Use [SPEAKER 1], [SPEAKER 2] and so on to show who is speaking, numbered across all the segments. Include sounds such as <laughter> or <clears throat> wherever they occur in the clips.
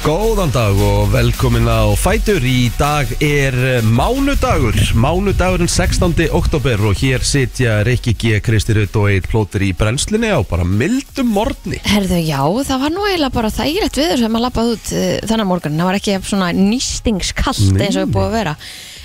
[SPEAKER 1] Góðan dag og velkomin á Fætur Í dag er eh, mánudagur Mánudagurinn 16. oktober Og hér sitja Rikki G. Kristirut og Eitt Plóter í brennslinni á bara mildum morgni
[SPEAKER 2] Herðu, já, það var nú eiginlega bara þægilegt viður sem að lappaði út uh, þannig morgun. Það var ekki jafn svona nýstingskallt
[SPEAKER 1] Nei,
[SPEAKER 2] eins og er búið að vera.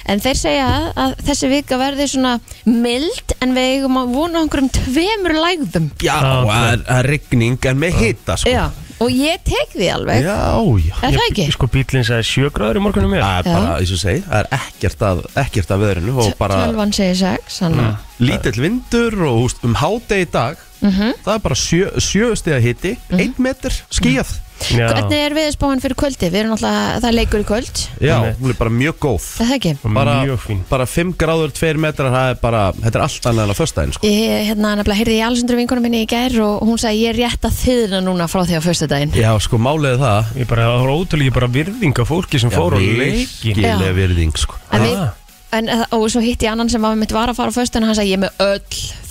[SPEAKER 2] En þeir segja að þessi vika verði svona mild en við eigum að vona einhverjum tveimur lægðum.
[SPEAKER 1] Já, það er- það er rigning en með hita sko.
[SPEAKER 2] Já, og ég tek því alveg.
[SPEAKER 1] Já, já
[SPEAKER 2] Er það ekki?
[SPEAKER 3] Sko bílinn sagði sjögráður í morgunum mér
[SPEAKER 1] Það er
[SPEAKER 2] Já.
[SPEAKER 1] bara, eins og ég segi, það er ekkert að, ekkert að veðrinu og bara
[SPEAKER 2] Tölvan segir sex, þannig
[SPEAKER 3] Mm.
[SPEAKER 2] að
[SPEAKER 1] lítill vindur og úst, um hádegi í dag
[SPEAKER 2] Mhm.
[SPEAKER 1] það er bara sjö, sjöstega hitti einn metr, skíð
[SPEAKER 3] Já,
[SPEAKER 2] Hvernig er viðspáin fyrir kvöldi? Við erum alltaf, það er leikur í kvöld,
[SPEAKER 1] Já,
[SPEAKER 3] Einmitt.
[SPEAKER 1] hún er bara mjög góð
[SPEAKER 2] er það ekki?
[SPEAKER 1] bara,
[SPEAKER 3] mjög fín
[SPEAKER 1] bara 5 gráður, 2 metrar það er bara, þetta er allt annað en að föstudaginn sko.
[SPEAKER 2] Ég, hérna, nefnilega, heyrði ég Alessandru vinkunum minni í gær og hún sagði ég er rétt að þiðna núna frá því á föstudaginn.
[SPEAKER 1] Já, sko, málið er það
[SPEAKER 3] Ég bara, það var ótrúlega ég bara virðing af fólki sem
[SPEAKER 1] Já,
[SPEAKER 3] fór á leikin
[SPEAKER 1] virkilega
[SPEAKER 2] Já.
[SPEAKER 1] virðing sko.
[SPEAKER 2] En
[SPEAKER 3] Ah.
[SPEAKER 2] við, en, eh, og svo hitti ég annan sem var mitt var að fara á föstun og hann sagði ég er með öll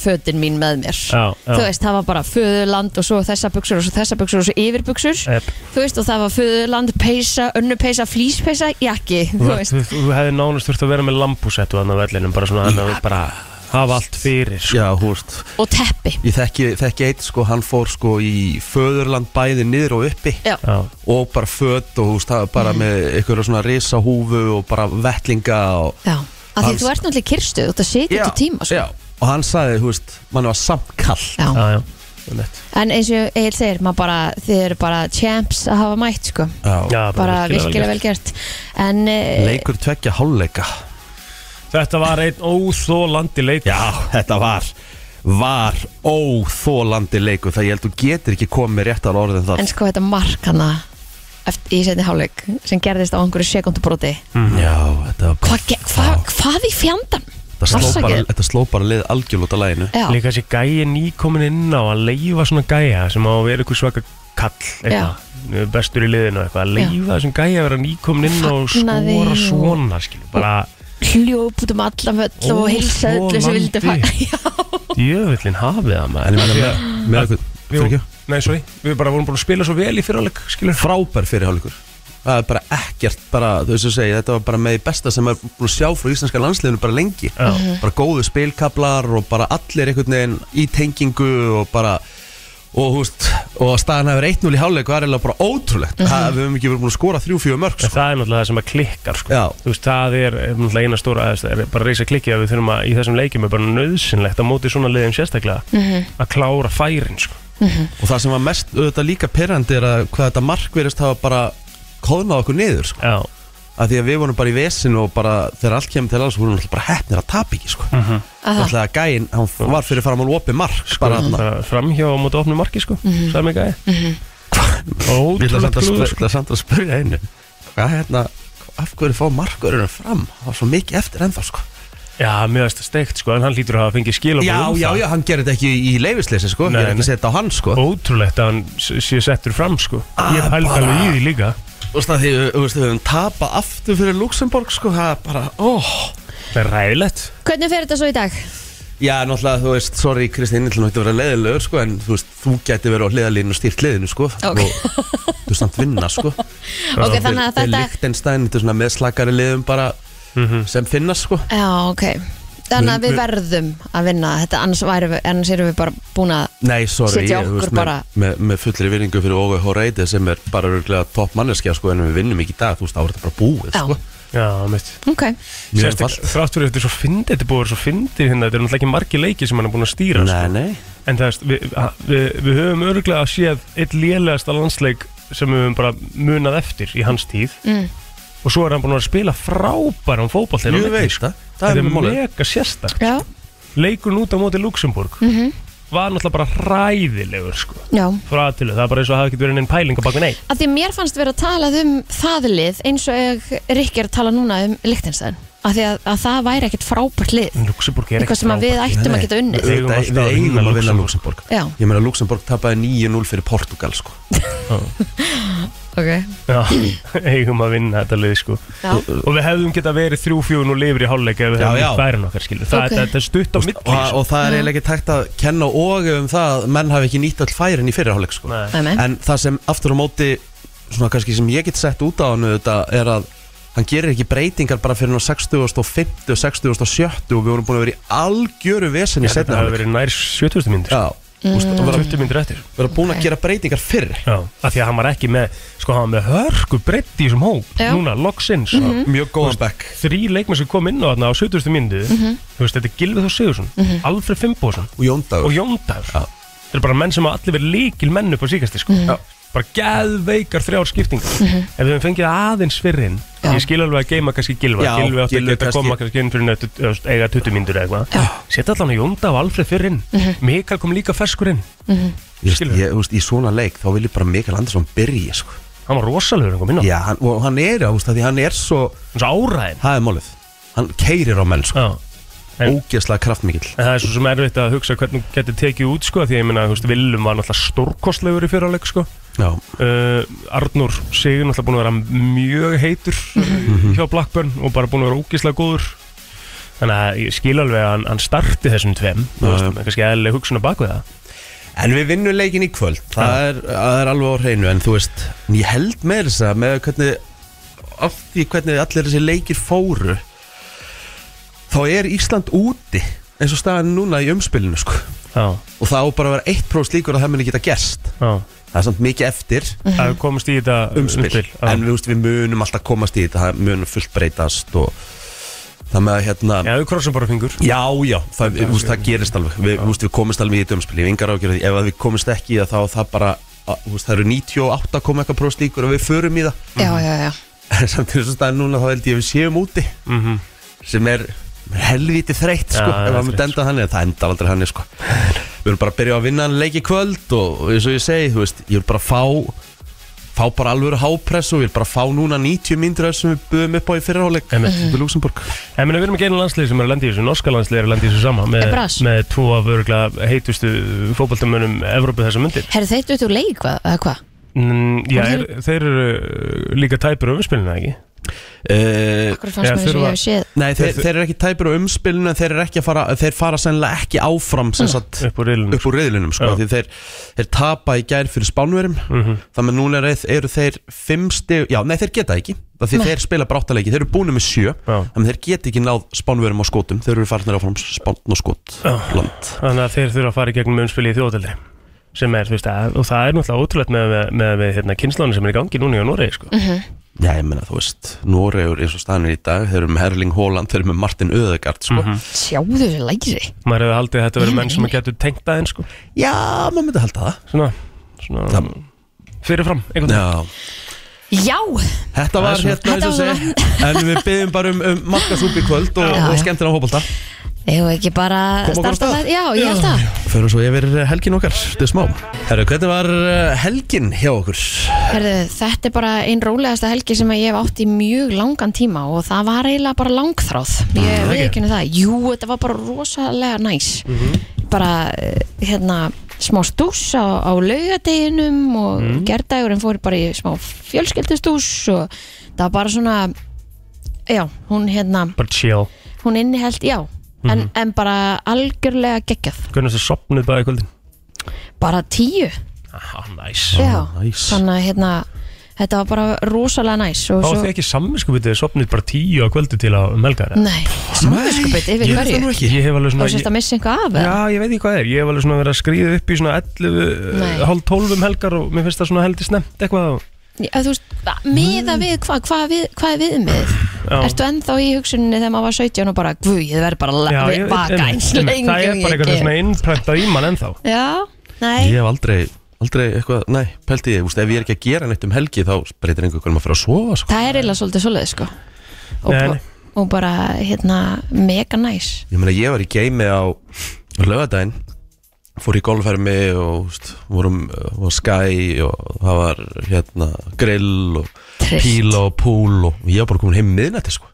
[SPEAKER 2] fötin mín með mér
[SPEAKER 3] Já, já.
[SPEAKER 2] þú veist, það var bara föðuland og svo þessa buksur og svo þessa buksur og svo yfirbuksur
[SPEAKER 3] Ep.
[SPEAKER 2] þú veist, og það var föðuland, peysa, önnupeysa flýspeysa, jakki, þú
[SPEAKER 3] Þú,
[SPEAKER 2] veist
[SPEAKER 3] þú, þú hefði nánast þurft að vera með lambúsettu þannig á vellinum, bara svona þannig að við bara hafa allt fyrir sko.
[SPEAKER 1] Já, húst
[SPEAKER 2] og teppi,
[SPEAKER 1] Ég þekki, þekki eitt, sko, hann fór sko í föðurland bæði niður og uppi
[SPEAKER 2] já,
[SPEAKER 3] Já,
[SPEAKER 1] og bara fött og húst, það er bara með einhverja svona risahúfu og bara vettlinga og
[SPEAKER 2] já að því
[SPEAKER 1] Alls-
[SPEAKER 2] þú ert náttúrulega kirstu, þú ert að sitja til tíma sko.
[SPEAKER 1] já, og hann sagði, þú veist, mann var samt kall
[SPEAKER 2] já.
[SPEAKER 3] já, já, einmitt.
[SPEAKER 2] en eins og Egil segir, maður bara þið eru bara champs að hafa mætt sko.
[SPEAKER 3] já
[SPEAKER 2] bara virkilega vel gert en eh,
[SPEAKER 1] leikur tvekja hálfleika
[SPEAKER 3] Þetta var einn óþólandi leik
[SPEAKER 1] já, þetta var var óþólandi leikur það ég held þú getur ekki komið með réttar orðin það
[SPEAKER 2] En sko þetta mark hana eftir, í setni hálfleik sem gerðist á einhverju sekundubróti
[SPEAKER 1] Mhm. já, þetta var
[SPEAKER 2] hva, ge- hva, Hvað í fjandan?
[SPEAKER 1] þetta sló, bara,
[SPEAKER 2] Afsakið.
[SPEAKER 1] þetta sló bara lið algjörl út af læginu
[SPEAKER 2] Já,
[SPEAKER 3] Líka þessi gæi nýkomin inn á að leifa svona gæja sem á að vera eitthvað svaka kall eitthvað, bestur í liðinu og eitthvað að
[SPEAKER 2] Já.
[SPEAKER 3] leifa þessum gæja að vera nýkomin inn á og
[SPEAKER 2] Fagnaði
[SPEAKER 3] skora
[SPEAKER 2] og-
[SPEAKER 3] svona skilu, bara
[SPEAKER 2] hljóp út um allan völl og
[SPEAKER 3] Ó,
[SPEAKER 2] hilsaði öllu sem vildi
[SPEAKER 3] þolandi.
[SPEAKER 2] fara Já,
[SPEAKER 3] djöfullin hafið það
[SPEAKER 1] en
[SPEAKER 3] maður
[SPEAKER 1] ég meina með, með eitthvað fyrir
[SPEAKER 3] Jú,
[SPEAKER 1] ekki
[SPEAKER 3] nei, sorry, við bara vorum búin að spila svo vel í fyrirháleik skilur
[SPEAKER 1] frábær fyrirháleikur það er bara ekkert bara, þú veist að segja, þetta var bara með því besta sem maður er búin að sjá frá íslenska landsliðinu bara lengi
[SPEAKER 3] Já.
[SPEAKER 1] bara góðu spilkablar og bara allir einhvern veginn í tengingu og bara og, þú veist, og að staðan hefur 1-0 í háleik og það er eiginlega bara ótrúlegt mm við höfum ekki verið búin að skora 3-4 mörg
[SPEAKER 3] En
[SPEAKER 1] sko.
[SPEAKER 3] það er náttúrulega það sem að klikkar sko.
[SPEAKER 1] Já.
[SPEAKER 3] Þú veist, það er er náttúrulega eina stóra það er bara að reysa klikkið að við þurfum að í þessum leikjum er bara nöðsynlegt að móti svona liðum sérstaklega að klára færin sko.
[SPEAKER 1] og það sem var mest auðvitað líka perrandi er að hvað þetta markverist hafa bara kóðnað okkur niður sko.
[SPEAKER 3] Já,
[SPEAKER 1] af því að við vorum bara í vesinu og bara þegar allt kemur til alls vorum við náttúrulega bara hefnir að tapa ekki sko.
[SPEAKER 2] Aha.
[SPEAKER 1] Náttúrulega gæinn, hann var fyrir fram á opið mark sko. bara þarna.
[SPEAKER 3] Mhm. bara framhjá á móti opnu marki sko. Sæmi gæði
[SPEAKER 1] Ég ætla
[SPEAKER 3] Ótrúlega
[SPEAKER 1] samt að
[SPEAKER 3] klúður
[SPEAKER 1] spyrja-
[SPEAKER 3] sko.
[SPEAKER 1] ætla samt að spyrja einu Hvað hérna, af hverju fá markurinn fram? Það var svo mikið eftir ennþá sko
[SPEAKER 3] Já, mér veist það steikt sko, en hann hlýtur að hafa fengið um skilabóð
[SPEAKER 1] Já, já, já, hann gerir þetta ekki í leifisleysi sko
[SPEAKER 3] Nei,
[SPEAKER 1] Ég er ekki
[SPEAKER 3] nei.
[SPEAKER 1] að setja á hann sko
[SPEAKER 3] Ótrúlegt að hann s- sé settur fram sko.
[SPEAKER 1] Ah,
[SPEAKER 3] Ég pældi
[SPEAKER 1] bara-
[SPEAKER 3] alveg í því líka
[SPEAKER 1] Þú veist að því, þú veist, við höfum tapað aftur fyrir Luxemburg sko Það er bara, óh
[SPEAKER 3] Það er ræðilegt
[SPEAKER 2] Hvernig fer þetta svo í dag?
[SPEAKER 1] Já, náttúrulega, þú veist, sorry Kristín, ég ætla nú ekki að vera leiðilegur sko En þú veist, þú gæti verið á hliðalínu og stýrt hliðinu sko
[SPEAKER 2] Ok. <laughs>
[SPEAKER 1] Og þú veist, samt vinna sko
[SPEAKER 2] Ok, þannig að þetta
[SPEAKER 1] Lichtenstein, þetta er svona meðslakari liðum bara
[SPEAKER 3] Mhm.
[SPEAKER 1] sem finnast sko
[SPEAKER 2] Já, ok Þannig að við verðum að vinna þetta annars, væri, við- annars erum við bara búin að
[SPEAKER 1] Nei, sorry,
[SPEAKER 2] Setja
[SPEAKER 1] ég, þú
[SPEAKER 2] okkur
[SPEAKER 1] veist,
[SPEAKER 2] bara-
[SPEAKER 1] með, með, með fullri virðingu fyrir Óve Hóreide sem er bara örgulega topp manneskja sko, en við vinnum ekki í dag, þú veist, þá er þetta bara búið
[SPEAKER 2] Já,
[SPEAKER 1] sko.
[SPEAKER 3] Já, mitt
[SPEAKER 2] ok
[SPEAKER 1] Mjög
[SPEAKER 3] Sérstak,
[SPEAKER 1] einfalt.
[SPEAKER 3] þrátt fyrir þetta er svo fyndið, þetta er búið að vera svo fyndið hérna, þetta er náttúrulega ekki margi leiki sem hann er búin að stýra
[SPEAKER 1] Nei, nei,
[SPEAKER 3] sko. en það veist, við, að- við, við höfum örglega að séð eitt lélegasta landsleik sem við höfum bara munað eftir í hans tíð
[SPEAKER 2] mm.
[SPEAKER 3] og svo er hann búin að vera að spila frábæran hérna fótball
[SPEAKER 1] ég veit það Það
[SPEAKER 3] sko. þetta
[SPEAKER 1] er
[SPEAKER 3] er
[SPEAKER 1] mjög málið
[SPEAKER 3] mega sérstakt
[SPEAKER 2] Já, Mhm.
[SPEAKER 3] leikun út á móti Luxemburg var náttúrulega bara ræðilegur sko.
[SPEAKER 2] já
[SPEAKER 3] frá að til það er bara eins og það hafi ekki verið einn pæling á bak við neitt
[SPEAKER 2] Af Því mér fannst vera að tala um þaðlið eins og Rikki er að tala núna um Lichtenstein Af Því að, að það væri ekkert frábært lið
[SPEAKER 1] Mm.
[SPEAKER 3] Luxemburg er
[SPEAKER 2] Eitthvað
[SPEAKER 3] ekki
[SPEAKER 2] sem að við
[SPEAKER 3] frábært.
[SPEAKER 2] ættum
[SPEAKER 1] Nei,
[SPEAKER 2] að geta unnið
[SPEAKER 3] Við eigum
[SPEAKER 1] Auðvitað-
[SPEAKER 3] alltaf
[SPEAKER 1] Við
[SPEAKER 3] að
[SPEAKER 1] eigum
[SPEAKER 3] vinna
[SPEAKER 1] að vinna
[SPEAKER 3] Luxemborg.
[SPEAKER 1] Luxemburg
[SPEAKER 2] Já,
[SPEAKER 1] Ég meina Luxemburg tapaði 9-0 fyrir Portugal sko.
[SPEAKER 2] ok
[SPEAKER 3] Já, <clears throat> eigum að vinna þetta lið sko.
[SPEAKER 2] Já.
[SPEAKER 3] og við hefðum geta verið 3-4 og lifir í hálfleik ef við
[SPEAKER 1] Já,
[SPEAKER 3] hefðum
[SPEAKER 1] já.
[SPEAKER 3] ekki bærin okkar skilu það,
[SPEAKER 2] Ok.
[SPEAKER 3] okay. það er stutt á milli
[SPEAKER 1] og, það-
[SPEAKER 3] sko.
[SPEAKER 1] og það er eiginlega ekki tækt að kenna Óve um það að menn hafi ekki nýtt all færin í fyrirháleik sko.
[SPEAKER 3] Nei.
[SPEAKER 2] Nei, nei.
[SPEAKER 1] En það sem aftur á móti svona kannski sem ég get sett út á hann auðvitað er að hann gerir ekki breytingar bara fyrir hann á 60 og 50 og 60 og 70 og við vorum búin að vera í algjöru vesen í
[SPEAKER 3] Þetta
[SPEAKER 1] setna
[SPEAKER 3] hefur verið nær 70 myndir
[SPEAKER 1] Já, þú veist, og vera,
[SPEAKER 3] 20 myndir eftir
[SPEAKER 1] vera búin að gera breytingar fyrr
[SPEAKER 3] Já, af því að hann var ekki með sko, hann var með hörku breytt í þessum hóp
[SPEAKER 2] Já.
[SPEAKER 3] núna, loksins
[SPEAKER 1] Mjög góðan bekk
[SPEAKER 3] þrý leikmenn sem kom inn á þarna á 70. myndu þú veist, þetta er Gilvi Þór Sigursson Alfred Fimboðsson
[SPEAKER 1] og
[SPEAKER 3] og
[SPEAKER 1] Jóndagur
[SPEAKER 3] Jóndaður
[SPEAKER 1] Já.
[SPEAKER 3] þetta er bara menn sem hafa allir verið líkil menn upp á síkastis sko. bara geðveikar þrjár skiptingar ef við höfum fengið aðeins fyrir inn ég skil alveg að geima kannski Gilva
[SPEAKER 1] Já,
[SPEAKER 3] Gilvi átti að
[SPEAKER 1] Gylfi
[SPEAKER 3] geta
[SPEAKER 1] kannski-
[SPEAKER 3] koma kannski inn fyrir nötu, öst, eiga 20 myndur eða eitthvað setja allan að Jónda og Alfred fyrir inn
[SPEAKER 1] Mhm.
[SPEAKER 3] Mikael kom líka ferskur inn
[SPEAKER 1] Ég veist,
[SPEAKER 3] skilur.
[SPEAKER 1] ég, þú veist, í svona leik þá vil ég bara Mikael Andersson byrja sko.
[SPEAKER 3] hann var rosalegur hann kom inn á
[SPEAKER 1] Já, hann, og hann er, já, þú veist, af því hann er svo
[SPEAKER 3] hans áræðin
[SPEAKER 1] það er málið, hann keirir á menn sko.
[SPEAKER 3] Já. En-
[SPEAKER 1] ógeðslega kraftmikill
[SPEAKER 3] En það er svo sem erfitt að hugsa hvernig hún getur tekið út sko, því að ég minna, þú veist, Willum var náttúrulega stórkostlegur í fyrraleg sko.
[SPEAKER 1] Já,
[SPEAKER 3] uh, Arnur Sigur náttúrulega búin að vera mjög heitur
[SPEAKER 1] Mhm.
[SPEAKER 3] uh, hjá Blackburn og bara búin að vera ógislega góður þannig að ég skil alveg að hann, hann starti þessum tveim þú
[SPEAKER 1] Já,
[SPEAKER 3] veist,
[SPEAKER 1] já.
[SPEAKER 3] með kannski eðlileg hugsun á bakvið það
[SPEAKER 1] En við vinnum leikin í kvöld Það er, það er alveg á hreinu En þú veist, ég held með þess að með hvernig af því hvernig allir þessi leikir fóru þá er Ísland úti eins og staðan er núna í umspilinu sko.
[SPEAKER 3] Já,
[SPEAKER 1] og það á bara að vera eitt prófs líkur að það muni geta gerst
[SPEAKER 3] já,
[SPEAKER 1] það er samt mikið eftir
[SPEAKER 3] að komast í þetta
[SPEAKER 1] umspil,
[SPEAKER 3] já.
[SPEAKER 1] en við, veist, við munum alltaf komast í þetta, það munum fullt breytast og það með að hérna
[SPEAKER 3] Já, við krossum bara fingur
[SPEAKER 1] Já, já, það, við, úst, það gerist alveg við, úst, við komist alveg í dömspil, ég hef engar ágjörði ef að við komist ekki í það, þá það bara að, úst, það eru 98 koma eitthvað próst líkur og við förum í það,
[SPEAKER 2] já, já, já.
[SPEAKER 1] en <laughs> samt eins og staðan núna þá held ég að við séum úti
[SPEAKER 3] Mhm.
[SPEAKER 1] sem er helviti þreytt sko,
[SPEAKER 3] Já,
[SPEAKER 1] ef
[SPEAKER 3] já,
[SPEAKER 1] það myndi
[SPEAKER 3] þreytt,
[SPEAKER 1] enda þannig, en það endar aldrei þannig sko. við erum bara að byrja að vinna hann leik í kvöld og og eins og ég segi, þú veist, ég vil bara fá fá bara alvöru hápress og ég vil bara fá núna 90 myndir sem við böðum upp á í fyrirháleik
[SPEAKER 3] Einmitt.
[SPEAKER 1] Luxemburg
[SPEAKER 3] En minna, við erum ekki einu landslið sem er að lenda í þessu Norska landslið er að lenda í þessu sama með,
[SPEAKER 2] Bras.
[SPEAKER 3] með tvo af örgulega heitustu fótboltamönnum Evrópu þessa myndir
[SPEAKER 2] Herðu þeir dutt úr leik, hvað? eða hvað?
[SPEAKER 3] mm, Já, er,
[SPEAKER 2] Voru
[SPEAKER 3] þeir eru uh, líka tæpur á umspilinu, ekki?
[SPEAKER 1] uh,
[SPEAKER 2] Akkur fannst
[SPEAKER 3] Já,
[SPEAKER 2] mér sem
[SPEAKER 3] þurfa-
[SPEAKER 2] ég hef séð
[SPEAKER 1] Nei, þeir,
[SPEAKER 3] Þeir-
[SPEAKER 1] þeir, eru ekki tæpir á umspilinu en þeir, eru ekki að fara, þeir fara sennilega ekki áfram sem
[SPEAKER 2] Mm.
[SPEAKER 1] sagt,
[SPEAKER 3] Upp úr reilinu
[SPEAKER 1] upp úr riðlinum sko,
[SPEAKER 3] Já. Mhm.
[SPEAKER 1] því þeir, þeir tapa í gær fyrir spánverum þannig að núna eru, eru þeir fimm stig, já, nei, þeir geta ekki það því þeir spila bara áttaleiki, þeir eru búinu með sjö
[SPEAKER 3] Já.
[SPEAKER 1] þannig að þeir geta ekki náð spánverum á skotum þeir eru farnir áfram spán og skot land
[SPEAKER 3] Þannig að þeir þurfa að fara í gegnum umspil í þjóðatildri sem er, þú veist, að, og það er náttúrulega ótrúlegt með, með, með, með hérna, kynnslónu sem er í gangi núna í Noregi, sko.
[SPEAKER 1] Já, ég meina, þú veist, Noregur eins og staðan er í dag, þeir eru með Herling Holland þeir eru með Martin Öðegard, sko
[SPEAKER 2] Sjáðu þessu læri
[SPEAKER 3] Mhm. Maður hefur haldið að
[SPEAKER 2] <laughs>
[SPEAKER 3] þetta verið menn sem getur tengt aðeins, sko.
[SPEAKER 1] Já, maður myndi halda það
[SPEAKER 3] Svona, svona
[SPEAKER 1] Það-
[SPEAKER 3] fyrirfram, einhvern veginn.
[SPEAKER 1] Já,
[SPEAKER 2] Já,
[SPEAKER 1] Þetta
[SPEAKER 3] Það
[SPEAKER 1] var
[SPEAKER 3] er svona-
[SPEAKER 1] hérna eins
[SPEAKER 2] Þetta
[SPEAKER 1] og
[SPEAKER 2] var
[SPEAKER 1] segi En við byggjum bara um, um markasúpi kvöld og,
[SPEAKER 2] Já,
[SPEAKER 1] og
[SPEAKER 2] já.
[SPEAKER 1] skemmtina á hópólta
[SPEAKER 2] eigum við ekki bara
[SPEAKER 1] Koma okkur af
[SPEAKER 2] starta
[SPEAKER 1] stað?
[SPEAKER 2] það? Já, ég held það
[SPEAKER 1] Förum svo yfir eh, helgin okkar, þetta er smá Herru, hvernig var eh, helgin hjá okkur?
[SPEAKER 2] Herðu, þetta er bara einn rólegasta helgi sem að ég hef átt í mjög langan tíma og það var eiginlega bara langþráð ég veit ekki það, jú, þetta var bara rosalega næs
[SPEAKER 1] Mhm.
[SPEAKER 2] bara, eh, hérna, smá stús á, á laugadeginum og
[SPEAKER 1] Mhm.
[SPEAKER 2] mm. gerdagurinn fór bara í smá fjölskeldustús og það var bara svona já, hún hérna
[SPEAKER 3] Bara chill.
[SPEAKER 2] hún inniheld, já en,
[SPEAKER 1] Mhm.
[SPEAKER 2] en bara algjörlega geggjað
[SPEAKER 3] Hvernig þessi sopnuð bara í kvöldin?
[SPEAKER 2] bara tíu
[SPEAKER 3] Aha, næs. Nice.
[SPEAKER 2] já,
[SPEAKER 1] næs.
[SPEAKER 2] þannig að hérna þetta var bara rosalega næs og
[SPEAKER 3] Þá
[SPEAKER 2] svo-
[SPEAKER 3] þið ekki samvinskupitið sopnuð bara tíu á kvöldu til á melgara?
[SPEAKER 2] Nei, samvinskupið yfir
[SPEAKER 1] Ég er það
[SPEAKER 2] hverju
[SPEAKER 1] nú
[SPEAKER 2] og
[SPEAKER 1] ekki
[SPEAKER 3] Ég hef alveg svona...
[SPEAKER 2] sérst að missa eitthvað af eða?
[SPEAKER 3] Já, ég veit ekki hvað það er. Ég hef alveg svona verið að skrýða upp í svona 11,
[SPEAKER 2] Nei.
[SPEAKER 3] eh, hálf 12 um helgar og mér finnst það svona heldur snemt eitthvað. og-
[SPEAKER 2] Að Þú veist, að miða við hvað hva, við, hvað er viðmið
[SPEAKER 3] Já.
[SPEAKER 2] Ertu ennþá í hugsuninni þegar maður var 17 og bara Guð, ég verð bara la-
[SPEAKER 3] Já, ég-
[SPEAKER 2] baka
[SPEAKER 3] einmitt,
[SPEAKER 2] eins
[SPEAKER 3] einmitt.
[SPEAKER 2] lengi
[SPEAKER 3] Það er
[SPEAKER 2] og
[SPEAKER 3] bara
[SPEAKER 2] ég
[SPEAKER 3] eitthvað
[SPEAKER 2] get.
[SPEAKER 3] svona innprentað í mann ennþá
[SPEAKER 2] Já, nei,
[SPEAKER 1] Ég hef aldrei, aldrei eitthvað, nei, pælti ég úst, Ef ég er ekki að gera neitt um helgi þá breytir einhver hvernig maður fyrir að sofa sko.
[SPEAKER 2] það er eiginlega svolítið svolítið sko og,
[SPEAKER 3] Nei,
[SPEAKER 2] bara-
[SPEAKER 3] nei.
[SPEAKER 2] og bara, hérna, mega næs
[SPEAKER 1] Ég meina, ég var í geimi á lögadaginn fór í golfhermi og úst, vorum uh, var skæ og það var hérna grill og
[SPEAKER 2] Trist.
[SPEAKER 1] píla og púl og ég var bara komin heim miðnætti sko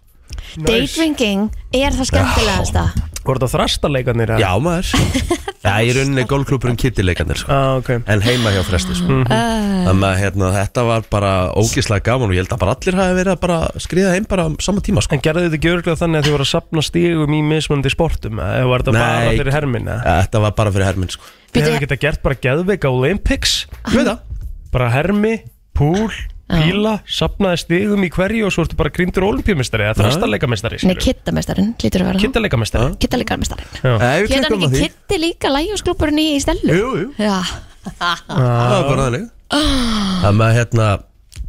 [SPEAKER 3] Nice.
[SPEAKER 2] Daydrinking er það skemmtilegasta
[SPEAKER 3] Voru þetta þrastaleikarnir? eða?
[SPEAKER 1] Já maður
[SPEAKER 3] <laughs>
[SPEAKER 1] Já, ég runni gólklúpurinn kittileikandir sko.
[SPEAKER 3] ah, Mhm. okay.
[SPEAKER 1] En heima hjá fresti sko.
[SPEAKER 2] Ah.
[SPEAKER 1] Þannig að hérna, þetta var bara ógislega gaman Og ég held að bara allir hafi verið að bara skriða heim Bara á sama tíma sko.
[SPEAKER 3] En gerðu þetta ekki örglega þannig að þið voru að sapna stígum í mismunandi sportum eða var þetta bara
[SPEAKER 1] Nei.
[SPEAKER 3] fyrir herminna?
[SPEAKER 1] Þetta var bara fyrir herminn sko.
[SPEAKER 3] Þið hefur
[SPEAKER 2] Býtu,
[SPEAKER 3] geta gert bara geðveika Olympics
[SPEAKER 1] Ég veit það
[SPEAKER 3] bara hermi, púl píla, sapnaði stigum í hverju og svo ertu bara grindur olimpíumistari eða þrastarleikamistari
[SPEAKER 2] Nei, kittamestarin, lítur að vera hann
[SPEAKER 3] kittarleikamistari
[SPEAKER 2] Kittalíkarmestarin
[SPEAKER 1] Ef Eh,
[SPEAKER 2] Hétt
[SPEAKER 1] við
[SPEAKER 2] hann
[SPEAKER 1] klikkum á
[SPEAKER 2] ekki
[SPEAKER 1] því
[SPEAKER 2] kitti líka lægjúsklúpurinn í, í stelu?
[SPEAKER 1] Jú, jú,
[SPEAKER 2] Já, Ah.
[SPEAKER 1] það var bara þannig Það með hérna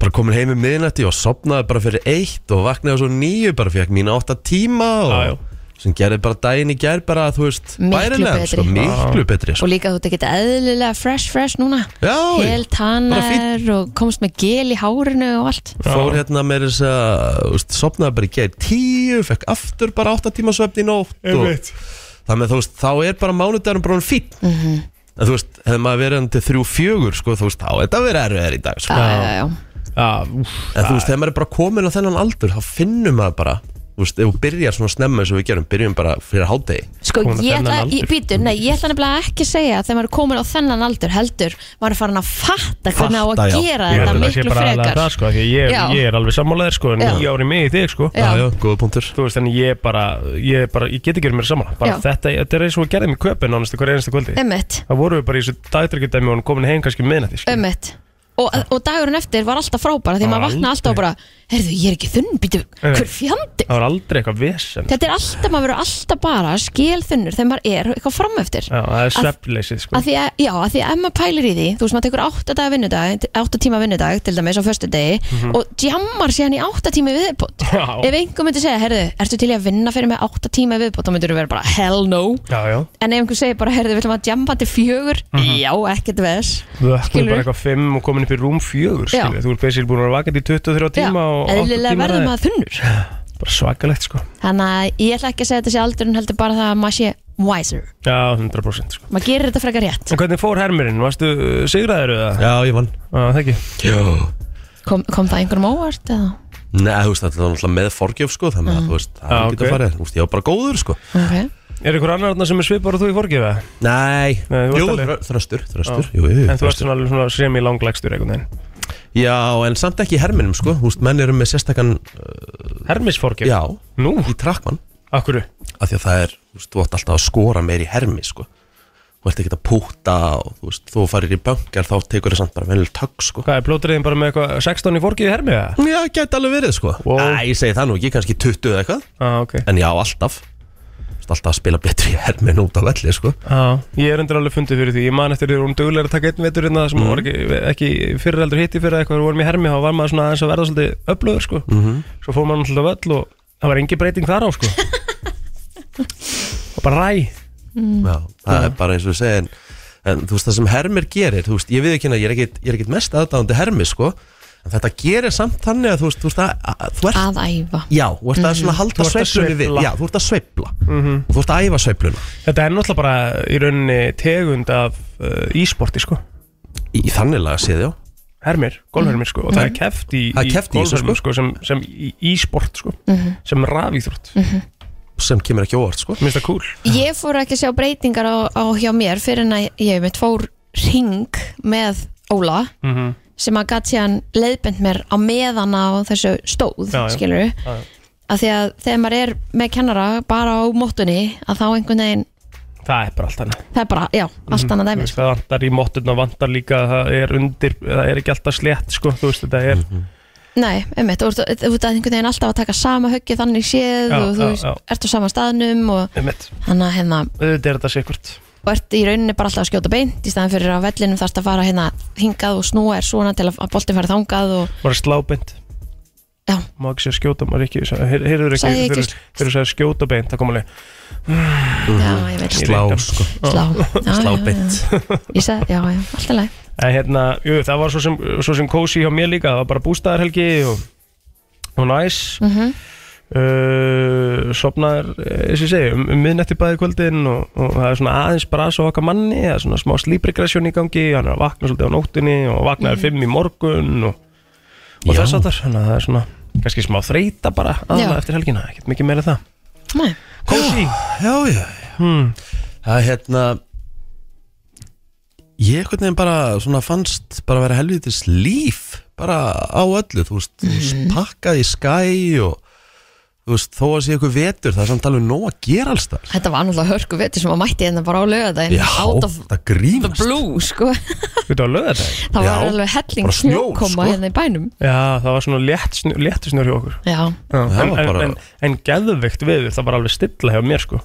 [SPEAKER 1] bara komin heim um miðnætti og sopnaði bara fyrir eitt og vaknaði svo nýju bara fekk mína átta tíma
[SPEAKER 3] Já, Ah, já.
[SPEAKER 1] og sem gerði bara daginn í gær bara þú veist
[SPEAKER 2] Miklu
[SPEAKER 1] bærilegan,
[SPEAKER 2] betri.
[SPEAKER 1] sko, miklu betri sko.
[SPEAKER 2] og líka þú ert ekki eðlilega fresh fresh núna
[SPEAKER 1] Já, já.
[SPEAKER 2] Helt
[SPEAKER 1] Bara fínn.
[SPEAKER 2] hannar og komst með gel í hárinu og allt
[SPEAKER 1] fór hérna með þess að þú veist, sopnaði bara í gær tíu fekk aftur bara átta tíma svefn í nótt og þannig að þú veist, þá er bara mánudagurum bara fín mm
[SPEAKER 2] Mhm.
[SPEAKER 1] en þú veist, hefði maður verið hann til þrjú fjögur sko, þú veist, þá er þetta verið erfiðar í dag sko.
[SPEAKER 2] Já, já, já
[SPEAKER 3] Já, úff,
[SPEAKER 1] en þú veist, þegar maður er bara komin á þennan aldur þá finnum maður bara, þú veist, ef þú byrjar svona snemma eins og við gerum, byrjum bara fyrir hádegi
[SPEAKER 2] Sko,
[SPEAKER 3] Komin á
[SPEAKER 2] ég ætla,
[SPEAKER 3] þennan
[SPEAKER 2] ég,
[SPEAKER 3] aldur.
[SPEAKER 2] býtu, nei, ég ætla nefnilega ekki að segja að þegar maður er komin á þennan aldur heldur maður er farin að fatta hvernig á
[SPEAKER 1] Fatta,
[SPEAKER 2] að
[SPEAKER 1] já.
[SPEAKER 2] gera
[SPEAKER 3] ég held
[SPEAKER 2] þetta
[SPEAKER 3] að það sé
[SPEAKER 2] miklu
[SPEAKER 3] bara aðlega
[SPEAKER 2] frekar
[SPEAKER 3] það sko því að ég,
[SPEAKER 2] Já.
[SPEAKER 3] ég er alveg sammálaðir sko en
[SPEAKER 2] Já.
[SPEAKER 3] ég ári mig í þig sko
[SPEAKER 2] Já.
[SPEAKER 1] já, góða punktur
[SPEAKER 3] þú veist, en ég bara, ég bara, ég get ekki verið mér saman bara
[SPEAKER 2] Já.
[SPEAKER 3] þetta, þetta er eins og að gerði mér köpun ánæstu hverja einasta kvöldi
[SPEAKER 2] Ömmit,
[SPEAKER 3] það voru við bara í þessu dagdryggjöldæmi og hann komin heim kannski miðnætti sko.
[SPEAKER 2] ömmit og, og dagurinn eftir var alltaf frábæra því maður vakna alltaf og bara Herðu, ég er ekki þunn, býtu,
[SPEAKER 3] Nei.
[SPEAKER 2] hver fjandi
[SPEAKER 3] það var aldrei eitthvað vesen
[SPEAKER 2] Þetta er alltaf, maður verður alltaf bara skilþunnur þegar maður er eitthvað framöftir
[SPEAKER 3] Já, það er
[SPEAKER 2] Að-
[SPEAKER 3] svefnleysið sko.
[SPEAKER 2] að því að, já, að því að ef maður pælir í því þú veist, maður tekur 8 daga vinnudag 8 tíma vinnudag, til dæmis á förstu degi og jammar síðan í 8 tíma viðbót
[SPEAKER 3] Mhm. Já.
[SPEAKER 2] ef einhver myndi segja, herðu, ertu til í að vinna fyrir mig 8 tíma viðbót, þá myndur þú vera bara hell no
[SPEAKER 3] Já, já,
[SPEAKER 2] en ef einhver segir bara, herðu, viljum að jamma til fjögur
[SPEAKER 3] Mhm.
[SPEAKER 2] já, ekkert veðs
[SPEAKER 3] vökkum
[SPEAKER 2] Skilurðu?
[SPEAKER 3] bara eitthvað 5 og komin upp í rúm 4
[SPEAKER 2] Já.
[SPEAKER 3] skilur, þú ert besil búin að vera vakandi í 23 tíma og átta
[SPEAKER 2] eðlilega
[SPEAKER 3] tíma
[SPEAKER 2] verður
[SPEAKER 3] að-
[SPEAKER 2] maður þunnur
[SPEAKER 3] bara svakalegt sko
[SPEAKER 2] þannig að ég ætla ekki að segja þetta sé aldurinn heldur bara það að maður sé wiser
[SPEAKER 3] Já, 100% sko
[SPEAKER 2] maður gerir þetta frekar rétt
[SPEAKER 3] En hvernig fór hermirinn? Varstu uh, sigraður eða?
[SPEAKER 1] já, ég vann
[SPEAKER 3] Já, það ekki
[SPEAKER 1] já.
[SPEAKER 2] kom, kom það einhverjum óvart eða?
[SPEAKER 1] Nei, þú veist, þetta var náttúrulega með forgjöf sko, þannig
[SPEAKER 2] Mm.
[SPEAKER 1] að þú veist, það er
[SPEAKER 3] Já,
[SPEAKER 1] ekki
[SPEAKER 3] ok.
[SPEAKER 1] okay. að fara Þú veist, ég var bara góður sko
[SPEAKER 2] Okay.
[SPEAKER 3] Er einhver annar þarna sem er svipar og þú í forgifa?
[SPEAKER 1] Nei,
[SPEAKER 3] Nei, þú varst
[SPEAKER 1] jú,
[SPEAKER 3] alveg-
[SPEAKER 1] þrö- þröstur, þröstur jú, jú, jú,
[SPEAKER 3] En þú
[SPEAKER 1] þröstur.
[SPEAKER 3] ert svona, svona semi langlegstur einhvern veginn
[SPEAKER 1] Já, en samt ekki í herminum sko, þú veist, menn eru með sérstakann,
[SPEAKER 3] Hermisforgjöf?
[SPEAKER 1] já,
[SPEAKER 3] Nú,
[SPEAKER 1] í trakkmann
[SPEAKER 3] akkur
[SPEAKER 1] af því að það er, þú veist, þú ætti alltaf að skora meir í hermi, sko þú ert ekki að púta og þú veist, þú farir í bankar þá tekur það samt bara venileg tökk, sko
[SPEAKER 3] Hvað er blótriðin bara með eitthvað 16 í forgjöf í hermi eða?
[SPEAKER 1] Já, gæti alveg verið, sko
[SPEAKER 3] Wow.
[SPEAKER 1] Æ, ég segi það nú ekki, kannski 20 eða eitthvað
[SPEAKER 3] Já, ok
[SPEAKER 1] en já, alltaf Þú veist, alltaf að spila betri í hermi en út á velli, sko
[SPEAKER 3] Já, ég er undir alveg fundið fyrir því Ég man eftir því um duglega að taka einn vetur hérna
[SPEAKER 1] Mhm.
[SPEAKER 3] sem var ekki, ekki fyrir heldur hitti fyrir eitthvað við vorum í hermi, þá var maður svona aðeins að verða svolítið öflugur sko.
[SPEAKER 1] Mhm.
[SPEAKER 3] Svo fór maður náttúrulega á völl og það var engin breyting þar á
[SPEAKER 1] <laughs>
[SPEAKER 3] sko. og bara ræ
[SPEAKER 1] Já, það er bara eins og við segja en, en þú veist það sem Hermir gerir þú veist, ég við ekki hérna, ég er ekkit, ég er ekkit mest aðdáðandi Hermi sko, en þetta gerir samt þannig að þú veist, þú veist að, að þú ert
[SPEAKER 2] að æfa
[SPEAKER 1] Já, þú ert að svona halda
[SPEAKER 3] Mhm. Þú ert að
[SPEAKER 1] sveiflunni
[SPEAKER 3] sveifla.
[SPEAKER 1] við
[SPEAKER 3] Mhm.
[SPEAKER 1] Já, þú ert að sveifla og þú ert að æfa sveifluna
[SPEAKER 3] Þetta er náttúrulega bara í rauninni tegund af uh, ísporti sko.
[SPEAKER 1] Í, í þannig laga séð, já
[SPEAKER 3] Hermir, golfhermir sko. og það er keft í,
[SPEAKER 1] Mhm. Það er
[SPEAKER 3] í
[SPEAKER 1] keppt í þessu,
[SPEAKER 3] golfhermir
[SPEAKER 1] sko.
[SPEAKER 3] sko, sem, sem í- ísport sko.
[SPEAKER 2] Mhm.
[SPEAKER 3] sem rafíþrótt mm
[SPEAKER 1] sem kemur ekki óvart, sko
[SPEAKER 3] Minnst það cool
[SPEAKER 2] Ég fór ekki að sjá breytingar á, á hjá mér fyrir en að ég mitt fór ring með Óla
[SPEAKER 3] mhm.
[SPEAKER 2] sem að gatt síðan leiðbend mér á meðan á þessu stóð,
[SPEAKER 3] Já, já.
[SPEAKER 2] skilur við
[SPEAKER 3] Já, já.
[SPEAKER 2] að því að þegar maður er með kennara bara á móttunni að þá einhvern veginn
[SPEAKER 3] Það er bara allt annað
[SPEAKER 2] það er bara, já, allt annað
[SPEAKER 3] Mhm, Þú
[SPEAKER 2] dæmi sko.
[SPEAKER 3] veist, það vantar í móttuna, vantar líka það er undir, það er ekki alltaf slétt sko, þú veist, þetta er
[SPEAKER 1] Mhm.
[SPEAKER 2] Nei, einmitt, og þú ert- þú ert að einhvern veginn alltaf að taka sama höggið þannig séð
[SPEAKER 3] Já,
[SPEAKER 2] og þú
[SPEAKER 3] já,
[SPEAKER 2] veist,
[SPEAKER 3] já.
[SPEAKER 2] ert á sama staðnum og
[SPEAKER 3] einmitt,
[SPEAKER 2] hann að hérna
[SPEAKER 3] auðvitað er þetta sikkurt
[SPEAKER 2] og ert í rauninni bara alltaf að skjóta beint í staðan fyrir að vellinum þarst að fara hérna hingað og snúa er svona til að, að boltin fara þangað og
[SPEAKER 3] bara slábeint,
[SPEAKER 2] já,
[SPEAKER 3] má ekki segja skjóta maður ekki, heyrður heyr, ekki,
[SPEAKER 2] Sagði ég
[SPEAKER 3] þegar
[SPEAKER 2] ekki-
[SPEAKER 3] þegar þú segja skjóta beint, það kom alveg
[SPEAKER 2] já, ég veit slá,
[SPEAKER 3] Ég
[SPEAKER 1] Slá,
[SPEAKER 3] veit það.
[SPEAKER 1] sko,
[SPEAKER 2] slá, já, já,
[SPEAKER 1] slá
[SPEAKER 2] já.
[SPEAKER 1] beint
[SPEAKER 2] ég sagði, já, já, alltaf leið
[SPEAKER 3] en hérna, jú, það var svo sem, svo sem kósi hjá mér líka, það var bara bústæðarhelgi og, og næs mm
[SPEAKER 2] Mhm.
[SPEAKER 3] -hmm. uh, sopnaður eins og ég segi, um, um miðnætti bæði kvöldin og, og það er svona aðeins bara svo okkar manni, það er svona smá slípregressjón í gangi hann er að vakna svolítið á nóttunni og vaknaður
[SPEAKER 2] Mhm.
[SPEAKER 3] fimm í morgun og og
[SPEAKER 1] Já.
[SPEAKER 3] þess að þar, þannig að það er svona kannski smá þreita bara
[SPEAKER 2] Já.
[SPEAKER 3] aðla eftir helgina, ekkert mikið meira en það Hmm.
[SPEAKER 2] Nei,
[SPEAKER 3] Kósi,
[SPEAKER 1] Já, já, já Það er hérna Ég einhvern veginn bara svona fannst bara að vera helvitis
[SPEAKER 2] Mhm.
[SPEAKER 1] líf bara á öllu, þú veist, þú veist pakkaði í skæ og þú veist, þó að sé eitthvað vetur það er samt alveg nóg að gera alls þar
[SPEAKER 2] Þetta var náttúrulega hörku vetur sem að mætti hérna bara á lögadaginn
[SPEAKER 1] Já,
[SPEAKER 2] Out of
[SPEAKER 1] það
[SPEAKER 2] the
[SPEAKER 1] grínast
[SPEAKER 2] blue, sko
[SPEAKER 3] Þetta var löðardaginn
[SPEAKER 2] Það
[SPEAKER 1] Já,
[SPEAKER 2] var alveg helling
[SPEAKER 1] bara snjór,
[SPEAKER 2] snjókoma
[SPEAKER 1] sko.
[SPEAKER 2] hérna í bænum
[SPEAKER 3] Já, það var svona létt snjó, léttu snjór hjá okkur
[SPEAKER 2] Já,
[SPEAKER 3] Já,
[SPEAKER 1] Það
[SPEAKER 3] en,
[SPEAKER 1] var
[SPEAKER 3] en,
[SPEAKER 1] bara-
[SPEAKER 3] en, en geðveikt viður, það var alveg stilla hjá mér sko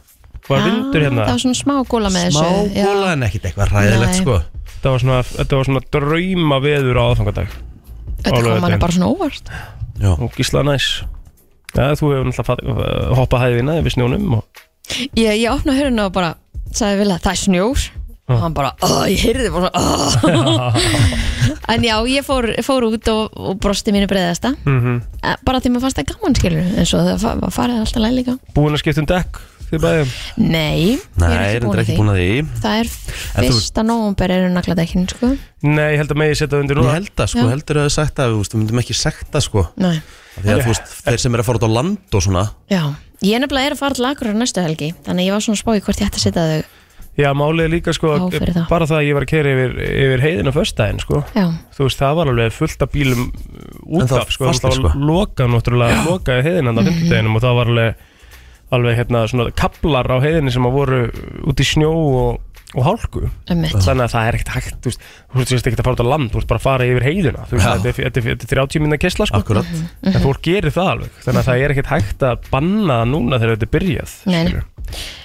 [SPEAKER 3] Var
[SPEAKER 2] Ah,
[SPEAKER 3] vindur hérna,
[SPEAKER 2] Það var svona smá góla með
[SPEAKER 1] smá
[SPEAKER 2] þessu já.
[SPEAKER 1] góla en ekkit eitthvað ræðilegt
[SPEAKER 2] Nei.
[SPEAKER 1] sko
[SPEAKER 3] þetta var svona, þetta var svona drauma viður á aðfangadag
[SPEAKER 2] Þetta
[SPEAKER 3] Alveg
[SPEAKER 2] kom manni
[SPEAKER 3] þetta.
[SPEAKER 2] bara svona óvart
[SPEAKER 1] Já.
[SPEAKER 3] og gísla næs Já, þú hefur náttúrulega fatt- hoppað hæðina við snjónum og
[SPEAKER 2] Ég, ég opnaði hörðinu og bara sagði Vilja, það er snjór og hann bara, "Ah," ég heyrði bara svona <laughs> "Ah." En já, ég fór, fór út og, og brosti mínu breyðasta
[SPEAKER 3] mm
[SPEAKER 1] Mhm.
[SPEAKER 2] Eh, bara því maður fannst það gaman skilur eins og það fa- var farið alltaf læg líka
[SPEAKER 3] búin að skipta um dekk því bæði
[SPEAKER 2] Nei,
[SPEAKER 1] Nei,
[SPEAKER 2] ég er ekki búin að því
[SPEAKER 1] búin að því
[SPEAKER 2] Það er
[SPEAKER 1] En þú-
[SPEAKER 2] fyrsta nóvumber eru nagladekkin sko.
[SPEAKER 3] Nei, ég held að megi setja það undir
[SPEAKER 1] Ég
[SPEAKER 3] núna
[SPEAKER 1] held að sko,
[SPEAKER 2] Já.
[SPEAKER 1] heldur að þau sagt að við veist, við myndum ekki sekta sko
[SPEAKER 2] Nei,
[SPEAKER 1] Af Því að þú veist, þeir sem eru að fara út á land og svona
[SPEAKER 2] já Ég nefnilega er að fara til Akureyrar næstu helgi Þannig að ég var svona að spá í hvort ég ætti að setja þau
[SPEAKER 3] Já, málið er líka sko,
[SPEAKER 2] Já, fyrir það.
[SPEAKER 3] bara það að ég var að kera yfir, yfir heiðina föstudaginn sko
[SPEAKER 2] Já,
[SPEAKER 3] Þú veist, það var alveg fullt af bílum út
[SPEAKER 1] En það
[SPEAKER 3] af, sko,
[SPEAKER 1] fannst
[SPEAKER 3] það
[SPEAKER 1] þér,
[SPEAKER 3] var
[SPEAKER 1] sko.
[SPEAKER 3] lokað náttúrulega, lokaði heiðin
[SPEAKER 2] Mhm.
[SPEAKER 3] hann á fimmtudeginum og það var alveg, alveg hérna, svona kaplar á heiðinni sem að voru út í snjó og, og hálku
[SPEAKER 2] ömmit
[SPEAKER 3] þannig að það er ekkert hægt, þú veist, þú veist, þú veist ekki að fara út á land, þú veist bara að fara yfir heiðina þú veist,
[SPEAKER 1] Já.
[SPEAKER 3] þetta er- þetta er- þetta er 30 minna kessla, sko
[SPEAKER 1] Akkurat
[SPEAKER 2] Mhm.
[SPEAKER 3] en fólk gerir það alveg, þannig að það er ekkert hægt að banna það núna þegar þetta er byrjað
[SPEAKER 2] Nei, nei.
[SPEAKER 3] skilurðu.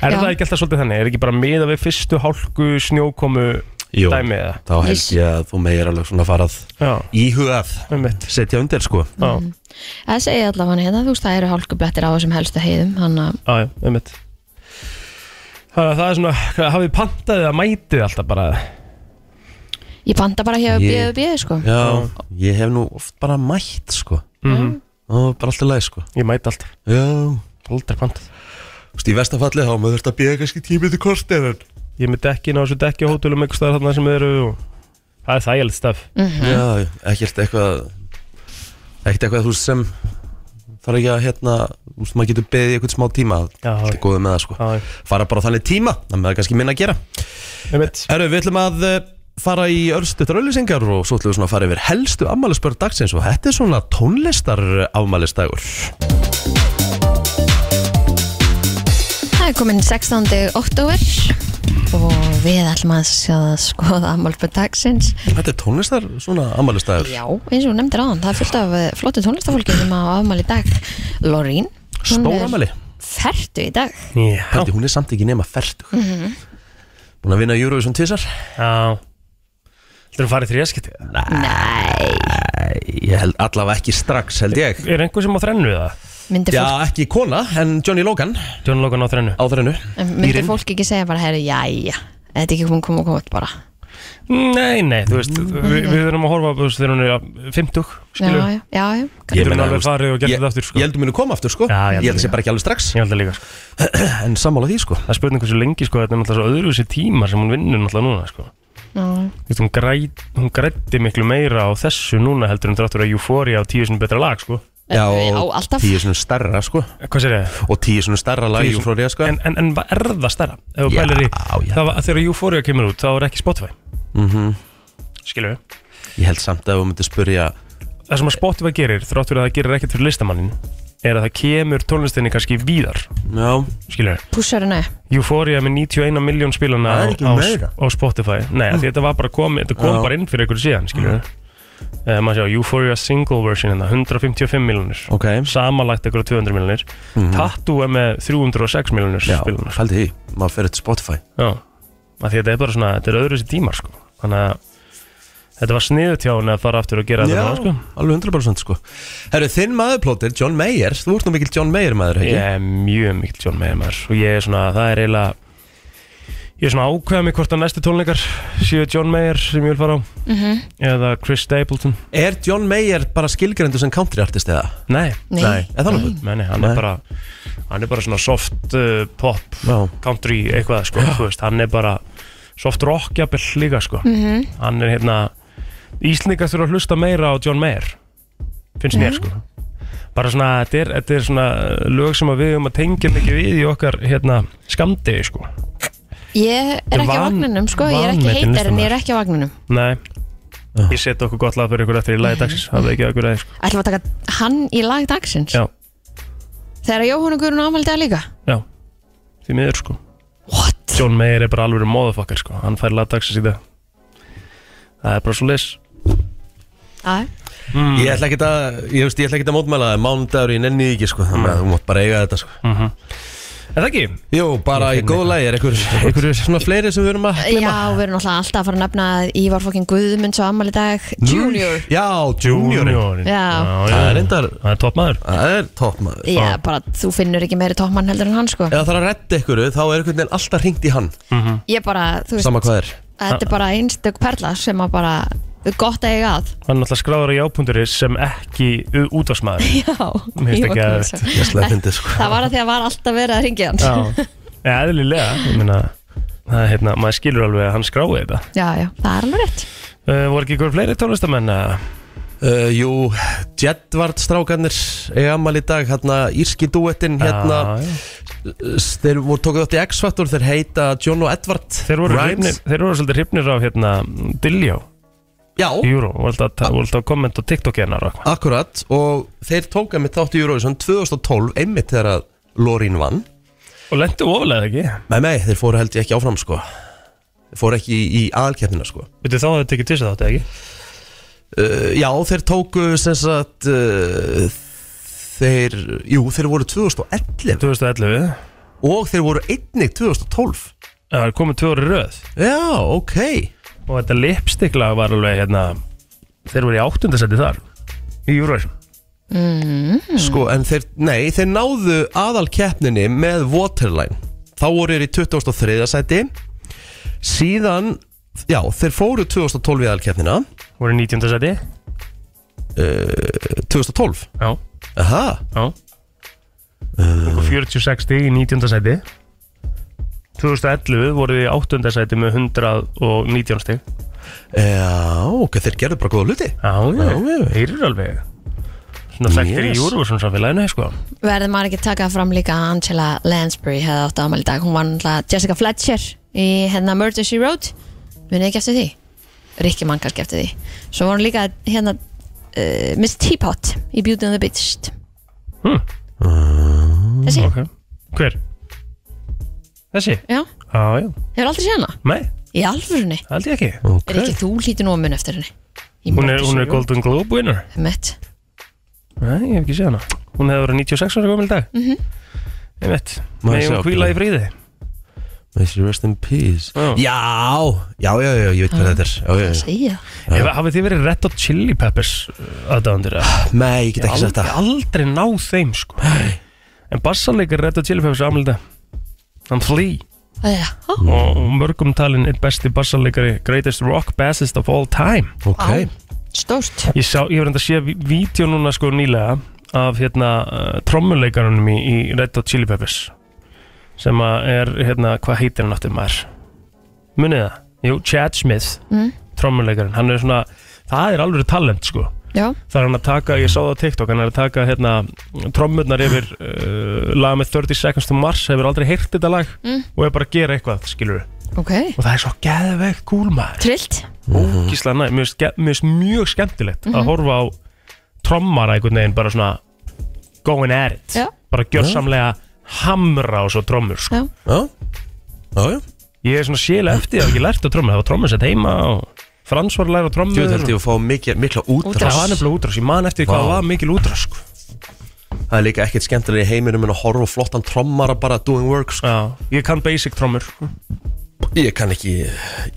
[SPEAKER 3] Er
[SPEAKER 2] Já.
[SPEAKER 3] það ekki alltaf svolítið þannig? Er ekki bara miða við fyrstu hálku snjókomu
[SPEAKER 1] Jú.
[SPEAKER 3] dæmi eða?
[SPEAKER 1] Þá held
[SPEAKER 2] Yes.
[SPEAKER 1] ég að þú meir alveg svona farað
[SPEAKER 3] Já,
[SPEAKER 1] íhugað
[SPEAKER 3] um mitt
[SPEAKER 1] Setja undir sko
[SPEAKER 3] Já,
[SPEAKER 2] Það segi allavega hérna, þú veist, það eru hálkublettir á þessum helstu heiðum Þannig að,
[SPEAKER 3] já, um mitt Þannig að það er svona, hvað, hafið pantaðið að mætið alltaf bara
[SPEAKER 2] ég panta bara hér að
[SPEAKER 1] Ég-
[SPEAKER 2] bíða og bíða, sko
[SPEAKER 1] Já, ég hef nú oft bara mætt sko Og bara alltaf leið sko
[SPEAKER 3] Ég mæti alltaf,
[SPEAKER 1] Já
[SPEAKER 3] aldrei pantað
[SPEAKER 1] Þú veist, í vestafalli þá maður þurft að bíða kannski tímið til korti en
[SPEAKER 3] Ég er með dekkin á þessu dekki á hótelum einhvers staðar þarna sem þeir eru og það er þægilegt staf
[SPEAKER 2] Mhm.
[SPEAKER 1] Já, ekkert eitthvað Ekkert eitthvað þú veist, sem þarf ekki að hérna Þú veist, maður getur beðið í eitthvað smá tíma
[SPEAKER 3] Já,
[SPEAKER 1] Þetta er góðið með það sko
[SPEAKER 3] Já,
[SPEAKER 1] Fara bara á þannig tíma, þannig að það er kannski minna að gera
[SPEAKER 3] um mitt
[SPEAKER 1] Herru, við ætlum að eh, fara í örstuttar auðlýsingar og svo ætlum við svona að fara yfir helstu afmælisbörn dagsins og þetta er svona tónlistar afmælisdagur.
[SPEAKER 2] Það er komin 16. oktober Og við ætlum að sjá- sko, skoða ammálpa dagsins
[SPEAKER 1] Þetta er tónlistar svona afmælisdagur.
[SPEAKER 2] Já, eins og þú nefndir aðan, það er fullt af eh, flottu tónlistafólki sem á afmæli í dag Lorín
[SPEAKER 1] Stór afmæli.
[SPEAKER 2] Fertu í dag
[SPEAKER 3] Já,
[SPEAKER 1] Hætti, hún er samt ekki nema fertug. Mm Búin að vinna Eurovision tvisar?
[SPEAKER 3] já Þetta er að fara í þrjaskitið
[SPEAKER 1] Ég held allavega ekki strax, held ég.
[SPEAKER 3] Er einhver sem á þrennu við það?
[SPEAKER 2] Myndi fólk,
[SPEAKER 1] Já, ekki kona, en Johnny Logan
[SPEAKER 3] John Logan á þrennu
[SPEAKER 1] á þrennu.
[SPEAKER 2] myndi fólk ekki segja bara, herri, jæja Þetta er ekki komin koma koma út bara
[SPEAKER 3] Nei, nei, þú veist, við, við erum að horfa á þú veist, þegar hún er að 50
[SPEAKER 2] Já, Mm, já,
[SPEAKER 3] skilur,
[SPEAKER 2] já, já
[SPEAKER 1] Ég
[SPEAKER 3] getur hún
[SPEAKER 1] meina,
[SPEAKER 3] alveg
[SPEAKER 1] þú veist,
[SPEAKER 3] farið og gerði
[SPEAKER 1] ég-
[SPEAKER 3] þetta aftur sko.
[SPEAKER 1] Ég held að munu koma aftur, sko.
[SPEAKER 3] Já, ég held
[SPEAKER 1] ég held að sé
[SPEAKER 3] líka.
[SPEAKER 1] bara ekki alveg strax.
[SPEAKER 3] Ég held að líka sko.
[SPEAKER 1] <clears throat> En sammála því, sko.
[SPEAKER 3] Það er spurning hversu lengi sko, þetta er náttúrulega svo öðruvísi tímar sem hún vinnur náttúrulega núna sko.
[SPEAKER 2] Já,
[SPEAKER 3] Þú veist, hún, græt, hún grætti miklu meira á þessu núna heldur en dráttur að Euphoria á tíu sinni betra lag sko.
[SPEAKER 1] Já,
[SPEAKER 2] já
[SPEAKER 1] og
[SPEAKER 2] alltaf
[SPEAKER 1] tíu svona stærra, sko.
[SPEAKER 3] Hvað sér ég?
[SPEAKER 1] Og tíu svona stærra lagi
[SPEAKER 3] Tíu
[SPEAKER 1] frá Ríða, sko.
[SPEAKER 3] En, en, en var- er það stærra? Ef þú
[SPEAKER 1] Já,
[SPEAKER 3] pælir í,
[SPEAKER 1] já.
[SPEAKER 3] það var, þegar Euphoria kemur út þá er ekki Spotify Skilur við?
[SPEAKER 1] Mhm. Ég held samt að við myndum spyrja
[SPEAKER 3] Það sem að Spotify gerir, þráttur að það gerir ekkert fyrir listamannin er að það kemur tónlistinni kannski víðar
[SPEAKER 1] Já,
[SPEAKER 3] Skilur við?
[SPEAKER 2] Púsarinn er
[SPEAKER 3] Euphoria með 91 miljón spilana
[SPEAKER 1] Það
[SPEAKER 3] á,
[SPEAKER 1] er ekki
[SPEAKER 3] á,
[SPEAKER 1] meira.
[SPEAKER 3] á Spotify Nei, mm. þetta var bara komið, þetta kom
[SPEAKER 1] Já.
[SPEAKER 3] bara inn fyrir einhverju síðan, skilur við mm. Maður sjá, Euphoria single version hérna, 155 miljónir
[SPEAKER 1] ok Mhm.
[SPEAKER 3] Samanlagt einhverju 200 miljónir Tattoo er með 306 miljónir
[SPEAKER 1] Já,
[SPEAKER 3] spilunar
[SPEAKER 1] fældi því, maður fyrir til Spotify
[SPEAKER 3] sko. Já, af því að þetta er bara svona, þetta er öðru þessi tímar, sko Þannig að þetta var sniðut hjá hún að fara aftur og gera þetta núna, sko
[SPEAKER 1] alveg 100% sko Herru, þinn maðurplótir, John Mayer Þú ert nú mikill John Mayer maður, ekki?
[SPEAKER 3] Ég er mjög mikil John Mayer maður og ég er svona, það er eiginlega ég er svona að ákveða mig hvort að næstu tónleikar séu John Mayer sem ég vil fara á eða Chris Stapleton
[SPEAKER 1] Er John Mayer bara skilgrendu sem country artist eða?
[SPEAKER 3] Nei,
[SPEAKER 2] Nei.
[SPEAKER 1] er það nokkuð?
[SPEAKER 3] Nei, nei, hann
[SPEAKER 1] Nei.
[SPEAKER 3] er bara hann er bara svona soft uh, pop
[SPEAKER 1] Já,
[SPEAKER 3] country eitthvað sko, þú veist, hann er bara soft rock jafnvel líka sko hann er hérna Íslendingar þurfa að hlusta meira á John Mayer finnst mér sko bara svona, þetta er, þetta er svona uh, lög sem að við um að tengja mikið við í okkar hérna skamdegi sko
[SPEAKER 2] Ég er ekki á
[SPEAKER 3] Van-
[SPEAKER 2] vagninum, sko Ég er ekki
[SPEAKER 3] vanmetinn
[SPEAKER 2] heitar en ég
[SPEAKER 3] listamaður.
[SPEAKER 2] er ekki á vagninum
[SPEAKER 3] Nei Ég seti okkur gott lag fyrir ykkur eftir í lagi dagsins Það er ekki okkur aðeins sko.
[SPEAKER 2] Ætlum að taka hann í lag dagsins
[SPEAKER 3] Já.
[SPEAKER 2] Þegar Jóhann og Guðrún ámældi það líka
[SPEAKER 3] Já, því miður sko
[SPEAKER 2] What?
[SPEAKER 3] John Mayer er bara alveg móðafokkar sko Hann fær lagdagsins í dag Það er bara svo leys
[SPEAKER 2] Æ.
[SPEAKER 3] Mm.
[SPEAKER 1] Ég ætla ekki að, ég veist, ég ætla ekki að mótmæla það Mánudagur ég nenni því ekki sko Þannig að þú mátt bara eiga þetta sko
[SPEAKER 3] Mhm. Er það ekki?
[SPEAKER 1] Jú, bara í góð lægi er einhver, einhver svona fleiri sem við erum að
[SPEAKER 2] Já, við erum alltaf alltaf að fara að nefna að Ívar fokkin Guðmunds og ammali dag Junior
[SPEAKER 1] Já, junior
[SPEAKER 3] Júniorinn.
[SPEAKER 2] Já.
[SPEAKER 1] Það er reyndar,
[SPEAKER 3] Það er toppmaður
[SPEAKER 1] það er topp maður
[SPEAKER 2] Já, bara þú finnur ekki meiri toppmann heldur en hann sko
[SPEAKER 1] Ef það þarf að redda ykkur, þá er einhvern veginn alltaf hringt í hann
[SPEAKER 3] Mhm.
[SPEAKER 2] Ég bara, þú veist,
[SPEAKER 1] Sama hvað er
[SPEAKER 2] þetta er bara einstök perla sem að bara, gott að eiga að
[SPEAKER 3] Hann er náttúrulega skráður á jápundur sem ekki útvarsmaður
[SPEAKER 2] <laughs> Já,
[SPEAKER 3] Mér finnst
[SPEAKER 2] Ívar
[SPEAKER 3] ekki að-
[SPEAKER 2] Guðmunds.
[SPEAKER 1] Ég ætla að fyndi sko
[SPEAKER 2] Það var að því að var alltaf verið að ringja hann
[SPEAKER 3] Já, eðlilega Ég meina, það er hérna, maður skilur alveg að hann skrái þetta
[SPEAKER 2] Já, já, það er alveg rétt
[SPEAKER 3] uh, Voru ekki ykkur fleiri tónlistamenn að
[SPEAKER 1] Uh, jú, Jedvard strákarnir eiga amal í dag, hérna Írski duettinn, hérna
[SPEAKER 3] Já, já.
[SPEAKER 1] s- þeir voru tókuð átt í X-Factor, þeir heita John og Edvard
[SPEAKER 3] Þeir voru,
[SPEAKER 1] Grimes.
[SPEAKER 3] hrifnir, þeir voru svolítið hrifnir af hérna, Dilljó
[SPEAKER 1] Já, Ah.
[SPEAKER 3] í Júró Voru alltaf að ta- voru alltaf að kommenta á TikTok hérna, hennar og eitthvað.
[SPEAKER 1] akkurat og þeir tóka með þátt í Eurovision 2012 einmitt þegar að Lorín vann
[SPEAKER 3] Og lendu ofalega ekki
[SPEAKER 1] Nei, nei, þeir fóru held ég ekki áfram sko Þeir fóru ekki í, í aðalkeppnina sko
[SPEAKER 3] Veitir þá að þetta ekki tísa þátti ekki?
[SPEAKER 1] uh, Já, þeir tóku sem sagt uh, þeir, jú, þeir voru 2011
[SPEAKER 3] 2011
[SPEAKER 1] og þeir voru einnig 2012
[SPEAKER 3] Það er komið tvö ári röð
[SPEAKER 1] Já, ok
[SPEAKER 3] Og þetta lipsticklag var alveg hérna Þeir voru í áttundasetti þar Í Eurovision
[SPEAKER 1] Sko, en þeir, nei, þeir náðu aðal keppninni með Waterline Þá voru þeir í 2003. sæti Síðan, já, þeir fóru 2012 í aðal keppnina
[SPEAKER 3] Voru í nítjöndasetti
[SPEAKER 1] Eh, 2012,
[SPEAKER 3] Já,
[SPEAKER 1] aha Eh,
[SPEAKER 3] já Og 46 stig í nítjöndasetti 2011 voru þið í áttundasetti með 119 stig
[SPEAKER 1] Já, ok, þeir gerðu bara góða hluti
[SPEAKER 3] Já,
[SPEAKER 1] Já,
[SPEAKER 3] já,
[SPEAKER 1] já.
[SPEAKER 3] heyrir alveg Svona þekktir
[SPEAKER 1] Yes.
[SPEAKER 3] í Eurovision samfélaginu, sko
[SPEAKER 2] Verður maður ekki að taka fram líka að Angela Lansbury hefði átt ámæli dag Hún var náttúrulega Jessica Fletcher í hérna Murder She Wrote Munið ekki eftir því? Rikki mann kannski eftir því Svo var hún líka hérna uh, Miss Teapot í Beauty and the Beast
[SPEAKER 3] Hmm.
[SPEAKER 1] Ah.
[SPEAKER 2] Þessi,
[SPEAKER 3] Ok Hver? Þessi?
[SPEAKER 2] já,
[SPEAKER 3] Já, já
[SPEAKER 2] hefur aldrei séð hana
[SPEAKER 3] Nei,
[SPEAKER 2] Í alvörunni,
[SPEAKER 3] held ég ekki
[SPEAKER 1] Ok,
[SPEAKER 2] er ekki þú hlítið nú að mun eftir henni Í
[SPEAKER 3] Hún er,
[SPEAKER 2] Murder,
[SPEAKER 3] hún
[SPEAKER 2] She
[SPEAKER 3] er Golden Globe winner
[SPEAKER 2] Wrote. Einmitt.
[SPEAKER 3] Nei, ég hef ekki séð hana Hún hefði verið 96 ára gömul í dag
[SPEAKER 2] Mhm.
[SPEAKER 3] mm -hmm. Ég veit
[SPEAKER 1] Má ég
[SPEAKER 3] Nei,
[SPEAKER 1] sjá,
[SPEAKER 3] hún hvíla í
[SPEAKER 1] Björn?
[SPEAKER 3] fríði
[SPEAKER 1] May she rest in peace
[SPEAKER 3] Já.
[SPEAKER 1] Já, já, já, já, ég veit hvað þetta er Já,
[SPEAKER 2] Hvað
[SPEAKER 1] já,
[SPEAKER 2] að segja?
[SPEAKER 3] Ef hafið þið verið Red Hot Chili Peppers aðdæðandur
[SPEAKER 1] já Nei, ég get ekki sagt það
[SPEAKER 3] Aldrei náð þeim sko En bassanleikar Red Hot Chili Peppers ámælda Hann Flea
[SPEAKER 2] Já,
[SPEAKER 3] og og mörgum talin eitt besti bassanleikari Greatest rock bassist of all time
[SPEAKER 1] Ok,
[SPEAKER 2] Á. stórt
[SPEAKER 3] Ég, sá, ég var enda að sé ví- vídeo núna sko nýlega af hérna uh, trommuleikarunum í, í Red Hot Chili Peppers sem að er hérna, hvað heitir hann áttum maður? Munið það? Jú, Chad Smith,
[SPEAKER 2] Mm.
[SPEAKER 3] trommuleikarinn, hann er svona, það er alveg talent sko
[SPEAKER 2] Já,
[SPEAKER 3] Það er hann að taka, ég sá það á TikTok, hann er að taka hérna trommurnar yfir uh, lag með 30 Seconds to Mars, hefur aldrei heyrt þetta lag
[SPEAKER 2] Mm.
[SPEAKER 3] og er bara að gera eitthvað, skilur
[SPEAKER 2] ok
[SPEAKER 3] Og það er svo geðvegt gúlmaður
[SPEAKER 2] Trillt
[SPEAKER 1] Mhm.
[SPEAKER 3] ógíslega næ, mér finnst ge- mér finnst mjög skemmtilegt
[SPEAKER 2] Mhm.
[SPEAKER 3] að horfa á trommara einhvern veginn bara svona going at it,
[SPEAKER 2] Já.
[SPEAKER 3] bara gjörsamlega hamra á svo trommur sko.
[SPEAKER 2] Já,
[SPEAKER 1] já, já, já
[SPEAKER 3] ég er svona sél eftir, ég hef ekki lært á trommur það var trommur sett heima og Frans var að læra á trommur
[SPEAKER 1] Ég veit held ég að fá mikið, mikla útrás
[SPEAKER 3] það var nefnilega útrás, ég man eftir því hvað
[SPEAKER 1] Vá.
[SPEAKER 3] það var mikil útrás sko.
[SPEAKER 1] Það er líka ekkert skemmtilega í heiminum en að horfa á flottan trommara bara doing work sko.
[SPEAKER 3] Já, ég kann basic trommur
[SPEAKER 1] Ég kann ekki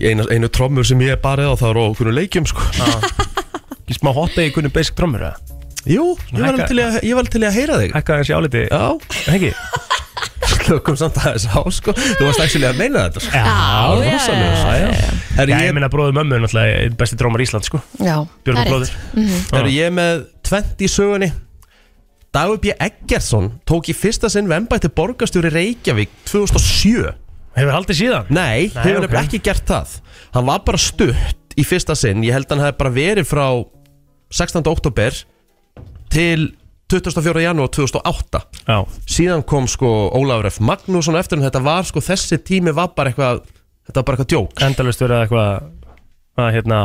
[SPEAKER 1] einu, einu trommur sem ég er barið á það er á okkur leikjum sko. <laughs>
[SPEAKER 3] ekki smá hotta í hvernig basic trommur eða?
[SPEAKER 1] Jú, ég var,
[SPEAKER 3] hækka-
[SPEAKER 1] til í að, ég var alveg til í að heyra þig
[SPEAKER 3] hækkaði hans í áliti,
[SPEAKER 1] Já, <laughs>
[SPEAKER 3] ekki?
[SPEAKER 1] slökum samt aðeins á sko. Þú varst ekki að meina þetta sko.
[SPEAKER 3] Já,
[SPEAKER 2] já,
[SPEAKER 3] rosalega,
[SPEAKER 2] já,
[SPEAKER 3] já, já.
[SPEAKER 1] Er
[SPEAKER 3] Já,
[SPEAKER 1] sko. ég,
[SPEAKER 3] ég minna bróður mömmu er náttúrulega einn besti drómar Ísland sko
[SPEAKER 2] já það
[SPEAKER 3] Björgur
[SPEAKER 2] er
[SPEAKER 3] bróður
[SPEAKER 2] rétt. Mhm.
[SPEAKER 3] Ah.
[SPEAKER 1] er ég með 20 í sögunni Dagur B. Eggertsson tók í fyrsta sinn vembætti borgarstjóri Reykjavík 2007
[SPEAKER 3] Hefur haldið síðan?
[SPEAKER 1] Nei,
[SPEAKER 3] Nei,
[SPEAKER 1] hefur
[SPEAKER 3] ok.
[SPEAKER 1] okay. ekki gert það Hann var bara stutt í fyrsta sinn Ég held hann hefði bara verið frá 16. oktober til 24. janúar 2008
[SPEAKER 3] Já,
[SPEAKER 1] Síðan kom sko Ólafur F. Magnússon eftir en þetta var sko þessi tími var bara eitthvað Þetta var bara eitthvað djók
[SPEAKER 3] endalust verið eitthvað að hérna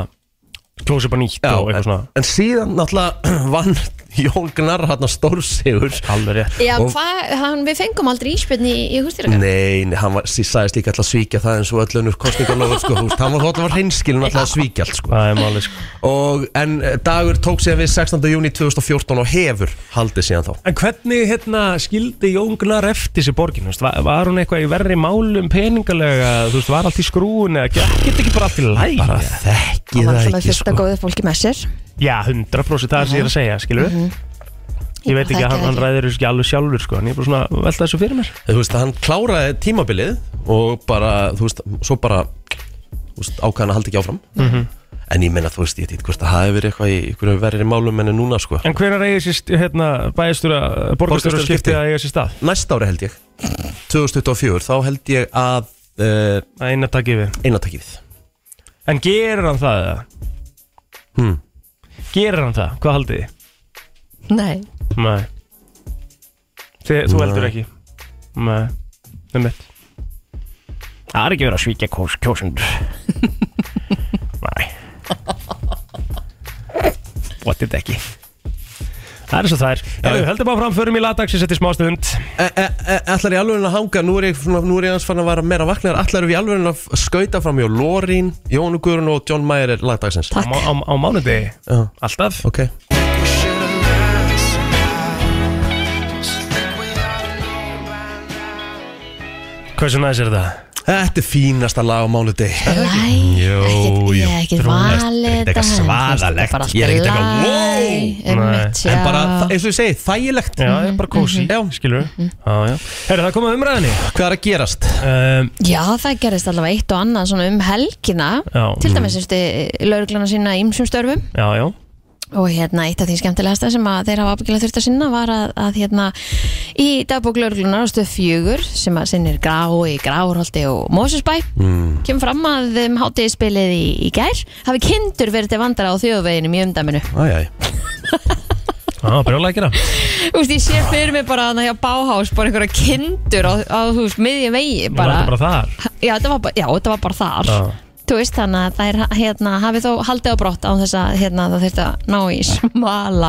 [SPEAKER 3] klósa upp á nýtt
[SPEAKER 1] Já,
[SPEAKER 3] og eitthvað
[SPEAKER 1] en,
[SPEAKER 3] svona
[SPEAKER 1] en síðan náttúrulega <clears throat> vann Jón Gnar hann að stórsigur
[SPEAKER 3] Alveg rétt
[SPEAKER 2] Já,
[SPEAKER 1] Og-
[SPEAKER 2] hvað, hann- við fengum aldrei íspilni í, í hústýraka
[SPEAKER 1] Nei, nei, hann var, sí- sagðist líka alltaf að svíkja það eins og öll önnur kostningalofur sko, þú veist, hann var alltaf að reynskilin alltaf að svíkja allt sko.
[SPEAKER 3] Það er málið sko
[SPEAKER 1] og, en eh, dagur tók síðan við 16. júni 2014 og hefur haldið síðan þá
[SPEAKER 3] En hvernig hérna skildi Jón Gnar eftir sér borgin, þú veist, var, var hún eitthvað í verri málum peningalega, þú veist, var allt í skrúin eða get, get ekki bara allt í læg
[SPEAKER 1] bara þekki
[SPEAKER 2] Hann var
[SPEAKER 1] það
[SPEAKER 2] alltaf með
[SPEAKER 1] ekki
[SPEAKER 2] fullt
[SPEAKER 1] sko.
[SPEAKER 2] að góðu fólki með sér
[SPEAKER 3] Já, 100% það er sem ég er að segja, skilur
[SPEAKER 2] Mhm.
[SPEAKER 3] við Ég veit ekki
[SPEAKER 2] þekki
[SPEAKER 3] að hann,
[SPEAKER 2] það
[SPEAKER 3] hann
[SPEAKER 2] ekki.
[SPEAKER 3] ræðir þessu ekki alveg sjálfur sko, en ég er bara svona að velta þessu fyrir mér
[SPEAKER 1] þú veist, hann kláraði tímabilið og bara, þú veist, svo bara þú veist, ákvæðan að halda ekki áfram
[SPEAKER 3] Mhm.
[SPEAKER 1] en ég meina, þú veist, ég veit ekki hvort að það hefur verið eitthvað í einhverju verri málum en er núna sko.
[SPEAKER 3] En hvenær eigi sér hérna, bæjastjóra, borgarstjóra skiptið að eiga sér stað?
[SPEAKER 1] næsta ári held ég 2024, þá held ég að uh,
[SPEAKER 3] Að eina takk yfir
[SPEAKER 1] einatakið við
[SPEAKER 3] En gerir hann það eða?
[SPEAKER 1] Hmm.
[SPEAKER 3] Gerir hann það? Hvað haldið þið?
[SPEAKER 2] Nei
[SPEAKER 3] Nei Þið, Þú
[SPEAKER 1] Nei.
[SPEAKER 3] heldur ekki Nei Nei mitt Það er ekki verið að svíkja kós, kjósund <laughs> Nei What did ekki Það er svo það er Heru, Heldum áfram, förum í lataxi, setjum smá stund
[SPEAKER 1] E, Ætlar ég alveg að hanga, nú er ég, svona, nú er ég hans fann að vara meira vaknar Ætlar við alveg að skauta fram hjá Lorín, Jónu Guðrun og John Mayer er lagdagsins
[SPEAKER 3] á, á, á mánudegi
[SPEAKER 1] Já.
[SPEAKER 3] Alltaf
[SPEAKER 1] Ok,
[SPEAKER 3] Hversu næs er það?
[SPEAKER 1] þetta er fínasta lag á mánudeg
[SPEAKER 2] Læ,
[SPEAKER 1] Jó,
[SPEAKER 2] ekkert,
[SPEAKER 1] jú.
[SPEAKER 2] ég er ekkert
[SPEAKER 1] Þú veist,
[SPEAKER 2] valið
[SPEAKER 1] ekkert eitthvað
[SPEAKER 2] þetta, en
[SPEAKER 1] svaðalegt.
[SPEAKER 2] þú veist,
[SPEAKER 1] Ég er ekkert
[SPEAKER 2] bara
[SPEAKER 1] eitthvað,
[SPEAKER 2] allt í
[SPEAKER 1] wow!
[SPEAKER 2] lagi, einmitt,
[SPEAKER 1] En bara,
[SPEAKER 2] já.
[SPEAKER 1] þa- eins og ég segi, þægilegt Mhm.
[SPEAKER 3] Já, ég er bara kósi,
[SPEAKER 1] Já.
[SPEAKER 3] skilur við Já, já Herru, það komið umræðinni
[SPEAKER 1] Hvað er að gerast?
[SPEAKER 3] um,
[SPEAKER 2] Já, það gerist allavega eitt og annað svona um helgina
[SPEAKER 3] Já.
[SPEAKER 2] til dæmis mm. lauruglana sína ímsum störfum
[SPEAKER 3] Já, já
[SPEAKER 2] og hérna eitt af því skemmtilegasta sem að þeir hafa ábyggilega þurft að sinna var að, að hérna í dagbók lauruglunar á stöð fjögur sem að sinnir grái, gráurholti og Mósusbæ kemur fram að um hátíðspilið í, í gær hafi kindur verið til vandara á þjóðveginum í umdæminu
[SPEAKER 1] Æjæj
[SPEAKER 3] Já, brjóla ekki það
[SPEAKER 2] Þú veist, ég sé fyrir mig bara þannig að báhás bara einhverja kindur á, á þú veist, miðjum vegi
[SPEAKER 3] Bara,
[SPEAKER 2] bara,
[SPEAKER 3] bara þar
[SPEAKER 2] Já, þetta var, bara- já, þetta var bara þar
[SPEAKER 3] Já.
[SPEAKER 2] Þú veist þannig að þær hérna, hafi þó haldið á brott á þess að hérna, það þurfti að ná í smala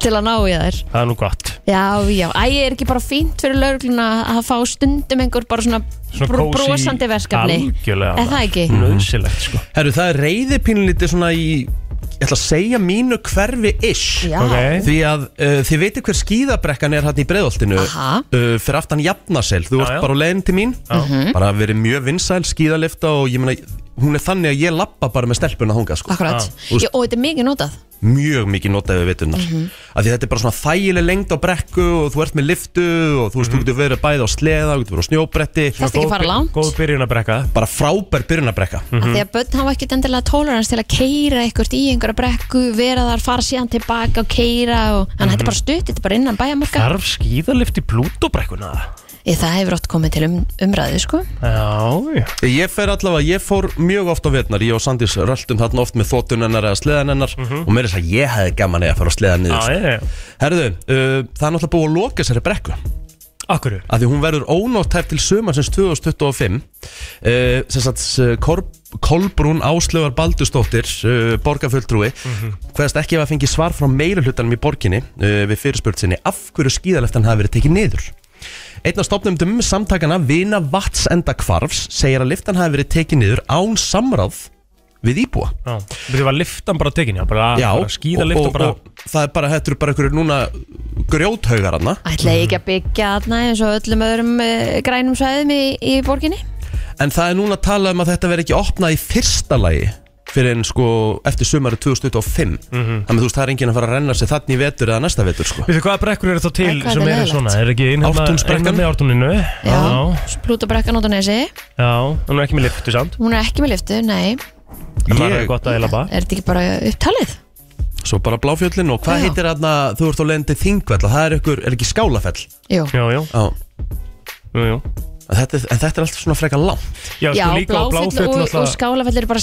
[SPEAKER 2] til að ná í þær
[SPEAKER 3] Það er nú gott
[SPEAKER 2] Já, já, æ, er ekki bara fínt fyrir laurugluna að fá stundum einhver bara svona,
[SPEAKER 3] Svona
[SPEAKER 2] bro-
[SPEAKER 3] kósí-
[SPEAKER 2] brosandi verkefni
[SPEAKER 3] Algjörlega
[SPEAKER 2] Er það ekki?
[SPEAKER 1] Mm.
[SPEAKER 2] Mm.
[SPEAKER 3] Nauðsilegt sko
[SPEAKER 1] Herru, það er reyðipínlítið svona í Ég ætla að segja mínu hverfi ish
[SPEAKER 2] Já,
[SPEAKER 3] Ok.
[SPEAKER 1] Því að uh, þið veitir hver skíðabrekkan er hann í breiðoltinu uh,
[SPEAKER 2] Aha.
[SPEAKER 1] Fyrir aftan jafnasel Þú
[SPEAKER 3] Já,
[SPEAKER 1] ert
[SPEAKER 3] já.
[SPEAKER 1] bara á leiðin til mín
[SPEAKER 2] Mhm.
[SPEAKER 1] já. Bara verið mjög vinsæl skíðalifta Og ég meina, hún er þannig að ég lappa bara með stelpuna þangað sko.
[SPEAKER 2] akkurat
[SPEAKER 1] þú veist-
[SPEAKER 2] já, Og þetta er mikið notað
[SPEAKER 1] Mjög mikið notað við vitunar
[SPEAKER 2] Mhm.
[SPEAKER 1] mm Af því þetta er bara svona þægileg lengd á brekku Og þú ert með liftu Og þú veist, þú getur verið bæði á sleða Þú getur verið á snjóbretti
[SPEAKER 2] Þarftu Mhm. ekki að fara langt Mhm.
[SPEAKER 3] Góð byrjun að brekka
[SPEAKER 1] Bara frábær byrjunabrekka
[SPEAKER 2] af því að börn hafa ekkert endilega tolerans til að keira eitthvað í einhverja brekku, vera þar, fara síðan tilbaka og keira og þannig að þetta er bara stutt, þetta er bara innan bæjarmarka
[SPEAKER 3] Þarf skíðalift í Plútóbrekkuna
[SPEAKER 2] Ég, það hefur oft komið til um, umræðu sko
[SPEAKER 3] Já, já
[SPEAKER 1] Ég fer allavega, ég fór mjög oft á vetnar Ég og Sandís röltum þarna oft með þótunennar eða sleðanennar Og mér er þess að ég hefði gaman eða að fara á sleðan niður
[SPEAKER 3] Mhm. Já,
[SPEAKER 1] sko.
[SPEAKER 3] já, já
[SPEAKER 1] Herðu, uh, það er náttúrulega búið að loka þessari brekku
[SPEAKER 3] Akkur
[SPEAKER 1] Af því hún verður ónóttæf til sumarsins 2025 uh, Sem sagt, uh, Kor- Kolbrún Áslöfar Baldursdóttir uh, Borgarfulltrúi mm Hverðast ekki ef að fengi svar frá meirulhutanum í borginni uh, Við fyrirspurt sinni Af hverju skíðaleftan hafi verið tekið niður? Einn af stopnumdum samtakana Vina Vatsenda Kvarfs segir að liftan hafi verið tekið niður án samráð við íbúa.
[SPEAKER 3] Já Þú var liftan bara tekin, já Bara, bara skíðalift og, bara
[SPEAKER 1] og, og það er bara, þetta eru bara einhverju núna grjóthaugar hana
[SPEAKER 2] Ætla ég ekki að byggja þarna eins og öllum öðrum uh, grænum svæðum í, í borginni
[SPEAKER 1] en það er núna að tala um að þetta verði ekki opnað í fyrsta lagi fyrir en sko eftir sumari 2025
[SPEAKER 3] Mhm.
[SPEAKER 1] þannig að þú veist það er enginn að fara að renna sig þannig í vetur eða næsta vetur sko
[SPEAKER 3] Við þau hvaða brekkur eru þá til
[SPEAKER 2] Nei, hvað
[SPEAKER 3] sem
[SPEAKER 2] þetta er
[SPEAKER 3] eru
[SPEAKER 2] leiðilegt.
[SPEAKER 3] svona, er ekki innhefna
[SPEAKER 1] Ártúnsbrekkan?
[SPEAKER 3] hérna með ártúninu
[SPEAKER 2] Já,
[SPEAKER 3] Já,
[SPEAKER 2] Plúta brekkan út á nesi
[SPEAKER 3] já, hún er ekki með liftu samt
[SPEAKER 2] Hún er ekki með liftu, nei
[SPEAKER 3] En það er
[SPEAKER 1] Ég-
[SPEAKER 3] gott að eila bara
[SPEAKER 2] Er þetta ekki bara upptalið?
[SPEAKER 1] svo bara bláfjöllin og hvað
[SPEAKER 2] Já.
[SPEAKER 1] heitir þarna þú ert á leiðin til þingvell og það er, ykkur, er ekki skálafell
[SPEAKER 2] Jú,
[SPEAKER 3] Jú, jú,
[SPEAKER 1] Já.
[SPEAKER 3] jú, jú
[SPEAKER 1] En þetta, er- en þetta er alltaf svona freka langt
[SPEAKER 3] Já,
[SPEAKER 2] Já,
[SPEAKER 3] sko, líka á
[SPEAKER 2] bláfjöll
[SPEAKER 3] bláfjöll
[SPEAKER 2] og, og
[SPEAKER 3] náttúrulega-
[SPEAKER 2] skálafell eru bara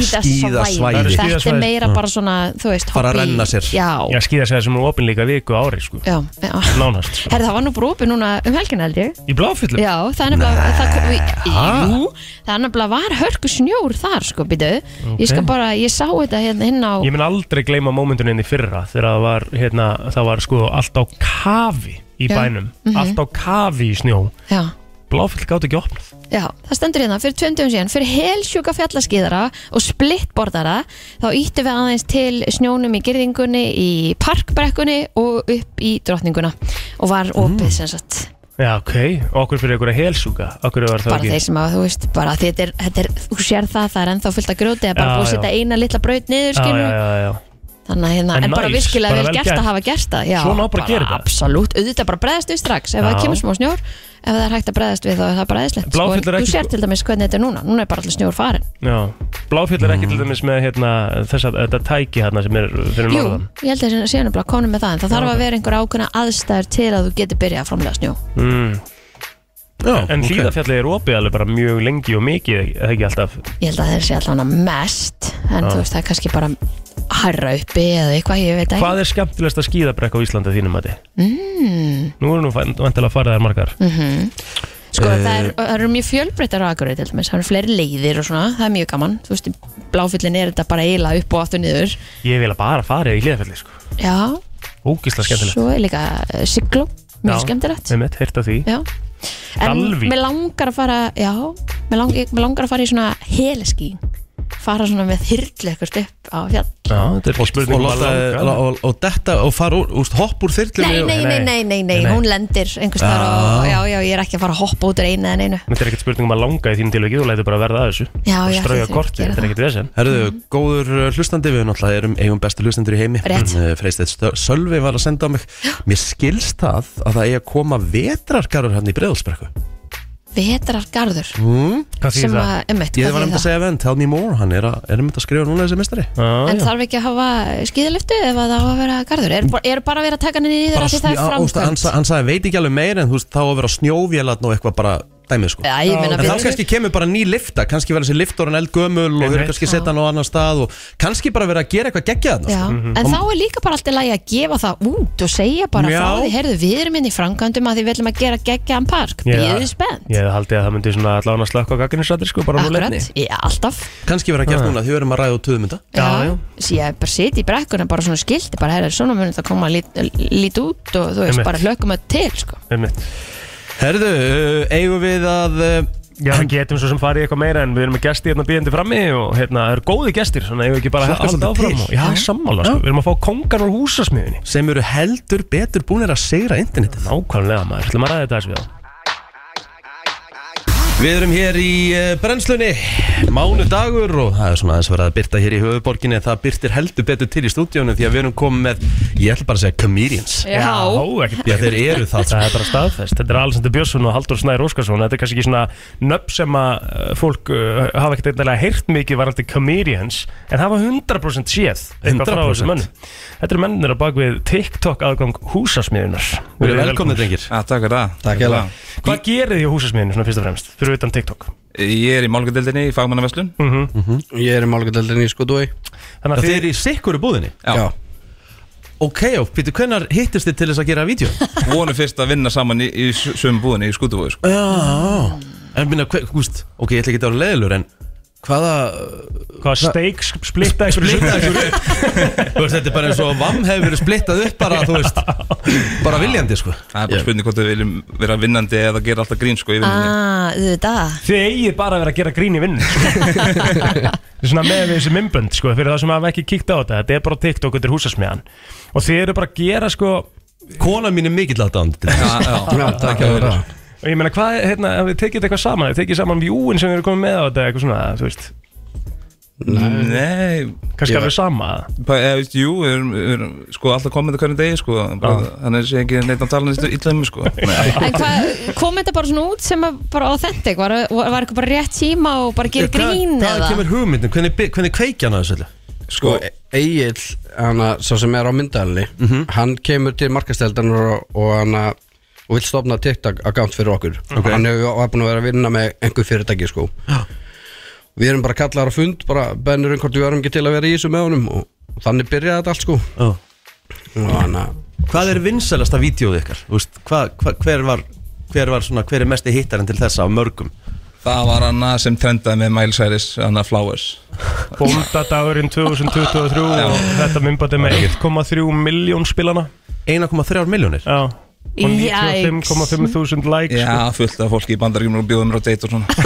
[SPEAKER 2] skíðasvæði
[SPEAKER 1] Skíðasvæði. Það eru
[SPEAKER 2] Þetta er
[SPEAKER 3] skíðasvæði.
[SPEAKER 2] meira bara svona, þú veist,
[SPEAKER 1] Fara að
[SPEAKER 2] hobby-
[SPEAKER 1] renna sér.
[SPEAKER 2] Já,
[SPEAKER 3] Já, skíðasæði sem er opinn líka viku á ári, sko
[SPEAKER 2] já, já.
[SPEAKER 3] Nánast sko.
[SPEAKER 2] Herði, það var nú brópi núna um helgina held ég
[SPEAKER 3] Í bláfjöllum?
[SPEAKER 2] Já, það er nefnilega það, kom- við- Jú, það er nefnilega var hörku snjór þar, sko, býtu Ég skal bara, ég sá þetta hérna inn á
[SPEAKER 3] Ég mun aldrei gleyma mómentunni í fyrra þegar það var, hérna, það var sko allt á kafi í
[SPEAKER 2] Já. Mhm.
[SPEAKER 3] bænum allt á kafi í snjó
[SPEAKER 2] Já,
[SPEAKER 3] Bláfjöll gátt ekki opnað
[SPEAKER 2] já, það stendur hérna fyrir tveimdum síðan, fyrir helsjúka fjallaskýðara og splittbordara þá íttum við aðeins til snjónum í girðingunni, í parkbrekkunni og upp í drottninguna og var
[SPEAKER 1] Mm.
[SPEAKER 2] opið sem sagt
[SPEAKER 3] Já, ok, okkur fyrir einhverja helsúka Okkur var það
[SPEAKER 2] bara
[SPEAKER 3] ekki
[SPEAKER 2] þeir sem að, þú veist, bara því þetta er, þetta er þú sér það, það er ennþá fullt að grjóti það er bara
[SPEAKER 3] Já,
[SPEAKER 2] búið að
[SPEAKER 3] já.
[SPEAKER 2] setja eina litla braut niður
[SPEAKER 3] já,
[SPEAKER 2] skilur,
[SPEAKER 3] já, já, já.
[SPEAKER 2] þannig að hérna,
[SPEAKER 3] En
[SPEAKER 2] en, bara
[SPEAKER 3] nice,
[SPEAKER 2] virkilega
[SPEAKER 3] bara
[SPEAKER 2] vel
[SPEAKER 3] vel
[SPEAKER 2] gert
[SPEAKER 3] gert.
[SPEAKER 2] að hafa gert það, já,
[SPEAKER 3] Svona á bara að gera þetta.
[SPEAKER 2] absolutt, auðvitað bara breðast við strax, ef
[SPEAKER 3] Já.
[SPEAKER 2] það kemur smá snjór ef það er hægt að breðast við þá er það breðislegt
[SPEAKER 3] Bláfjöll er
[SPEAKER 2] þú
[SPEAKER 3] ekki- sko-
[SPEAKER 2] sér til dæmis hvernig þetta er núna, núna er bara allir snjór farin
[SPEAKER 3] já. Bláfjöll er ekki til dæmis með hérna, þess að þetta tæki hérna sem er fyrir
[SPEAKER 2] Mm. Jú,
[SPEAKER 3] norðan
[SPEAKER 2] ég held að það sé nefnilega konum með það en það þarf að vera einhver ákveðna aðstæður til að þú getur byrjað að framlega snjó
[SPEAKER 3] mm.
[SPEAKER 1] Já,
[SPEAKER 3] En
[SPEAKER 1] ok.
[SPEAKER 3] okay. hlýðafjalli er opið alveg bara mjög lengi og mikið eða ekki alltaf
[SPEAKER 2] Ég held að það sé allavega mest en
[SPEAKER 3] Já.
[SPEAKER 2] þú veist það er kannski bara hærra uppi eða eitthvað, ég veit ekki
[SPEAKER 3] Hvað er skemmtilegast að skíðabrekka á Íslandi að þínum mati? Mm. Nú erum við vantilega að fara þær margar Eh,
[SPEAKER 2] Sko það er- það eru mjög fjölbreyttar á Akureyri til dæmis, það eru fleiri leiðir og svona það er mjög gaman, þú veist í bláfyllin er þetta bara eila upp og aftur niður
[SPEAKER 3] Ég vil að bara fara í hlýðafjalli sko.
[SPEAKER 2] Já,
[SPEAKER 3] Ógislega skemmtilegt
[SPEAKER 2] svo er líka uh, siglu,
[SPEAKER 3] Já.
[SPEAKER 2] mjög skemmtilegt
[SPEAKER 3] Með mitt, heyrta því
[SPEAKER 2] Já En
[SPEAKER 3] Dalvík.
[SPEAKER 2] mér langar að fara, já, mér langar, mér langar að fara í svona heliski, fara svona með hyrlu ekkert upp á fjall.
[SPEAKER 3] Já, þetta er ekki spurning
[SPEAKER 1] og,
[SPEAKER 3] um að
[SPEAKER 1] láta,
[SPEAKER 3] langa.
[SPEAKER 1] og, og detta og fara úr, úst, hopp úr þyrlunni
[SPEAKER 2] Nei,
[SPEAKER 1] og-
[SPEAKER 2] nei, nei, nei, nei, nei,
[SPEAKER 3] Nei.
[SPEAKER 2] hún lendir einhvers þar og já, já, ég er ekki að fara að hoppa út úr einu eða neinu.
[SPEAKER 3] Þetta er ekkert spurning um að langa í þínu tilviki, þú lætur bara að verða að þessu
[SPEAKER 2] Já,
[SPEAKER 3] og
[SPEAKER 2] já,
[SPEAKER 3] strauja
[SPEAKER 2] þið þurfum
[SPEAKER 3] korti,
[SPEAKER 2] að gera
[SPEAKER 3] þetta er ekkert vesen
[SPEAKER 1] Herðu, góður uh, hlustandi við náttúrulega erum eigum bestu hlustandur í heimi
[SPEAKER 2] Rétt.
[SPEAKER 1] Uh, Freysteinn Stö- Sölvi var að senda á mig Mér skilst það að það eigi að koma vetrargarður hann í breiðalsbrekku
[SPEAKER 2] Vetrargarður,
[SPEAKER 1] mm?
[SPEAKER 3] Hvað
[SPEAKER 2] sem að, ummitt,
[SPEAKER 1] Ég var nefnd að segja venn, tell me more Hann er, að, er mynd að skrifa núna þessi mistari
[SPEAKER 2] En þarf ekki að hafa skýðalöftu ef að það á að vera garður? Er, er bara að vera að taka henni nýður að því það er
[SPEAKER 1] hann,
[SPEAKER 2] framkvæmt?
[SPEAKER 1] sa- hann sagði veit ekki alveg meir en þú veist þá að vera snjóvélarn og eitthvað bara dæmið sko
[SPEAKER 2] Já, ég meina
[SPEAKER 1] En þá
[SPEAKER 2] við
[SPEAKER 1] kannski kemur bara ný lifta, kannski verður þessi liftorinn eldgömul og þau eru
[SPEAKER 3] Einmitt.
[SPEAKER 1] kannski að setja hann á annan stað og kannski bara verið að gera eitthvað geggja þarna
[SPEAKER 2] Já,
[SPEAKER 1] sko.
[SPEAKER 2] en þá er líka bara alltaf lægi að gefa það út og segja bara
[SPEAKER 1] Já.
[SPEAKER 2] frá því, heyrðu, við erum inn í framkvæmdum að því við ætlum að gera geggjaðan park,
[SPEAKER 3] Ég-
[SPEAKER 2] býðið spennt.
[SPEAKER 3] Ég hefði haldið að það myndi svona allan að slökka á Ah. gagginnisrættir sko, bara nú
[SPEAKER 2] Akkurat,
[SPEAKER 3] lefni
[SPEAKER 2] já, alltaf.
[SPEAKER 1] Kannski verið að gera núna því við erum að ræða út um. töðmynda
[SPEAKER 3] Já, já.
[SPEAKER 2] Já, sí, ég bara siti í brekkuna bara svona skildi, bara herra, svona munum það koma lít, lít út og þú veist,
[SPEAKER 3] Einmitt.
[SPEAKER 2] bara hlökum að til, sko.
[SPEAKER 1] Herðu, uh, eigum við að uh,
[SPEAKER 3] Já, við getum svo sem farið í eitthvað meira en við erum með gesti hérna býðandi frammi og hérna það eru góði gestir, svona ég hef ekki bara
[SPEAKER 1] Hlakkar
[SPEAKER 3] haldið
[SPEAKER 1] svolítið
[SPEAKER 3] áfram
[SPEAKER 1] til.
[SPEAKER 3] og, Já, sammála, sko, við erum að fá kongar úr húsasmiðinni
[SPEAKER 1] sem eru heldur betur búinir að segra internetið
[SPEAKER 3] Nákvæmlega maður, ætlum að ræða þetta aðeins við þá
[SPEAKER 1] Við erum hér í uh, brennslunni Mánudagur og það er svona aðeins verið að byrta hér í höfuborginni en það byrtir heldur betur til í stúdíónu því að við erum komið með, ég ætla bara að segja comedians
[SPEAKER 2] Já,
[SPEAKER 3] ekkert
[SPEAKER 1] Já, þeir eru það sko.
[SPEAKER 3] Það er bara staðfest, þetta er Alessandur Björnsson og Haldur Snær Óskarsson Þetta er kannski ekki svona nöfn sem að uh, fólk uh, hafa ekkert eitthvað heyrt mikið varandi comedians En hafa 100% séð eitthvað frá
[SPEAKER 1] 100%.
[SPEAKER 3] þessum mönnum Þetta eru mennir á bak við TikTok aðgang húsasmiðunar
[SPEAKER 1] Við erum velkomni drengir
[SPEAKER 4] Já, takk fyrir það
[SPEAKER 1] Takk fyrir það.
[SPEAKER 3] Hvað gerið þið á húsasmiðinu svona fyrst og fremst, fyrir utan TikTok? Mhm.
[SPEAKER 4] Ég er í málgadeldinni í fagmannaveslun
[SPEAKER 5] Ég er í málgadeldinni í Skotúi
[SPEAKER 1] Já,
[SPEAKER 3] Þannig að
[SPEAKER 1] Þeir
[SPEAKER 3] þið,
[SPEAKER 1] eru í sikkuru búðinni
[SPEAKER 4] Já,
[SPEAKER 1] Ok, og Pítur, hvenær hittist þið til þess að gera
[SPEAKER 4] <laughs>
[SPEAKER 1] vídeo?
[SPEAKER 4] vonu fyrst að vinna saman í, í sömu búðinni í skútufóðu sko.
[SPEAKER 1] Já, já En minna, hver, gúst, ok, ég ætla ekki að vera leiðilur En hvaða
[SPEAKER 3] hvað steik splitta ykkur
[SPEAKER 1] Splitta ykkur upp Þú veist, þetta er bara eins og VAM hefur verið splittað upp bara, þú veist Bara viljandi, sko
[SPEAKER 4] Það er bara spurning hvort við viljum vera vinnandi eða gera alltaf grín sko í vinnunni
[SPEAKER 2] Ah, þú veit það.
[SPEAKER 3] Þið eigið bara að vera að gera grín í vinn Svona með við þessi mymbönd sko, Fyrir það sem hafa ekki kíkt á þetta Þetta er bara TikTok undir húsasmiðan Og þið eru bara að gera sko Og
[SPEAKER 1] Kona mín er mikill aðdáðan
[SPEAKER 4] Já, já, takk fyrir það
[SPEAKER 3] ég meina hvað, hérna, ef þið tekið þetta eitthvað saman Ef þið tekið saman vjúin sem þið eru komið með á þetta Eitthvað svona, þú veist,
[SPEAKER 4] Nei,
[SPEAKER 3] kannski
[SPEAKER 4] Ég
[SPEAKER 3] alveg sama
[SPEAKER 4] bara, eða, veist, jú, við erum, við erum sko alltaf komið hverjum degi sko bara, Þannig sé ekki neitt að tala neitt illa um mig
[SPEAKER 3] <laughs>
[SPEAKER 4] sko Nei,
[SPEAKER 2] En hvað, kom þetta bara svona út sem að bara authentic, var, var, var eitthvað bara rétt tíma og bara gera grín
[SPEAKER 1] Eh, Hvað
[SPEAKER 2] eða?
[SPEAKER 1] kemur hugmyndin, hvernig, by- hvernig kveikja hann að þessu öllu?
[SPEAKER 5] Sko, Egil,
[SPEAKER 1] Mhm.
[SPEAKER 5] hann að- sá sem er á myndalni Hann kemur til markasteldanar og, og hann að- og vill stopna TikTok-account fyrir okkur hann hefur var búin að vera að vinna með einhver fyrirtæki sko við erum bara kallar á fund bara bennur um hvort við erum ekki til að vera í þessu með honum og, og þannig byrjaði þetta allt sko
[SPEAKER 1] Já.
[SPEAKER 5] og hann að
[SPEAKER 1] Hvað er vinsælasta vídjóð ykkar? Þú Veist, hva, hva, hver var, hver var, svona, hver er mesti hittarinn til þessa af mörgum?
[SPEAKER 4] Það var hana sem trendaði með Miles Harris, hana Flowers
[SPEAKER 3] Bóndadagurinn 2023 og þetta myndbæti með 1,3 miljón spilana
[SPEAKER 1] 1,3 miljónir?
[SPEAKER 3] Já og 95,5 þúsund likes sko.
[SPEAKER 4] Já, fullt af fólki í bandaríkjum og bjóðum mér á date og svona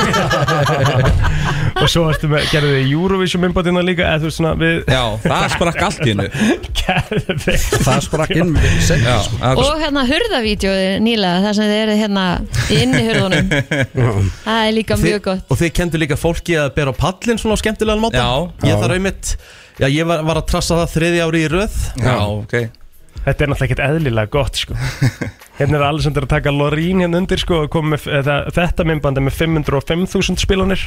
[SPEAKER 3] <laughs> og svo ertu með, gerðu þið Eurovision myndbætina líka eða þú veist svona við
[SPEAKER 4] Já, það sprakk allt í hennu
[SPEAKER 3] <laughs> gerðu þið
[SPEAKER 5] það sprakk inn seinna,
[SPEAKER 4] Já,
[SPEAKER 5] sko.
[SPEAKER 4] það
[SPEAKER 2] Og hérna hurðavídjóði nýlega þar sem þið eru hérna í
[SPEAKER 1] <laughs>
[SPEAKER 2] innihurðunum Það er líka mjög gott
[SPEAKER 1] og þið kendu líka fólki að bera á pallin svona á skemmtilegan máta
[SPEAKER 4] Já.
[SPEAKER 1] Ég þarf einmitt, já ég var, var að trassa það þriði ári í röð
[SPEAKER 4] Já, ok
[SPEAKER 3] Þetta er náttúrulega ekkert eðlilega gott
[SPEAKER 4] <laughs>
[SPEAKER 3] sko Hérna er Alessandr að taka Lorín hérna undir sko og koma með eða, þetta myndbandi með 505.000 spilunir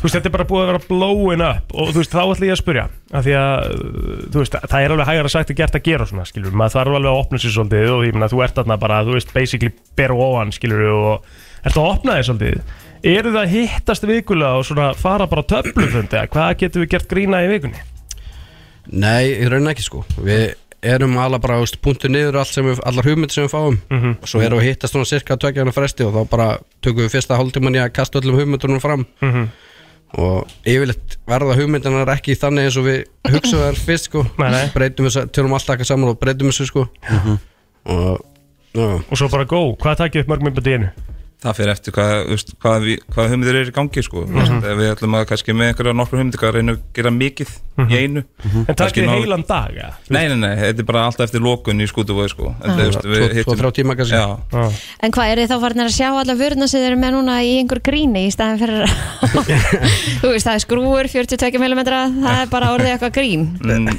[SPEAKER 3] Þú veist, þetta er bara búið að vera blowing up og þú veist, þá ætla ég að spurja af því að, uh, þú veist, það er alveg hægara sagt að gert að gera og svona, skilur, maður þarf alveg að opna sér svolítið og ég meina, þú ert þarna bara, þú veist, basically beru ofan, skilur, og ert að opna þér svolítið Eru það að hittast vikulega og svona fara bara á töflufundi, eða hvað getum við gert grína í vikunni?
[SPEAKER 5] Nei, í raunin ekki sko Við erum alla bara, þú veist, punktu niður allt sem við, allar hugmynd sem við fáum
[SPEAKER 3] Mhm.
[SPEAKER 5] og svo erum við að hittast svona cirka tökjana fresti og þá bara tökum við fyrsta hálftíman í að kasta öllum hugmyndunum fram
[SPEAKER 3] Mhm.
[SPEAKER 5] og yfirleitt verða hugmyndunar ekki þannig eins og við hugsaðum þær fyrst sko
[SPEAKER 3] Nei, nei.
[SPEAKER 5] breytum við, tölum alltaf ekki saman og breytum þessu sko og já,
[SPEAKER 3] Og svo bara go, hvað takið upp mörg myndbandi í einu?
[SPEAKER 4] það fyrir eftir hvað, þú veist, hvað, við, hvað hugmyndir eru í gangi sko.
[SPEAKER 3] Mhm.
[SPEAKER 4] mm -hmm. við ætlum að kannski með einhverja nokkur hugmyndir að reyna að gera mikið í einu
[SPEAKER 3] Mhm. En
[SPEAKER 4] Kannski
[SPEAKER 3] takið
[SPEAKER 4] ná-
[SPEAKER 3] heilan dag, eða?
[SPEAKER 4] Nei, nei, nei, þetta er bara alltaf eftir lokun í skútuvói sko. En það, þú veist, við
[SPEAKER 5] Tvo- tvo,
[SPEAKER 4] hittum-
[SPEAKER 5] þrjá tíma kannski.
[SPEAKER 4] Já,
[SPEAKER 3] Já.
[SPEAKER 2] En hvað er þið þá farin að sjá alla vörna sem þið eru með núna í einhver gríni í staðin fyrir <laughs> Þú veist, það er skrúur 42 mm það er bara orðið eitthvað grín
[SPEAKER 4] mm,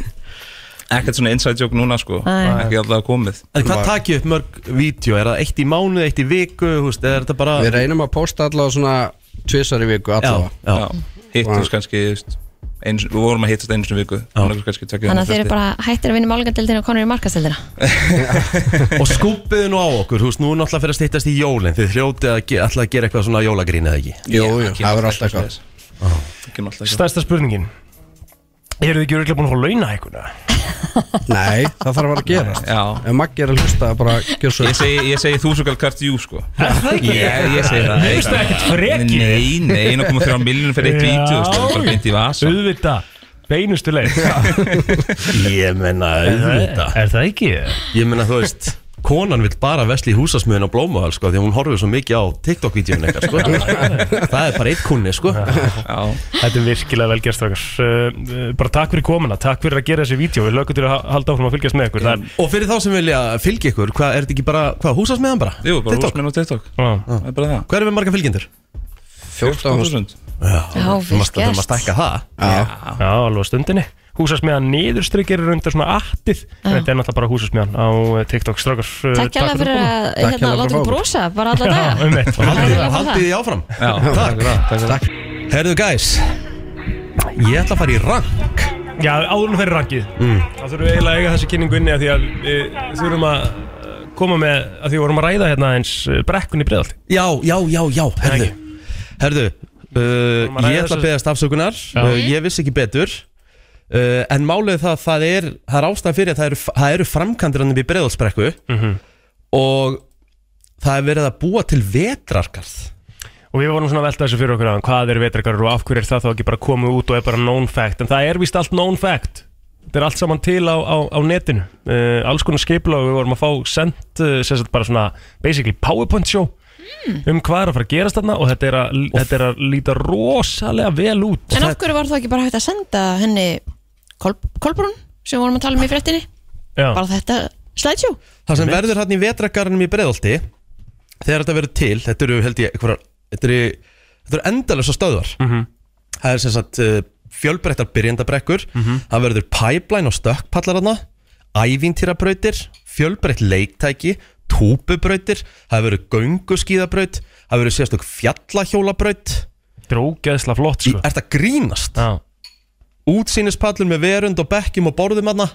[SPEAKER 4] ekkert svona inside joke núna sko.
[SPEAKER 2] Nei.
[SPEAKER 4] ekki alltaf komið
[SPEAKER 1] En hvað takið upp mörg vídjó? Er það eitt í mánuð, eitt í viku, þú veist, eða er þetta bara
[SPEAKER 5] við reynum að posta allavega svona
[SPEAKER 1] <laughs>
[SPEAKER 5] tvisar í viku
[SPEAKER 1] já,
[SPEAKER 5] allavega
[SPEAKER 1] já.
[SPEAKER 4] hittum kannski þú veist, eins, við vorum að hittast einu sinni í viku annars kannski tvekja
[SPEAKER 2] Þannig að
[SPEAKER 4] mánuði
[SPEAKER 2] þið eru
[SPEAKER 4] fresti.
[SPEAKER 2] bara hættir að vinna málgandeldina og konur í markasteldina
[SPEAKER 1] Og skúpiðu nú á okkur, þú veist, nú er náttúrulega fyrir að stýttast í jólinn Þið hljótið að ge, ætla að gera eitthvað svona jólagrín eða ekki
[SPEAKER 5] Jú, jú,
[SPEAKER 4] Ekki
[SPEAKER 5] það verður alltaf eitthvað
[SPEAKER 4] svoleiðis. Ekki alltaf eitthvað.
[SPEAKER 3] Stærsta spurningin Eru þið ekki örugglega búin að fá launa eitthvað?
[SPEAKER 5] Nei, það þarf að vera að gera
[SPEAKER 4] Já.
[SPEAKER 5] Ef Maggi er að hlusta, bara gjör svo
[SPEAKER 4] Ég segi- ég segi þúsugall kart jú sko.
[SPEAKER 3] Ég,
[SPEAKER 4] ég segi það.
[SPEAKER 3] Veistu ekkert freki
[SPEAKER 4] Nei, nei, 1,3
[SPEAKER 3] <laughs>
[SPEAKER 4] miljonum fyrir eitt
[SPEAKER 3] Já.
[SPEAKER 4] vítjó Það er bara beint í vasa
[SPEAKER 3] Auðvitað Beinustu leið
[SPEAKER 1] Ég menna, auðvitað
[SPEAKER 3] Er það ekki?
[SPEAKER 1] Ég menna, þú veist, konan vill bara vesli í húsasmiðin á Blómahal, sko Því að hún horfir svo mikið á TikTok-vídjón eitthvað, sko Það er bara eitt kunni, sko
[SPEAKER 4] Já,
[SPEAKER 3] Þetta er virkilega vel gert strákar Uh, uh, Bara takk fyrir komuna, takk fyrir að gera þessi vídeo Við lögum til að ha- halda áfram að fylgjast með ykkur Það er,
[SPEAKER 1] Og fyrir þá sem vilja fylgja ykkur, hvað, er þetta ekki bara, hvað, húsasmiðan bara?
[SPEAKER 4] Jú, bara
[SPEAKER 1] TikTok?
[SPEAKER 4] húsminn og TikTok
[SPEAKER 3] á,
[SPEAKER 4] Það er bara það
[SPEAKER 1] Hvað erum við marga fylgjendur?
[SPEAKER 5] 14.000
[SPEAKER 4] 14.000
[SPEAKER 1] Já,
[SPEAKER 2] Já,
[SPEAKER 1] þú
[SPEAKER 2] vel
[SPEAKER 1] mást- þú mást
[SPEAKER 2] gert.
[SPEAKER 1] stækka það.
[SPEAKER 4] Já,
[SPEAKER 3] á alveg á stundinni Húsasmiðan niðurstrykir er undir svona attið En þetta er náttúrulega bara húsasmiðan á eh, TikTok strákar uh,
[SPEAKER 2] Takk hjá fyrir að
[SPEAKER 5] Takk
[SPEAKER 2] hérna,
[SPEAKER 5] hérlega
[SPEAKER 2] láta
[SPEAKER 5] fyrir
[SPEAKER 2] okkur
[SPEAKER 5] okkur.
[SPEAKER 2] brosa bara alla
[SPEAKER 3] Já,
[SPEAKER 2] daga
[SPEAKER 3] um eitt
[SPEAKER 1] Og
[SPEAKER 2] Það
[SPEAKER 1] haldið-
[SPEAKER 2] er bara
[SPEAKER 1] Haldið því áfram
[SPEAKER 4] Já, takk fyrir það, takk fyrir það
[SPEAKER 1] Herðu guys Ég ætla að fara í rank Mm.
[SPEAKER 3] Já, áður en fyrir rankið Þá þurfum við eiginlega að eiga þessi kynningu inni af Því að við þurfum að uh, koma með að Því við vorum að ræða hérna eins brekkun í breðalti
[SPEAKER 1] Já, já, já, já, herðu Herðu, uh,
[SPEAKER 3] að ræða
[SPEAKER 1] ég ætla að
[SPEAKER 3] þessu.
[SPEAKER 1] beðast afsökunar uh, Ég vissi ekki betur uh, En málið er það, það er Það er ástæðan fyrir að það eru, það eru framkantir Þannig við breiðalsbrekku
[SPEAKER 3] Mhm.
[SPEAKER 1] Og það er verið að búa til vetrarkarð
[SPEAKER 3] Og við vorum svona að velta þessu fyrir okkur aðan Hvað er vetrakarar og af hverju er það þá ekki bara komið út og er bara known fact En það er víst allt known fact Þetta er allt saman til á, á, á netinu uh, Alls konar skipla og við vorum að fá sendt uh, sem sagt bara svona basically powerpoint show Um hvað er að fara að gerast þarna Og þetta er að, þetta er að líta rosalega vel út
[SPEAKER 2] En af hverju var það ekki bara hægt að senda henni Kol Kolbrún sem við vorum að tala um í fréttinni
[SPEAKER 3] Já.
[SPEAKER 2] bara þetta slætsjó
[SPEAKER 1] Það sem verður hann í vetrakarðinum í breiðalti Þegar þetta verður til Þetta eru, held ég, einhverjar Þetta eru, þetta eru endalösa stöðvar
[SPEAKER 3] Mhm.
[SPEAKER 1] Það er sem sagt uh, fjölbreyttar byrjandabrekkur
[SPEAKER 3] Mhm.
[SPEAKER 1] Það verður pipeline og stökkpallarana Ævintýrabrautir Fjölbreytt leiktæki Túpubrautir, það verður gönguskíðabraut Það verður sérstök fjallahjólabraut
[SPEAKER 3] Þetta er ógeðsla flott
[SPEAKER 1] Í,
[SPEAKER 3] sko
[SPEAKER 1] Er það grínast?
[SPEAKER 3] Já.
[SPEAKER 1] Útsýnispallur með verund og bekkjum og borðum aðna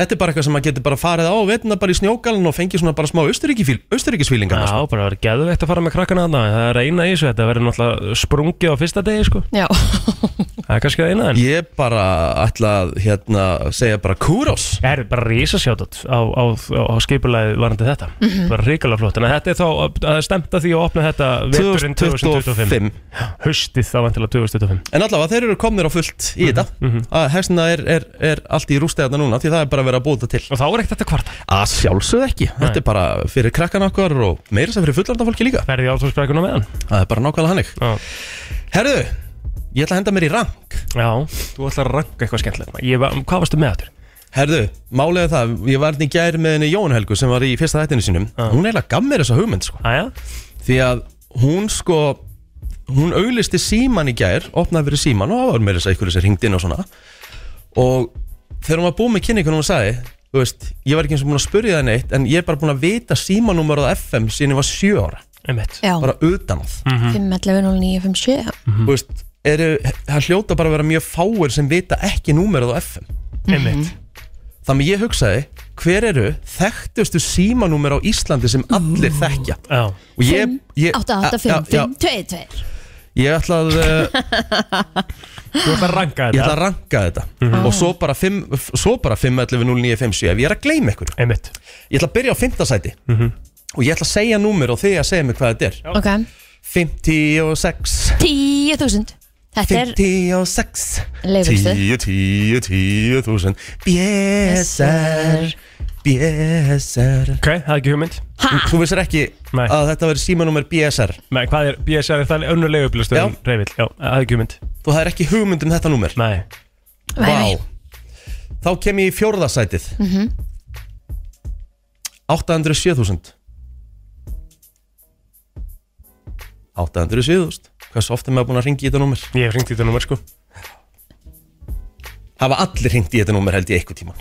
[SPEAKER 1] Þetta er bara eitthvað sem maður getur bara farið á veitna bara í snjókalun og fengið svona bara smá austuríkisfílingar
[SPEAKER 3] Já, bara verður geðveikt að fara með krakkana þarna Það er eina í þessu, þetta verður náttúrulega sprungið á fyrsta degi sko.
[SPEAKER 2] Já,
[SPEAKER 3] Það er kannski að eina en
[SPEAKER 1] Ég bara ætla að hérna, segja bara kúrós
[SPEAKER 3] Það er bara rísasjátt á, á, á, á skipulagi varandi þetta mm -hmm. Bara ríkala flott En þetta er þá, það er stemt að því að opna þetta veturinn 2025
[SPEAKER 1] 2025
[SPEAKER 3] Haustið þá vantilega 2025
[SPEAKER 1] En allavega þeir eru komnir á fullt
[SPEAKER 3] Mhm,
[SPEAKER 1] í þetta mm Hessina er, er, er allt í rústegarna núna Því það er bara verið að búa þetta til
[SPEAKER 3] Og þá er ekkert þetta kvarta
[SPEAKER 1] Að sjálfsögð ekki Þetta er bara fyrir krakkan okkar og meira sem fyrir fullanda fólki líka
[SPEAKER 3] Verði átóksbrekuna meðan
[SPEAKER 1] Það er bara nákvæmlega hannig
[SPEAKER 3] Já.
[SPEAKER 1] Herðu, ég ætla að henda mér í rank
[SPEAKER 3] Já, þú ætlar að ranka eitthvað skemmtilegt maður. Ég var- Hvað varstu með þetta?
[SPEAKER 1] Herðu, málega það, ég var hérna í gær með henni Jón Helgu sem var í fyrsta þættinu sínum Hún eiginlega gaf mér þessa hugmynd sko
[SPEAKER 3] Æja,
[SPEAKER 1] Því að hún sko, hún auglisti síman í gær, opnaði fyrir síman og það var meira þess að ykkur sem ringdi inn og svona Og þegar hún var búin með kynningunum og sagði, þú veist, ég var ekki eins og búin að spyrja það neitt En ég er bara búin að vita símanúmerið á FM síðan ég var sjö ára,
[SPEAKER 3] einmitt Mhm,
[SPEAKER 2] já,
[SPEAKER 1] bara utan að
[SPEAKER 2] 5.11.09.57
[SPEAKER 1] Þú veist, eru, það hljóta bara að vera mjög fáir sem vita ekki númerið á FM
[SPEAKER 3] Einmitt
[SPEAKER 1] Þannig ég hugsaði, hver eru þekktustu símanúmer á Íslandi sem allir þekkja?
[SPEAKER 3] Já,
[SPEAKER 1] Og ég,
[SPEAKER 2] 5,
[SPEAKER 1] ég,
[SPEAKER 2] 8, 8,
[SPEAKER 1] Já,
[SPEAKER 2] 5,
[SPEAKER 1] já,
[SPEAKER 2] 5, 2, 2
[SPEAKER 1] ég ætla að, eh,
[SPEAKER 3] þú ætlar að ranka
[SPEAKER 1] ég ætla
[SPEAKER 3] þetta Mhm.
[SPEAKER 1] að ranka þetta og svo bara 5, svo bara 5, 11, 0, 9, 5, 7 ef ég er að gleyma ykkur.
[SPEAKER 3] Einmitt Mhm.
[SPEAKER 1] Ég ætla að byrja á 5. sæti og ég ætla að segja númer og þið að segja mig hvað þetta er.
[SPEAKER 2] Ok,
[SPEAKER 1] 56,
[SPEAKER 2] 10.000 Þetta er
[SPEAKER 1] 56,
[SPEAKER 2] Leifurstu
[SPEAKER 1] 10, 10, 10, 1000, BSR, BSR.
[SPEAKER 3] Ok, það er ekki hugmynd
[SPEAKER 2] Ha?
[SPEAKER 1] Þú vissir ekki
[SPEAKER 3] Nei.
[SPEAKER 1] að þetta verður símanúmer BSR
[SPEAKER 3] Nei, hvað er, BSR er það önnulegu upplöstuðum
[SPEAKER 1] Já.
[SPEAKER 3] Reyvill, já, það er ekki hugmynd
[SPEAKER 1] Þú hafðir ekki hugmynd um þetta númer
[SPEAKER 3] Nei,
[SPEAKER 2] Nei.
[SPEAKER 1] Þá kem ég í fjórðasætið mm
[SPEAKER 6] Mm-hmm.
[SPEAKER 1] 807.000 807.000 Hversu oft er maður búin að ringi í þetta númer?
[SPEAKER 3] ég hef ringt í þetta númer sko
[SPEAKER 1] Hafa allir ringt í þetta númer held ég eitthvað tíman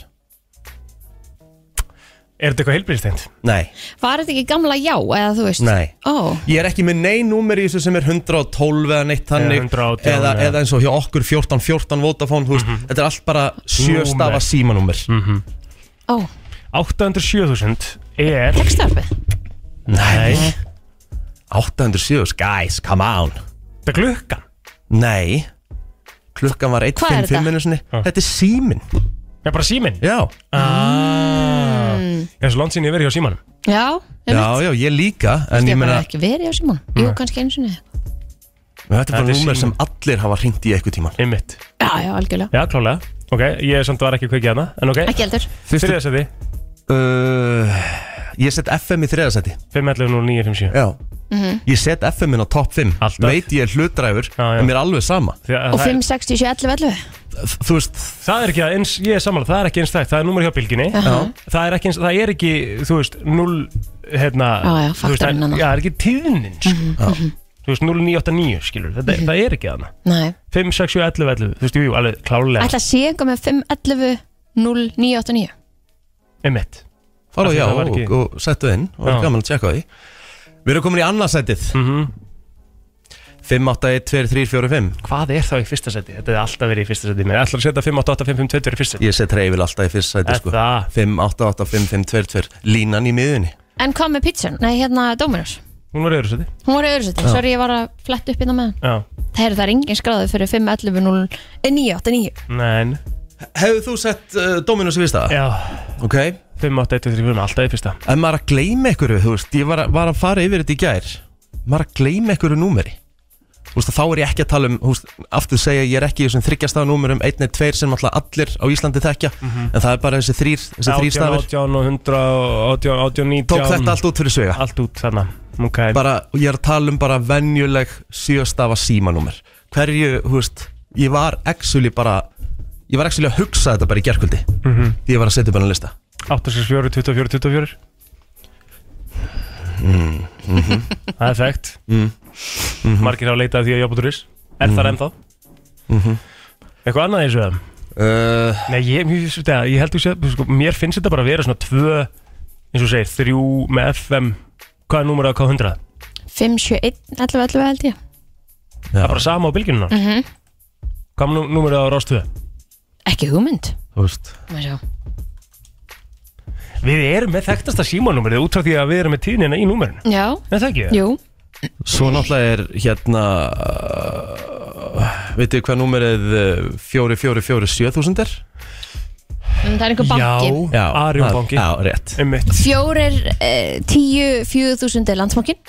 [SPEAKER 3] Er þetta eitthvað heilbyrðisteint?
[SPEAKER 1] Nei,
[SPEAKER 2] Var þetta ekki gamla já, eða þú veist
[SPEAKER 1] nei
[SPEAKER 2] Ó,
[SPEAKER 1] Ég er ekki með nein númer í þessu sem er 112 eða neitt þannig
[SPEAKER 3] 118,
[SPEAKER 1] eða,
[SPEAKER 3] ja.
[SPEAKER 1] eða eins og hjá okkur 1414 Vodafone þú veist, Þetta er allt bara sjöstafa
[SPEAKER 3] Mhm. Númer. Mhm.
[SPEAKER 1] símanúmer
[SPEAKER 3] 807.000 er
[SPEAKER 2] tekstarpið
[SPEAKER 3] Nei,
[SPEAKER 1] 807, guys, come on
[SPEAKER 3] þetta er klukkan
[SPEAKER 1] Nei Klukkan var 1.55
[SPEAKER 2] Hvað er þetta?
[SPEAKER 1] einu sinni. Þetta er símin
[SPEAKER 3] Já, bara síminn
[SPEAKER 1] Já,
[SPEAKER 3] ah.
[SPEAKER 2] Mm.
[SPEAKER 3] Ég er svo langt sín ég verið hjá símanum
[SPEAKER 2] Já, ég
[SPEAKER 1] já, já, ég líka En
[SPEAKER 2] Ég
[SPEAKER 1] ég
[SPEAKER 2] hef bara
[SPEAKER 1] meina, Mm.
[SPEAKER 2] ekki verið á Simón Jú, kannski eins og niður
[SPEAKER 1] þetta er bara
[SPEAKER 3] Þetta er
[SPEAKER 1] númer
[SPEAKER 3] síminn.
[SPEAKER 1] sem allir hafa hringt í eitthvað tíman
[SPEAKER 3] Einmitt
[SPEAKER 2] Já, já, algjörlega
[SPEAKER 3] Já, klálega Ok, ég samt var ekki kveikið hana En ok,
[SPEAKER 2] Ekki heldur
[SPEAKER 3] þriðja seti
[SPEAKER 1] uh, Ég set FM í þriðasæti
[SPEAKER 3] 511
[SPEAKER 1] Já
[SPEAKER 2] Mhm.
[SPEAKER 1] Ég set FM-in á top 5
[SPEAKER 3] Alltaf.
[SPEAKER 1] Veit ég er hlutdræfur
[SPEAKER 3] Já, já.
[SPEAKER 1] En mér er alveg sama
[SPEAKER 2] Og 5, 6, 7, 11, 11
[SPEAKER 1] Þ- Þú veist,
[SPEAKER 3] Það er ekki að eins, ég er samanlega, það er ekki eins þægt, það er númer hjá bylginni Það er ekki eins, það er ekki, þú veist, 0, hérna
[SPEAKER 2] Já, Mhm, já,
[SPEAKER 3] þú veist,
[SPEAKER 2] faktorinn
[SPEAKER 3] það-
[SPEAKER 2] hana.
[SPEAKER 3] Já, það er ekki tíðnin, sko Þú veist, 0989, skilur, þetta,
[SPEAKER 2] Mhm.
[SPEAKER 3] það er ekki þarna
[SPEAKER 2] Nei
[SPEAKER 3] 5, 6, 7, 11, 11, þú veist, jú, jú, alveg klálega
[SPEAKER 2] Ætla að sé eitthvað með 5, 11, 0, 9, 8, 9
[SPEAKER 3] Einmitt,
[SPEAKER 1] fara
[SPEAKER 3] Af
[SPEAKER 1] á
[SPEAKER 3] því
[SPEAKER 1] já
[SPEAKER 3] það var
[SPEAKER 1] og,
[SPEAKER 3] ekki-
[SPEAKER 1] og settu inn Og
[SPEAKER 3] Já. Mhm.
[SPEAKER 1] gaman að tjekka á því Við erum komin í annarsætið mm -hmm. 5, 8, 1, 2, 3, 4, 5
[SPEAKER 3] hvað er þá í fyrsta seti? Þetta er alltaf verið í fyrsta seti Mér ætlar að setja 5, 8, 8, 5, 5, 2, 2 í fyrsta seti
[SPEAKER 1] Ég set reyfil alltaf í fyrst sæti
[SPEAKER 3] Er
[SPEAKER 1] sko
[SPEAKER 3] það?
[SPEAKER 1] 5, 8, 8, 5, 5, 2, 2 Línan í miðunni
[SPEAKER 2] En hvað með pizzan? Nei, hérna Dominos
[SPEAKER 3] Hún var í öðru seti
[SPEAKER 2] Hún var í öðru seti, sorry ég var að fletta upp hérna með hann
[SPEAKER 3] Já,
[SPEAKER 2] Það er það er engin skráði fyrir 5, 11, 0, 9, 8, 9
[SPEAKER 3] nein
[SPEAKER 1] Hefur þú sett uh, Dominus í fyrsta?
[SPEAKER 3] Já,
[SPEAKER 1] Ok
[SPEAKER 3] 5, 8, 1, 2, 3, 4, alltaf í fyrsta
[SPEAKER 1] En maður að gleyma ykkur, þú veist Ég var, að- var að fara yfir þetta í gær Maður að gleyma ykkur númeri Þú veist, þá er ég ekki að tala um þú veist, Aftur segja, ég er ekki í þessum þryggjastafa númerum Einn eða tveir sem alltaf allir á Íslandi þekkja
[SPEAKER 3] Mhm.
[SPEAKER 1] En það er bara þessi þrýr, þessi
[SPEAKER 3] 18,
[SPEAKER 1] þrýr stafir
[SPEAKER 3] 18 og 100 og 18, 18, 19
[SPEAKER 1] Tók þetta allt út fyrir sögja
[SPEAKER 3] allt út þarna okay.
[SPEAKER 1] bara, og ég er að tala um bara venjuleg sjöstafa símanúmer hverju, þú veist, ég var actually bara, ég var actually að hugsa þetta bara í gerkvöldi,
[SPEAKER 3] Mhm.
[SPEAKER 1] því ég var að setja upp hennar lista
[SPEAKER 3] 864, 24, 24 Mhm, Það er þekkt
[SPEAKER 1] Mhm.
[SPEAKER 3] Margir hafa leitað að því að jobbuturis Er mm -hmm. það ennþá? Eitthvað annað eins og það?
[SPEAKER 1] Mhm. uh,
[SPEAKER 3] Nei, ég, ég, ég, ég held þú sé sko, Mér finnst þetta bara að vera svona tvö eins og þú segir, þrjú með FM Hvað er númerið á K100?
[SPEAKER 2] 5, 7, 1, 11, 11 held ég
[SPEAKER 3] Það er bara sama á bylginuna mm
[SPEAKER 2] Mhm.
[SPEAKER 3] -hmm. Hvað er nú- númerið á Rás 2?
[SPEAKER 2] Ekki hugmynd
[SPEAKER 1] þú veist
[SPEAKER 2] Má sjá.
[SPEAKER 3] Við erum með þekktasta símanúmerið út frá því að við erum með tíðnina í númerinu.
[SPEAKER 2] Já,
[SPEAKER 3] Er það ekki?
[SPEAKER 2] jú
[SPEAKER 1] Svo náttúrulega er hérna Vitið hvað númerið uh, 4447.000 er?
[SPEAKER 2] Mm, Það er einhver banki
[SPEAKER 3] Já, Arjón banki.
[SPEAKER 1] Já, rétt
[SPEAKER 3] Einmitt.
[SPEAKER 2] Fjórir, eh, tíu, fjögur þúsund er landsmokkin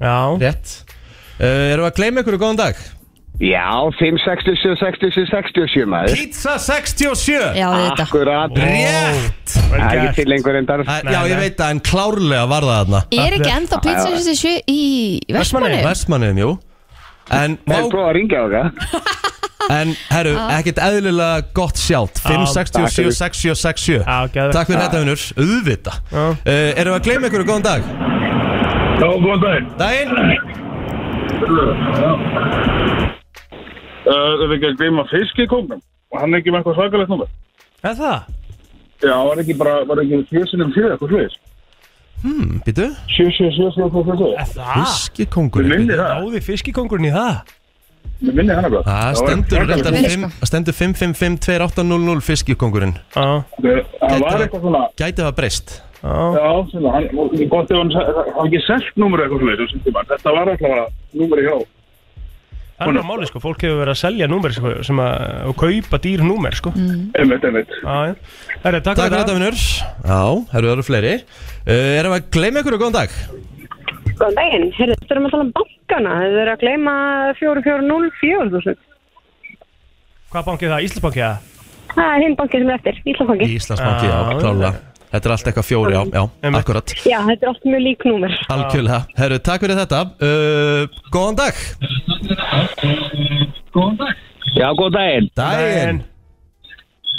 [SPEAKER 3] Já.
[SPEAKER 1] Rétt uh, Erum við að gleyma ykkur góðan dag?
[SPEAKER 7] Já, 5, 67, 67, 67 maður
[SPEAKER 1] Pizza 67
[SPEAKER 2] Já, þetta
[SPEAKER 7] Akkurat
[SPEAKER 1] Rétt
[SPEAKER 3] Vel
[SPEAKER 7] Það er
[SPEAKER 3] gert.
[SPEAKER 7] ekki til lengur en þar
[SPEAKER 1] Æ, Já,
[SPEAKER 3] Nei,
[SPEAKER 1] ég
[SPEAKER 3] nei.
[SPEAKER 1] veit það, en klárlega var það þarna
[SPEAKER 2] Er ekki ennþá pizza þessi sjö í Vestmanni?
[SPEAKER 1] Vestmanniðum, jú En,
[SPEAKER 7] Það er
[SPEAKER 1] má,
[SPEAKER 7] prófa að ringja á það
[SPEAKER 1] <laughs> en herru, ekkert eðlilega gott sjátt 567 6767
[SPEAKER 3] Já, geðvegt.
[SPEAKER 1] Takk fyrir þetta, vinnur, auðvita
[SPEAKER 3] Já.
[SPEAKER 1] uh, Erum við að gleyma ykkur góðan dag?
[SPEAKER 6] Já, góðan daginn.
[SPEAKER 1] Daginn
[SPEAKER 6] Uh, ef við ekki að gleyma fiskikóknum, hann er ekki með eitthvað svakalegt númer.
[SPEAKER 3] Er það?
[SPEAKER 6] Já, var ekki bara, var ekki fjösinum fyrir eitthvað sluðis.
[SPEAKER 1] Býtu,
[SPEAKER 6] Sjö, sjö, sjö, sjö, sjö, sjö, sjö.
[SPEAKER 3] Er það?
[SPEAKER 1] fiskikongurinn
[SPEAKER 6] Minni
[SPEAKER 1] býtu.
[SPEAKER 6] það,
[SPEAKER 3] Ah. Náði fiskikongurinn í það?
[SPEAKER 6] Mig minni hann eitthvað.
[SPEAKER 1] Það
[SPEAKER 6] var
[SPEAKER 1] stendur
[SPEAKER 6] svakalegt
[SPEAKER 1] reyndar
[SPEAKER 2] Minni,
[SPEAKER 1] fimm- stendur 5552800 fiskikongurinn
[SPEAKER 3] Já.
[SPEAKER 6] númer. Það var eitthvað svona,
[SPEAKER 1] Gæti hafa breyst
[SPEAKER 3] Já.
[SPEAKER 6] já, svona, hann, gott ef hann, se- það var ekki selt númer eitthvað sluðis, þetta var alltaf númer í hjá.
[SPEAKER 3] Það er bara máli sko, fólk hefur verið að selja númer sko, sem að, og kaupa dýr númer sko.
[SPEAKER 6] Einmitt, einmitt.
[SPEAKER 3] Já, já. Herri, takk
[SPEAKER 1] Mm. Takk fyrir þetta, vinnur Já, herru, það eru fleiri uh, Erum við að gleyma ykkur góðan dag?
[SPEAKER 8] Góðan daginn, heyrðu, þetta erum að tala um bankana, þið eru að gleyma 4404
[SPEAKER 3] Hvað banki er það? Íslandsbanki eða?
[SPEAKER 8] Það er hinn banki sem er eftir, Íslandbanki.
[SPEAKER 1] Í Íslandsbanki, já,
[SPEAKER 3] Já,
[SPEAKER 1] klálega Þetta er allt eitthvað fjóri, já, já,
[SPEAKER 3] Einmitt.
[SPEAKER 1] akkurat
[SPEAKER 8] Já, þetta er oft mjög lík númer.
[SPEAKER 1] Algjörlega, herru, takk fyrir þetta uh, Góðan dag
[SPEAKER 7] Já, góð daginn
[SPEAKER 1] Daginn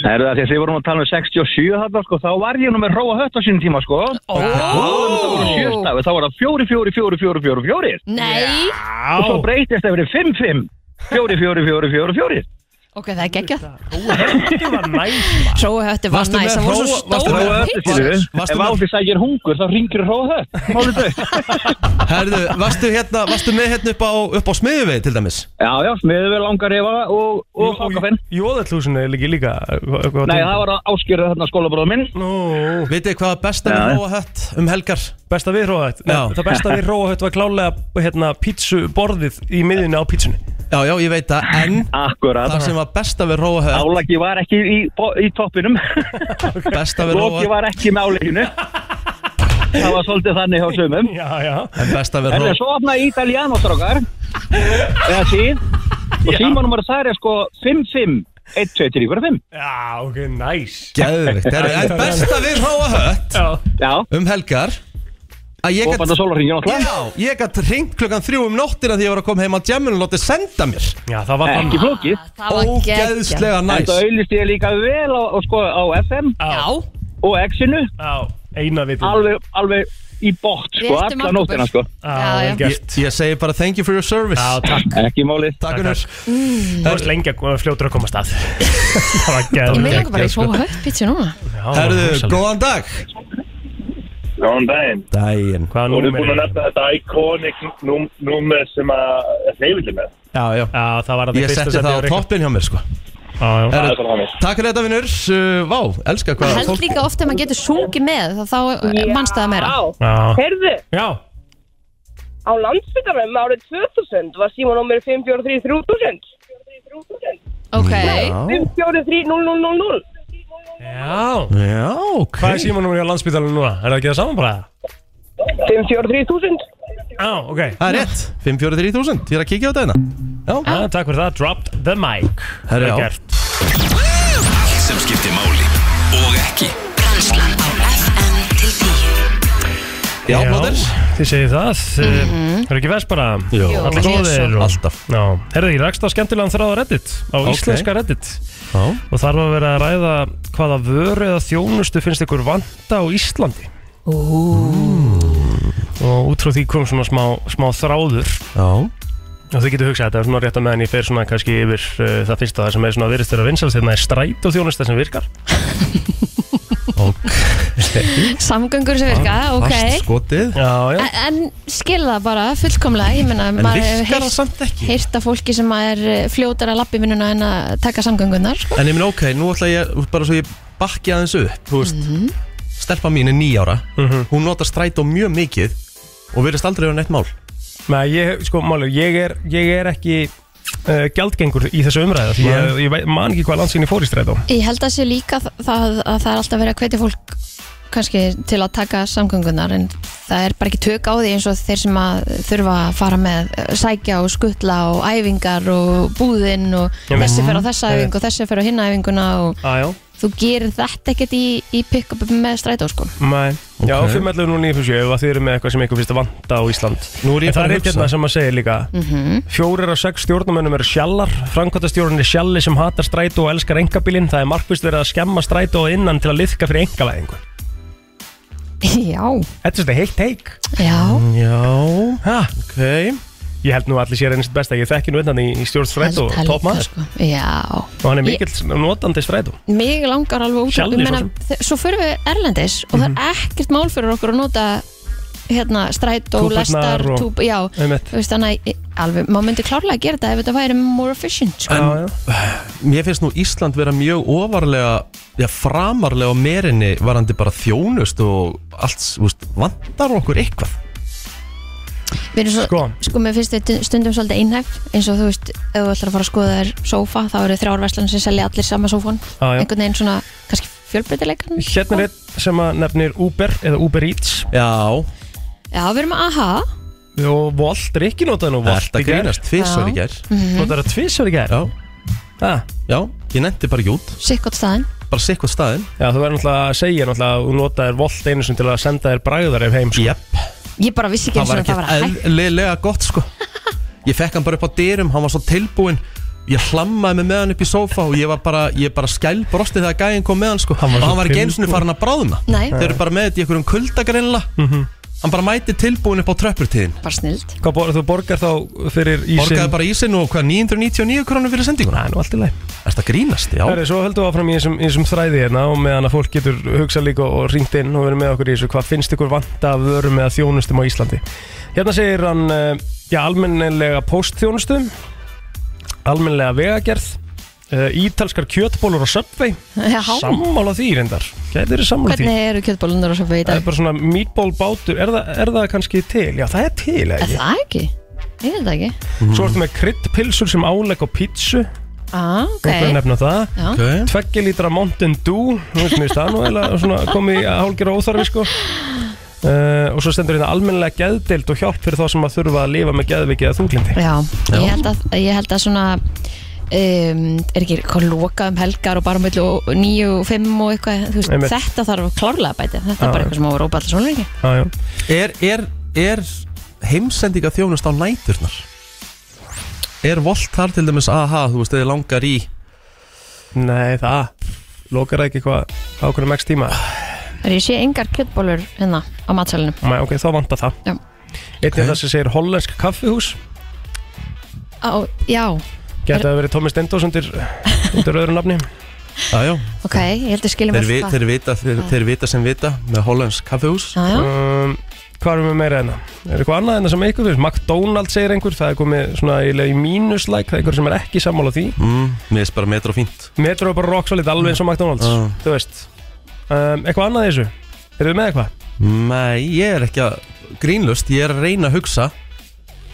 [SPEAKER 7] Það eru það því að þið vorum að tala um 67 þarna sko Þá var ég nú með róa hött á sínum tíma sko Ó Það voru sjöstafi, þá var það 4, 4, 4, 4, 4, 4
[SPEAKER 2] Nei,
[SPEAKER 7] Og svo breytist það fyrir 5, 5 4, 4, 4, 4, 4
[SPEAKER 2] ok, það er geggjað
[SPEAKER 3] Þetta var næst
[SPEAKER 2] Hrói hötti var
[SPEAKER 1] Varstu með
[SPEAKER 2] næst, það voru svo
[SPEAKER 1] hróa- varstu
[SPEAKER 2] stóra
[SPEAKER 1] með
[SPEAKER 7] Róa hött
[SPEAKER 2] pizza
[SPEAKER 7] sínu
[SPEAKER 1] Varstu
[SPEAKER 7] Ef
[SPEAKER 1] með-
[SPEAKER 7] áfið sækir hungur þá ringir róa hött Málið þau
[SPEAKER 1] Herru, varstu, hérna, varstu með hérna upp á, upp á smiðuvegi til dæmis?
[SPEAKER 7] Já, já, smiðu við langar hefa og, og fákafinn
[SPEAKER 3] Jóðallúsinu er líka líka eh, hvað- hvað-
[SPEAKER 7] Nei, það var að áskjörða þarna skólabróða minn
[SPEAKER 3] Nú,
[SPEAKER 1] Vitið hvað besta við
[SPEAKER 7] Já.
[SPEAKER 1] Róa Hött um helgar?
[SPEAKER 3] besta við róahött
[SPEAKER 1] Já.
[SPEAKER 3] Það besta við róahött var klálega hérna, pítsu borðið í miðinu á pítsunni
[SPEAKER 1] Já, já, ég veit það, en
[SPEAKER 7] Akkurat
[SPEAKER 1] það <laughs> sem var besta við Róa Hött
[SPEAKER 7] Álagi var ekki í, bo- í
[SPEAKER 1] <laughs>
[SPEAKER 7] toppinum
[SPEAKER 1] Besta við Róa
[SPEAKER 7] Loki var ekki með áleginu Það var svolítið þannig hjá sumum
[SPEAKER 3] Já, já
[SPEAKER 1] En besta við
[SPEAKER 7] En
[SPEAKER 1] Róa
[SPEAKER 7] svo opnaði Italiano strókar Eða síð Og símanúmer þar er sko 55 1, 2, 3, 4, 5
[SPEAKER 3] Já, ok, næs
[SPEAKER 1] Geðvikt, herru, en besta við Róa Hött
[SPEAKER 3] Já,
[SPEAKER 7] Já,
[SPEAKER 1] um helgar að ég
[SPEAKER 7] og banda
[SPEAKER 1] gætt
[SPEAKER 7] sólarringin náttúrulega
[SPEAKER 1] Já, ég gætt hringt klukkan þrjú um nóttina því ég var að koma heim á jamminu og látið senda mér
[SPEAKER 3] já það var
[SPEAKER 7] Ekki
[SPEAKER 3] þannig
[SPEAKER 7] flókið
[SPEAKER 2] Ah, Það var geggjað
[SPEAKER 1] Ógeðslega næs
[SPEAKER 7] Þetta auðlist ég líka vel á, á, sko, á FM
[SPEAKER 2] Já,
[SPEAKER 7] og X-inu
[SPEAKER 3] Já, eina vitið
[SPEAKER 7] alveg, alveg í bótt sko,
[SPEAKER 2] Rétti
[SPEAKER 7] alla
[SPEAKER 2] markaburð.
[SPEAKER 7] nóttina sko.
[SPEAKER 2] Já,
[SPEAKER 3] Já,
[SPEAKER 2] já.
[SPEAKER 3] vel
[SPEAKER 1] Ah, ég,
[SPEAKER 3] gert
[SPEAKER 1] ég segi bara thank you for your service
[SPEAKER 3] Já, takk
[SPEAKER 7] ekki málið
[SPEAKER 1] Takk unnur
[SPEAKER 3] Þú varst lengi að að fljótur að koma að <laughs> stað Það
[SPEAKER 2] Mm.
[SPEAKER 3] var
[SPEAKER 2] ég
[SPEAKER 3] gæð
[SPEAKER 2] með langar bara í
[SPEAKER 3] sko.
[SPEAKER 2] hrói hött pizza núna
[SPEAKER 1] Herðu, góðan dag
[SPEAKER 6] Góðan daginn.
[SPEAKER 1] Dæin
[SPEAKER 3] Hvaða
[SPEAKER 6] Þú erum búin að
[SPEAKER 3] númer er
[SPEAKER 6] nefna þetta iconic num- númer sem að hreyfili með.
[SPEAKER 1] Já, já
[SPEAKER 3] Já, það var að
[SPEAKER 1] Ég setti það á toppin hjá mér sko
[SPEAKER 3] Já, já
[SPEAKER 6] Það
[SPEAKER 1] Herru,
[SPEAKER 6] er svona þannig.
[SPEAKER 1] Takk fyrir þetta vinnur Uh, Vá, elska
[SPEAKER 2] Ég
[SPEAKER 1] hvað
[SPEAKER 2] held líka oft ef maður getur sungið með þá, þá mannst það meira
[SPEAKER 3] Já.
[SPEAKER 8] Já, heyrðu,
[SPEAKER 3] Já,
[SPEAKER 8] á landsbytarnum árið 2000 var símanúmer 5433 3000
[SPEAKER 2] Ok,
[SPEAKER 1] Já,
[SPEAKER 8] 543000
[SPEAKER 3] já
[SPEAKER 1] já, ok
[SPEAKER 3] Hvað er símanúmer hjá landsbytalinu núna? Er það ekki það saman bara?
[SPEAKER 8] 543000
[SPEAKER 3] Já, ok
[SPEAKER 1] Það er rétt 543.000 Ég er að kíkja á þetta hérna
[SPEAKER 3] Já,
[SPEAKER 1] Já,
[SPEAKER 3] takk fyrir það, dropped the mic
[SPEAKER 1] Herri,
[SPEAKER 3] Vel
[SPEAKER 1] já.
[SPEAKER 3] gert.
[SPEAKER 9] Allt sem skiptir máli og ekki
[SPEAKER 10] Brennslan á FM til 10
[SPEAKER 3] Já,
[SPEAKER 1] já, blóður
[SPEAKER 3] Þið segir það mm Er ekki vest bara?
[SPEAKER 1] Jó. Jú,
[SPEAKER 3] Allir góðir og...
[SPEAKER 1] Alltaf
[SPEAKER 3] Já, herðu, ég rakst á skemmtilegan þráð á Reddit Á
[SPEAKER 1] Ok.
[SPEAKER 3] íslenska Reddit
[SPEAKER 1] Já.
[SPEAKER 3] Og þar var verið að ræða hvaða vöru eða þjónustu finnst ykkur vanta á Íslandi Ooh. Og út frá því kom svona smá, smá þráður
[SPEAKER 1] Já
[SPEAKER 3] Og þið getur hugsað þetta er svona rétt að meðan ég fer svona kannski yfir uh, það fyrsta það sem er svona virðist þeirra vinsal þegar það er stræt og þjónusta sem
[SPEAKER 1] <laughs>
[SPEAKER 3] virkar
[SPEAKER 2] samgöngur sem virka, <laughs>
[SPEAKER 3] sko.
[SPEAKER 1] Fast
[SPEAKER 2] ok
[SPEAKER 1] skotið
[SPEAKER 3] Já, já,
[SPEAKER 2] En- En skilða það bara fullkomlega, ég meina
[SPEAKER 1] En
[SPEAKER 2] maður
[SPEAKER 1] virkar
[SPEAKER 2] hefur
[SPEAKER 1] það samt ekki?
[SPEAKER 2] heyrt að fólki sem er eh, fljótar að lappi vinnuna en að taka samgöngunar sko.
[SPEAKER 1] En ég minn ok, nú ætla ég bara svo ég bakki aðeins upp Þú veist, stelpa mín er nýjára mm
[SPEAKER 3] Mhm.
[SPEAKER 1] Hún notar strætó mjög mikið Og verðist aldrei vera neitt mál
[SPEAKER 3] Nei, ég, sko, málur, ég er, ég er ekki uh, gjaldgengur í þessu umræðu því ég, ég veit- man ekki hvað landsinni fór í strætó
[SPEAKER 2] Ég held að sé líka þ- það að það er alltaf verið að hvetja fólk kannski til að taka samgöngunar en það er bara ekki tök á því eins og þeir sem að þurfa að fara með eh, sækja og skutla og æfingar og búðinn og
[SPEAKER 3] Já, men-
[SPEAKER 2] þessi fer á þessa
[SPEAKER 3] Mhm.
[SPEAKER 2] æfingu og þessi fer á hinna æfinguna og
[SPEAKER 3] Aðjó
[SPEAKER 2] þú gerir þetta ekkert í, í pick-up með strætó sko
[SPEAKER 3] Nei, já, 511 og 957 ef að þið eru með eitthvað sem eitthvað finnst að vanta á Ísland
[SPEAKER 1] Nú er ég
[SPEAKER 3] En það
[SPEAKER 1] bara að
[SPEAKER 3] er eitt
[SPEAKER 1] hugsa.
[SPEAKER 3] hérna sem að segja líka
[SPEAKER 2] Mhm.
[SPEAKER 3] Fjórir af sex stjórnumönnum eru sjallar Frankvæmtastjórun er sjalli sem hatar strætó og elskar engabílinn Það er markvist verið að skemma strætó að innan til að liðka fyrir engalæðingu
[SPEAKER 2] <laughs> Já,
[SPEAKER 3] Þetta er svolítið heitt teik
[SPEAKER 2] já,
[SPEAKER 3] Mm,
[SPEAKER 1] Já,
[SPEAKER 3] ha.
[SPEAKER 1] ok
[SPEAKER 3] Ég held nú að allir sér einst besta Ég þekki nú innan í, í stjórn strætó
[SPEAKER 2] Held það
[SPEAKER 3] Top
[SPEAKER 2] líka,
[SPEAKER 3] maður
[SPEAKER 2] sko. Já,
[SPEAKER 3] Og hann er mikill notandi strætó
[SPEAKER 2] mig langar alveg út
[SPEAKER 3] Sjaldan,
[SPEAKER 2] ég meina,
[SPEAKER 3] svo sem. Mhm.
[SPEAKER 2] þe- svo förum við Erlendis og það er ekkert mál fyrir okkur að nota hérna strætó,
[SPEAKER 3] Túpurnar
[SPEAKER 2] lestar
[SPEAKER 3] og-
[SPEAKER 2] túb, já,
[SPEAKER 3] Einmitt.
[SPEAKER 2] þú veist þannig að, alveg, maður myndi klárlega gera þetta ef þetta væri more efficient sko.
[SPEAKER 3] Já, já.
[SPEAKER 1] Mér finnst nú Ísland vera mjög ofarlega Já, framarlega á merinni Varandi bara þjónust og allt þú veist, Vandar okkur eitthvað
[SPEAKER 2] Við erum svo,
[SPEAKER 3] Sko.
[SPEAKER 2] sko. mér finnst þetta stundum svolítið einhæf eins og þú veist, ef þú ætlar að fara að skoða þér sófa, þá eru þrjárverslan sem selja allir sama sófan,
[SPEAKER 3] Já, já.
[SPEAKER 2] einhvern veginn svona kannski fjölbreytileikan
[SPEAKER 3] Hérna er einn sem að nefnir Uber eða Uber Eats
[SPEAKER 1] Já,
[SPEAKER 2] Já, við erum að aha
[SPEAKER 3] og Volt, Rikki notaði nú Volt
[SPEAKER 1] þetta
[SPEAKER 3] í gær.
[SPEAKER 1] grínast Tvisvar í
[SPEAKER 2] Já.
[SPEAKER 1] gær
[SPEAKER 3] Notaði það tvisvar í gær
[SPEAKER 1] Já,
[SPEAKER 3] Ha.
[SPEAKER 1] já, ég nefndi bara ekki út
[SPEAKER 2] sikkot staðin
[SPEAKER 1] Bara sikkvað staðinn
[SPEAKER 3] Já, þú verður náttúrulega að segja náttúrulega að þú notaðir volt einu sem til að senda þér bræðar ef heim sko.
[SPEAKER 1] Jep,
[SPEAKER 2] Ég bara vissi ekki
[SPEAKER 1] það
[SPEAKER 2] eins
[SPEAKER 1] var
[SPEAKER 2] og það var að hægt
[SPEAKER 1] ekki eðlilega gott
[SPEAKER 2] <laughs>
[SPEAKER 1] sko Ég fekk hann bara upp á dyrum, hann var svo tilbúinn Ég hlammaði mig með hann upp í sófa og ég var bara, ég bara skæl brostið þegar gæinn kom með hann sko
[SPEAKER 3] Hann var
[SPEAKER 1] Og
[SPEAKER 3] svo
[SPEAKER 1] hann var ekki einu
[SPEAKER 3] tilbúinn.
[SPEAKER 1] sinni farin að bráðna
[SPEAKER 2] Nei.
[SPEAKER 1] Þeir eru bara með þetta í einhverjum kuldagrinla Hann bara mæti tilbúinn upp á tröppurtíðin
[SPEAKER 2] bara snild
[SPEAKER 3] Mhm. Hvað borgar þú borgar þá fyrir ísinn?
[SPEAKER 1] Borgaði bara í sinn og hvað 999 krónum fyrir sendinguna
[SPEAKER 3] Næ, nú allt í læg
[SPEAKER 1] Er þetta grínast, já
[SPEAKER 3] Herri, svo höldum við áfram í þessum, í þessum þræði hérna og meðan að fólk getur hugsað líka og ringt inn og verið með okkur í þessu hvað finnst ykkur vanta að vörum eða þjónustum á Íslandi Hérna segir hann eh, já, almennilega póstþjónustu almennilega vegagerð eh, ítalskar kjötbólur á Subway
[SPEAKER 2] Já.
[SPEAKER 3] Sammála því reyndar Gæti eru sammála því
[SPEAKER 2] Hvernig eru kjötbólundur og svo fyrir í
[SPEAKER 3] Það er
[SPEAKER 2] dag?
[SPEAKER 3] bara svona meatball bátur er, það- er það kannski til? Já, það er til eða
[SPEAKER 2] Er
[SPEAKER 3] ekki?
[SPEAKER 2] það ekki? Ég veit það ekki
[SPEAKER 3] Svo ertu með kryddpilsur sem álegg á pítsu
[SPEAKER 2] Ah, ok
[SPEAKER 3] Það er nefna það
[SPEAKER 2] Já.
[SPEAKER 1] okay.
[SPEAKER 3] Tveggja lítra Mountain Dew Nú veist mér finnst það nú eða svona komið í hálgjara óþarfi sko Uh, og svo stendur þetta almennilega geðdeild og hjálp fyrir þá sem að þurfa að lifa með geðviki eða þunglindi
[SPEAKER 2] Já, Ég, held að, ég held að svona um, er ekki hvað lokað um helgar og bara um millu nýju og fimm og eitthvað þú veist,
[SPEAKER 3] Einmitt.
[SPEAKER 2] þetta þarf klárlega að bæta þetta er
[SPEAKER 3] Já,
[SPEAKER 2] bara eitthvað sem á að rópa allir svona lengi
[SPEAKER 3] ah, já.
[SPEAKER 1] er, er, er heimsendinga þjónust á næturnar? Er volt þar til dæmis aha, þú veist, eða langar í
[SPEAKER 3] Nei, það lokar það ekki hvað ákveðum x tíma
[SPEAKER 2] Þegar ég sé engar kjötbólur hérna á matsalinu
[SPEAKER 3] Mæ, ok, þá vantar það
[SPEAKER 2] Já.
[SPEAKER 3] Einnig okay. það sem segir hollensk kaffihús
[SPEAKER 2] Á, Já,
[SPEAKER 3] Gæti að verið Tómi Stendós undir, undir öðru nafni
[SPEAKER 1] Já, já,
[SPEAKER 2] ok, ég held að skiljum
[SPEAKER 1] þeir, vi, þeir, vita, þeir, þeir vita sem vita með Hollands kaffehús
[SPEAKER 2] Já, já,
[SPEAKER 3] um, Hvað erum við meira enna? Er eitthvað annað enna sem eitthvað finnst? McDonalds segir einhver, það er komið svona eiginlega í mínuslæk Það er einhver sem er ekki sammála því
[SPEAKER 1] mm, Mér er bara metra fínt
[SPEAKER 3] Metro er bara rocksolid alveg eins og McDonalds
[SPEAKER 1] Já.
[SPEAKER 3] Þú veist um, Eitthvað annað í þessu? Eru þið með eitthvað?
[SPEAKER 1] Nei, ég er ekki að grínlust, ég er að reyna að hugsa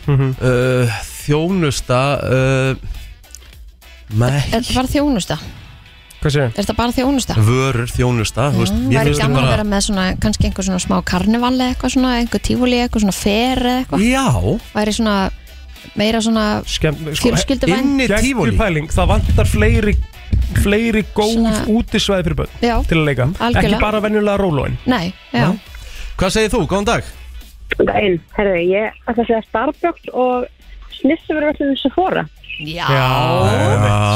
[SPEAKER 3] Mhm.
[SPEAKER 1] uh, Þjónusta uh,
[SPEAKER 2] er
[SPEAKER 1] Nei,
[SPEAKER 2] þetta bara þjónusta?
[SPEAKER 3] Hvað séu?
[SPEAKER 2] Er þetta bara þjónusta?
[SPEAKER 1] vörur, þjónusta þú veist,
[SPEAKER 2] Mm,
[SPEAKER 1] mér
[SPEAKER 2] væri
[SPEAKER 1] finnst
[SPEAKER 2] gaman að vera
[SPEAKER 1] bara-
[SPEAKER 2] með svona, kannski einhver svona smá karneval eða eitthvað svona, einhver tífúli eitthvað svona fer eða eitthvað,
[SPEAKER 1] Já,
[SPEAKER 2] væri svona meira svona
[SPEAKER 3] Skemm,
[SPEAKER 2] fjölskylduvæn
[SPEAKER 1] inni
[SPEAKER 3] Geggjur
[SPEAKER 1] tífóli
[SPEAKER 3] pæling, sko, það vantar fleiri fleiri góð
[SPEAKER 2] Svona-
[SPEAKER 3] útisvæði fyrir börn
[SPEAKER 2] Já,
[SPEAKER 3] til að leika,
[SPEAKER 2] Algjörlega.
[SPEAKER 3] ekki bara venjulega rólóin
[SPEAKER 2] nei, já,
[SPEAKER 1] Hvað segir þú, góðan dag?
[SPEAKER 8] Dæin, herðu, ég ætla að segja Starbucks og snissu verið allir þessu fóra.
[SPEAKER 2] já,
[SPEAKER 1] Já,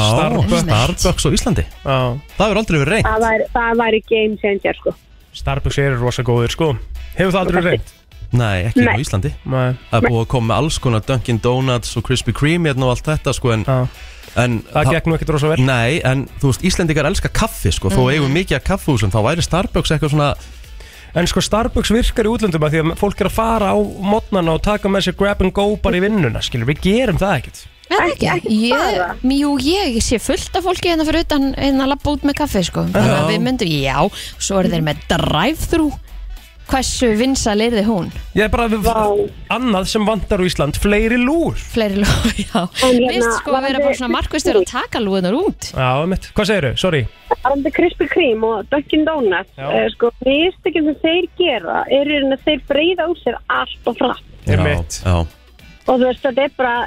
[SPEAKER 3] Starbucks
[SPEAKER 1] Starbucks á Íslandi
[SPEAKER 3] Já.
[SPEAKER 1] Það hefur aldrei verið reynd
[SPEAKER 8] Það væri, það væri game changer, sko.
[SPEAKER 3] Starbucks eru rosa góðir sko Hefur það aldrei verið reynd?
[SPEAKER 1] Nei, ekki hérna
[SPEAKER 8] Nei.
[SPEAKER 1] á Íslandi
[SPEAKER 3] Nei
[SPEAKER 1] Það er búið að koma með alls konar Dunkin Donuts og Krispy Kreme hérna og allt þetta sko en,
[SPEAKER 3] Já.
[SPEAKER 1] en
[SPEAKER 3] Það gekk nú ekkert rosa vel
[SPEAKER 1] Nei, en þú veist, Íslendingar elska kaffi sko Þó eigum mikið að kaffhúsum, þá væri Starbucks eitthvað svona
[SPEAKER 3] En sko Starbucks virkar í útlöndum að því að fólk er að fara á modnana og taka með sér grab and go bara í vinnuna skilur, við gerum það ekkert
[SPEAKER 2] Er það ekki? Ég, jú, ég sé fullt af fólki hérna fyrir utan hérna að labba út með kaffi, sko. Þannig að
[SPEAKER 3] Já.
[SPEAKER 2] við myndum, já, svo eru þeir með drive-thru. Hversu vinsal er þið hún?
[SPEAKER 3] Ég er bara við, annað sem vantar á Ísland, fleiri lúr
[SPEAKER 2] Fleiri lúr, <laughs> já
[SPEAKER 8] hérna,
[SPEAKER 2] Vist sko að vera bara svona markvistur að taka lúðunar út.
[SPEAKER 3] Já, mitt, hvað segirðu, sorry
[SPEAKER 8] Arandi Krispy Kreme og Dunkin Donuts
[SPEAKER 3] Já.
[SPEAKER 8] eh, sko, mistökjum sem þeir gera er í rauninni að þeir breyða úr sér allt og frætt
[SPEAKER 3] Ég mitt
[SPEAKER 1] Já,
[SPEAKER 8] og þú veist, þetta er bara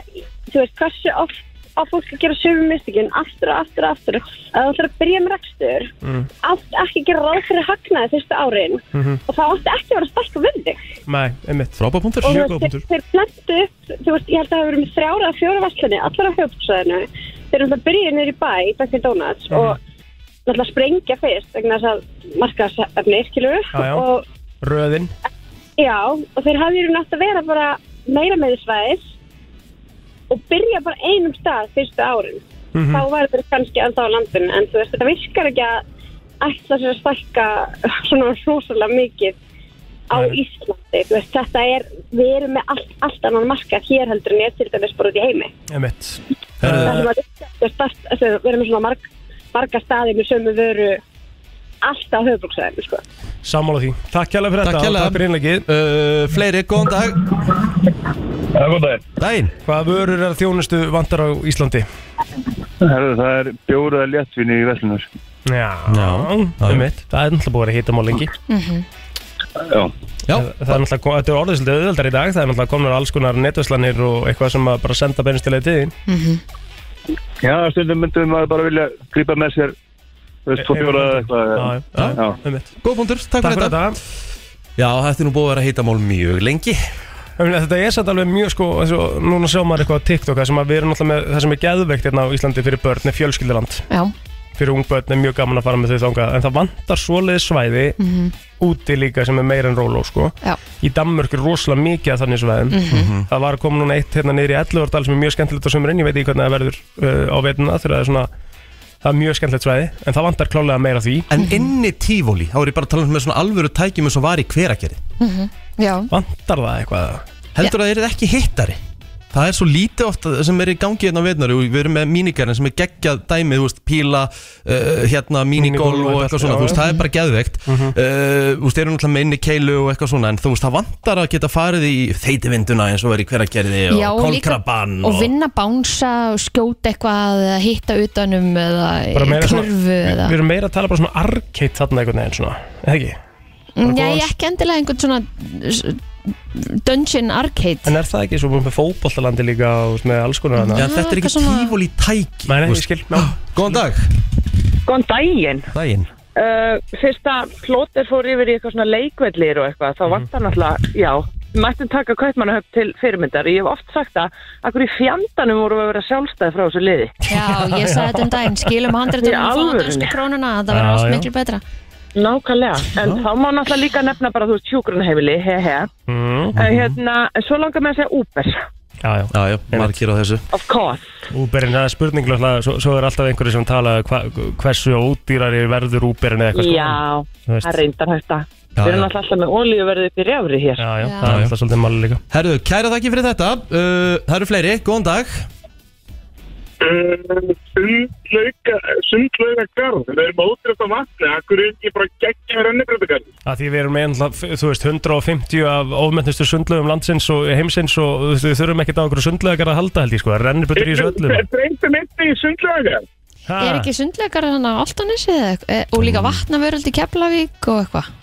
[SPEAKER 8] þú veist, hversu oft á fólk að gera sömu mistökjum aftur og aftur og aftur að þú ætlar að byrja með rekstur
[SPEAKER 3] Mm.
[SPEAKER 8] allt ekki gera ráð fyrir hagnaði fyrstu árin
[SPEAKER 3] Mhm.
[SPEAKER 8] og það átti ekki að vera stækka við þig
[SPEAKER 3] Nei, ég mitt
[SPEAKER 1] frábæðbúndur
[SPEAKER 8] og
[SPEAKER 3] Mjög
[SPEAKER 8] þú
[SPEAKER 3] góð
[SPEAKER 8] veist,
[SPEAKER 3] punktur.
[SPEAKER 8] þeir, þeir plentu upp þú veist, ég held að það hafa verið með þrjára að fjóra vasslunni allar á höfbúksæðinu þeir eru alltaf byrjuð niður í bæ í Dunkin Donuts
[SPEAKER 3] Mhm.
[SPEAKER 8] og náttúrulega sprengja fyrst vegna þess að markaðsefni skilur
[SPEAKER 3] Mm. Já, já.
[SPEAKER 8] og
[SPEAKER 3] Röðin
[SPEAKER 8] Já, og þeir hafði eru nátt að vera bara meira með svæðis og byrja bara einum stað fyrstu árin. Þá væri þeir kannski alltaf á landinu, en þú veist, þetta virkar ekki að ætla sér að stækka <laughs> svona rosalega mikið á
[SPEAKER 3] Nei.
[SPEAKER 8] Íslandi. Þú veist, þetta er, við erum með allt, allt annan markað hér heldur en ég til dæmis bara út í heimi.
[SPEAKER 3] Ég mitt
[SPEAKER 8] Það sem að þú veist, allt- þú veist, við erum með svona marg, marga staði með sömu vöru alltaf á höfbruksæðinu, sko.
[SPEAKER 3] Eh, Sammála því, takk hérlega fyrir
[SPEAKER 1] Takk
[SPEAKER 3] þetta og
[SPEAKER 1] hérlega.
[SPEAKER 3] Takk fyrir innleggið
[SPEAKER 1] uh, Fleiri, góðan dag
[SPEAKER 6] Það er góð daginn.
[SPEAKER 1] Dæin
[SPEAKER 3] Hvaða vörur er að þjónustu vantar á Íslandi?
[SPEAKER 6] Herru, það er bjóraða léttvinni í Veslunar.
[SPEAKER 3] Já,
[SPEAKER 1] Já.
[SPEAKER 3] ég mitt Það er náttúrulega búið að vera hittamál lengi
[SPEAKER 6] Já.
[SPEAKER 1] Já,
[SPEAKER 3] Það er náttúrulega, þetta er orðið svolítið auðveldar í dag Það er náttúrulega komnur alls konar netvæslanir og eitthvað sem að bara senda beinustilega til þín
[SPEAKER 6] Já, stundum myndum maður bara vilja grípa með sér, þú veist, tvo bjóraða eða eitthvað.
[SPEAKER 3] Já, já,
[SPEAKER 6] Já.
[SPEAKER 3] einmitt.
[SPEAKER 1] góðbúndur, takk,
[SPEAKER 3] Takk
[SPEAKER 1] fyrir þetta Já, þetta er nú búið að vera að heita mál mjög lengi
[SPEAKER 3] Ömlega, þetta er satt alveg mjög sko eins og núna sjá maður eitthvað á TikTok það sem að við erum náttúrulega með það sem er geðveikt hérna á Íslandi fyrir börn er fjölskyldiland
[SPEAKER 2] Já,
[SPEAKER 3] fyrir ung börn er mjög gaman að fara með þau þangað en það vantar svoleiði svæði
[SPEAKER 2] Mhm.
[SPEAKER 3] úti líka sem er meira en róló sko
[SPEAKER 2] já, Mhm.
[SPEAKER 3] í Danmörk er rosalega mikið af þannig svæðum
[SPEAKER 1] Mhm.
[SPEAKER 3] það var komið núna eitt hérna niður í 11 árdal sem er mjög skemmtilegt á sömurinn, ég veit ekki hvernig það verður uh, á veituna þegar það er svona það er mjög skemmtilegt svæði en það vantar klálega meira af því
[SPEAKER 1] En
[SPEAKER 2] Mhm.
[SPEAKER 1] inni tífóli, þá er ég bara að tala um með svona alvöru tækjum eins og var í hveragerði
[SPEAKER 2] mhm. já
[SPEAKER 3] vantar það eitthvað
[SPEAKER 1] Heldur að það er ekki hittari Það er svo lítið oft sem er í gangi hérna á vetnar og við erum með mínigarinn sem er geggjað dæmi, þú veist, píla, uh, hérna, minigolf
[SPEAKER 3] Minigolf
[SPEAKER 1] og
[SPEAKER 3] og
[SPEAKER 1] eitthvað
[SPEAKER 3] allt,
[SPEAKER 1] svona,
[SPEAKER 3] já,
[SPEAKER 1] þú veist, það er bara geðveikt. Uh, Þú veist, erum náttúrulega með inni keilu og eitthvað svona, en þú veist, það vantar að geta farið í þeitivinduna eins og verið í hveragerði og
[SPEAKER 2] Já, og líka-
[SPEAKER 1] kolkrabann
[SPEAKER 2] Og vinna bánsa og skjóta eitthvað eða hitta utanum eða
[SPEAKER 3] Bara meira svona-
[SPEAKER 2] körfu eða
[SPEAKER 3] við erum meira að tala bara svona arcade þarna einhvern veginn svona, eða ekki?
[SPEAKER 2] Já, ég Mm, ekki endilega einhvern svona s- dungeon arcade
[SPEAKER 3] En er það ekki svo búin með fótbollalandi líka og með alls konar hana?
[SPEAKER 1] Já, þetta er ekki
[SPEAKER 2] eitthvað svona-
[SPEAKER 1] tífóli tæki.
[SPEAKER 3] Nei, nei,
[SPEAKER 1] þú
[SPEAKER 3] ég
[SPEAKER 1] veist.
[SPEAKER 3] skil, já.
[SPEAKER 1] Góðan dag.
[SPEAKER 11] Góðan daginn.
[SPEAKER 1] Daginn.
[SPEAKER 11] Uh, fyrst að plóter fór yfir í eitthvað svona leikvellir og eitthvað, þá
[SPEAKER 3] Mhm.
[SPEAKER 11] vantar náttúrulega, já, við mættum taka kaupmannahöfn til fyrirmyndar. Ég hef oft sagt að akkur í fjandanum vorum við að vera sjálfstæði frá þessu liði.
[SPEAKER 2] Já, ég sagði þetta um daginn, skilum um handritunum
[SPEAKER 11] Í
[SPEAKER 2] og fáum
[SPEAKER 11] alvörunni?
[SPEAKER 2] dönsku krónuna það verður
[SPEAKER 3] Já,
[SPEAKER 2] allt
[SPEAKER 3] já.
[SPEAKER 2] miklu betra
[SPEAKER 11] Nákvæmlega, en þá má náttúrulega líka nefna bara, þú veist, hjúgrunheimili, he he.
[SPEAKER 3] Mm.
[SPEAKER 11] Uh, hérna, en svo langar mér að segja Uber,
[SPEAKER 3] Já, já.
[SPEAKER 1] Já, já, margir á þessu.
[SPEAKER 11] of course.
[SPEAKER 3] Úberinn, það er spurninglega, svo, svo er alltaf einhverju sem tala hva, hversu ódýrari verður úberinn eða eitthvað sko.
[SPEAKER 11] Já,
[SPEAKER 3] Þú veist.
[SPEAKER 11] það reyndar hægt að.
[SPEAKER 1] Já,
[SPEAKER 11] Við erum
[SPEAKER 1] já.
[SPEAKER 11] náttúrulega alltaf með olíuverðið fyrir efri hér.
[SPEAKER 3] Já, já,
[SPEAKER 2] Já.
[SPEAKER 3] það er alltaf svolítið máli líka.
[SPEAKER 1] Herðu, kæra þakki fyrir þetta. Uh, það eru fleiri. Góðan dag.
[SPEAKER 6] Sundlauga garð, við erum ótrúst á vatni, akkur er ekki bara geggjum rennibröðugarð.
[SPEAKER 3] Að því við erum með, náttúrulega, þú veist, 150 af ofmennustu sundlöfum landsins og heimsins og þú veist, við þurfum ekkert á einhverju sundlögar að halda held ég sko, það rennir betur í þessu öllu.
[SPEAKER 11] <laughs>
[SPEAKER 6] Breytum einni í sundlauga garð.
[SPEAKER 3] Ha.
[SPEAKER 2] Er ekki sundleikar hann á Altanesi eða eitthvað? Eh, og
[SPEAKER 3] Mm.
[SPEAKER 2] líka vatnavöröld í Keflavík og eitthvað?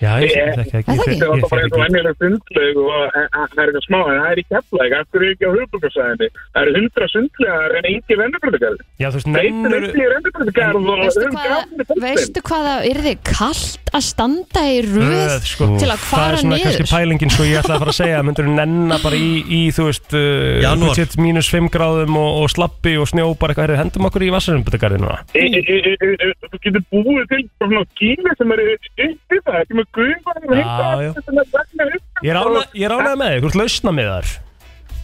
[SPEAKER 3] Já, ég veit ekki,
[SPEAKER 2] Er
[SPEAKER 3] ekki,
[SPEAKER 2] það ekki?
[SPEAKER 3] ég-
[SPEAKER 6] Það var
[SPEAKER 3] ég
[SPEAKER 6] bara eins og
[SPEAKER 3] þekki ekki.
[SPEAKER 6] vennilega sundlaug og eh, eh, það er eitthvað smá, en það er í keflæk, akkur er ekki á höfuborgarsæðinni. Það eru hundra sundlaugar en engi rennibröðugarð.
[SPEAKER 3] Já, þú veist,
[SPEAKER 6] Breytum
[SPEAKER 3] nennur,
[SPEAKER 6] einni í rennibröðugarð og
[SPEAKER 2] Veistu
[SPEAKER 6] höfum
[SPEAKER 2] hvað,
[SPEAKER 6] gaman í boltinn.
[SPEAKER 2] veistu hvað það yrði kallt að standa í röð
[SPEAKER 3] Röð, sko.
[SPEAKER 2] til að
[SPEAKER 3] það er
[SPEAKER 2] fara
[SPEAKER 3] svona
[SPEAKER 2] niður?
[SPEAKER 3] kannski pælingin sko ég ætlaði að fara að segja myndur þú nenna bara í, í þú veist
[SPEAKER 1] Janúar.
[SPEAKER 3] uh, mínus 5 gráðum og, og slappi og snjó bara eitthvað heyrðu, hendum okkur í vassarumbutagarði núna
[SPEAKER 6] E- e- e- e- e- e- Þú getur búið til bara svona gíla sem eru upp í það, ekki með guðvæðin og
[SPEAKER 3] Já,
[SPEAKER 6] hitt að
[SPEAKER 3] já.
[SPEAKER 6] þetta sem er vegna upp.
[SPEAKER 3] ég er ána- ég er ánægð með þig, þú ert lausna með
[SPEAKER 2] <laughs>
[SPEAKER 3] þar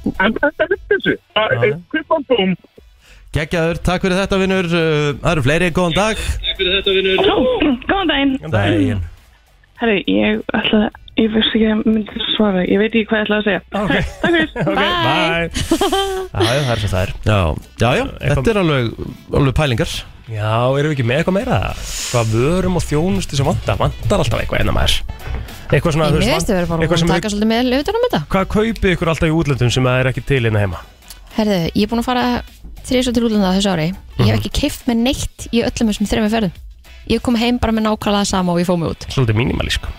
[SPEAKER 6] En þetta er upp þessu.
[SPEAKER 3] Já, já.
[SPEAKER 6] Kvippan búm.
[SPEAKER 1] Geggjaður, takk fyrir þetta vinnur Uh, Það eru fleiri, góðan dag
[SPEAKER 11] Góðan daginn.
[SPEAKER 1] Dæin
[SPEAKER 11] Herri, ég ætlaði
[SPEAKER 6] Ég veist ekki að ég myndi svara, ég veit ekki hvað ég ætla að segja.
[SPEAKER 3] Ok.
[SPEAKER 6] Takk fyrir.
[SPEAKER 3] Bye. Já, það er sem það er
[SPEAKER 1] Já, já, já þetta er alveg, alveg pælingar
[SPEAKER 3] Já, erum við ekki með eitthvað meira? Hvað vörum og þjónustu sem vantar? Vantar alltaf eitthvað enna maður Eitthvað svona,
[SPEAKER 2] Ég veist að við erum bara
[SPEAKER 3] eitthvað
[SPEAKER 2] búin
[SPEAKER 3] sem
[SPEAKER 2] að
[SPEAKER 3] við
[SPEAKER 2] taka svolítið með löfutan um þetta
[SPEAKER 3] Hvað kaupið ykkur alltaf í útlöndum sem það er ekki til hérna heima?
[SPEAKER 2] Herðu, ég er búin að fara þrjus til útlanda þessu ári Ég
[SPEAKER 3] Mhm.
[SPEAKER 2] hef ekki keift með neitt í öllum þessum þreymur ferðum Ég kom heim bara með nákvæmlega sama og ég fóð mig út
[SPEAKER 3] Svolítið mínimalísku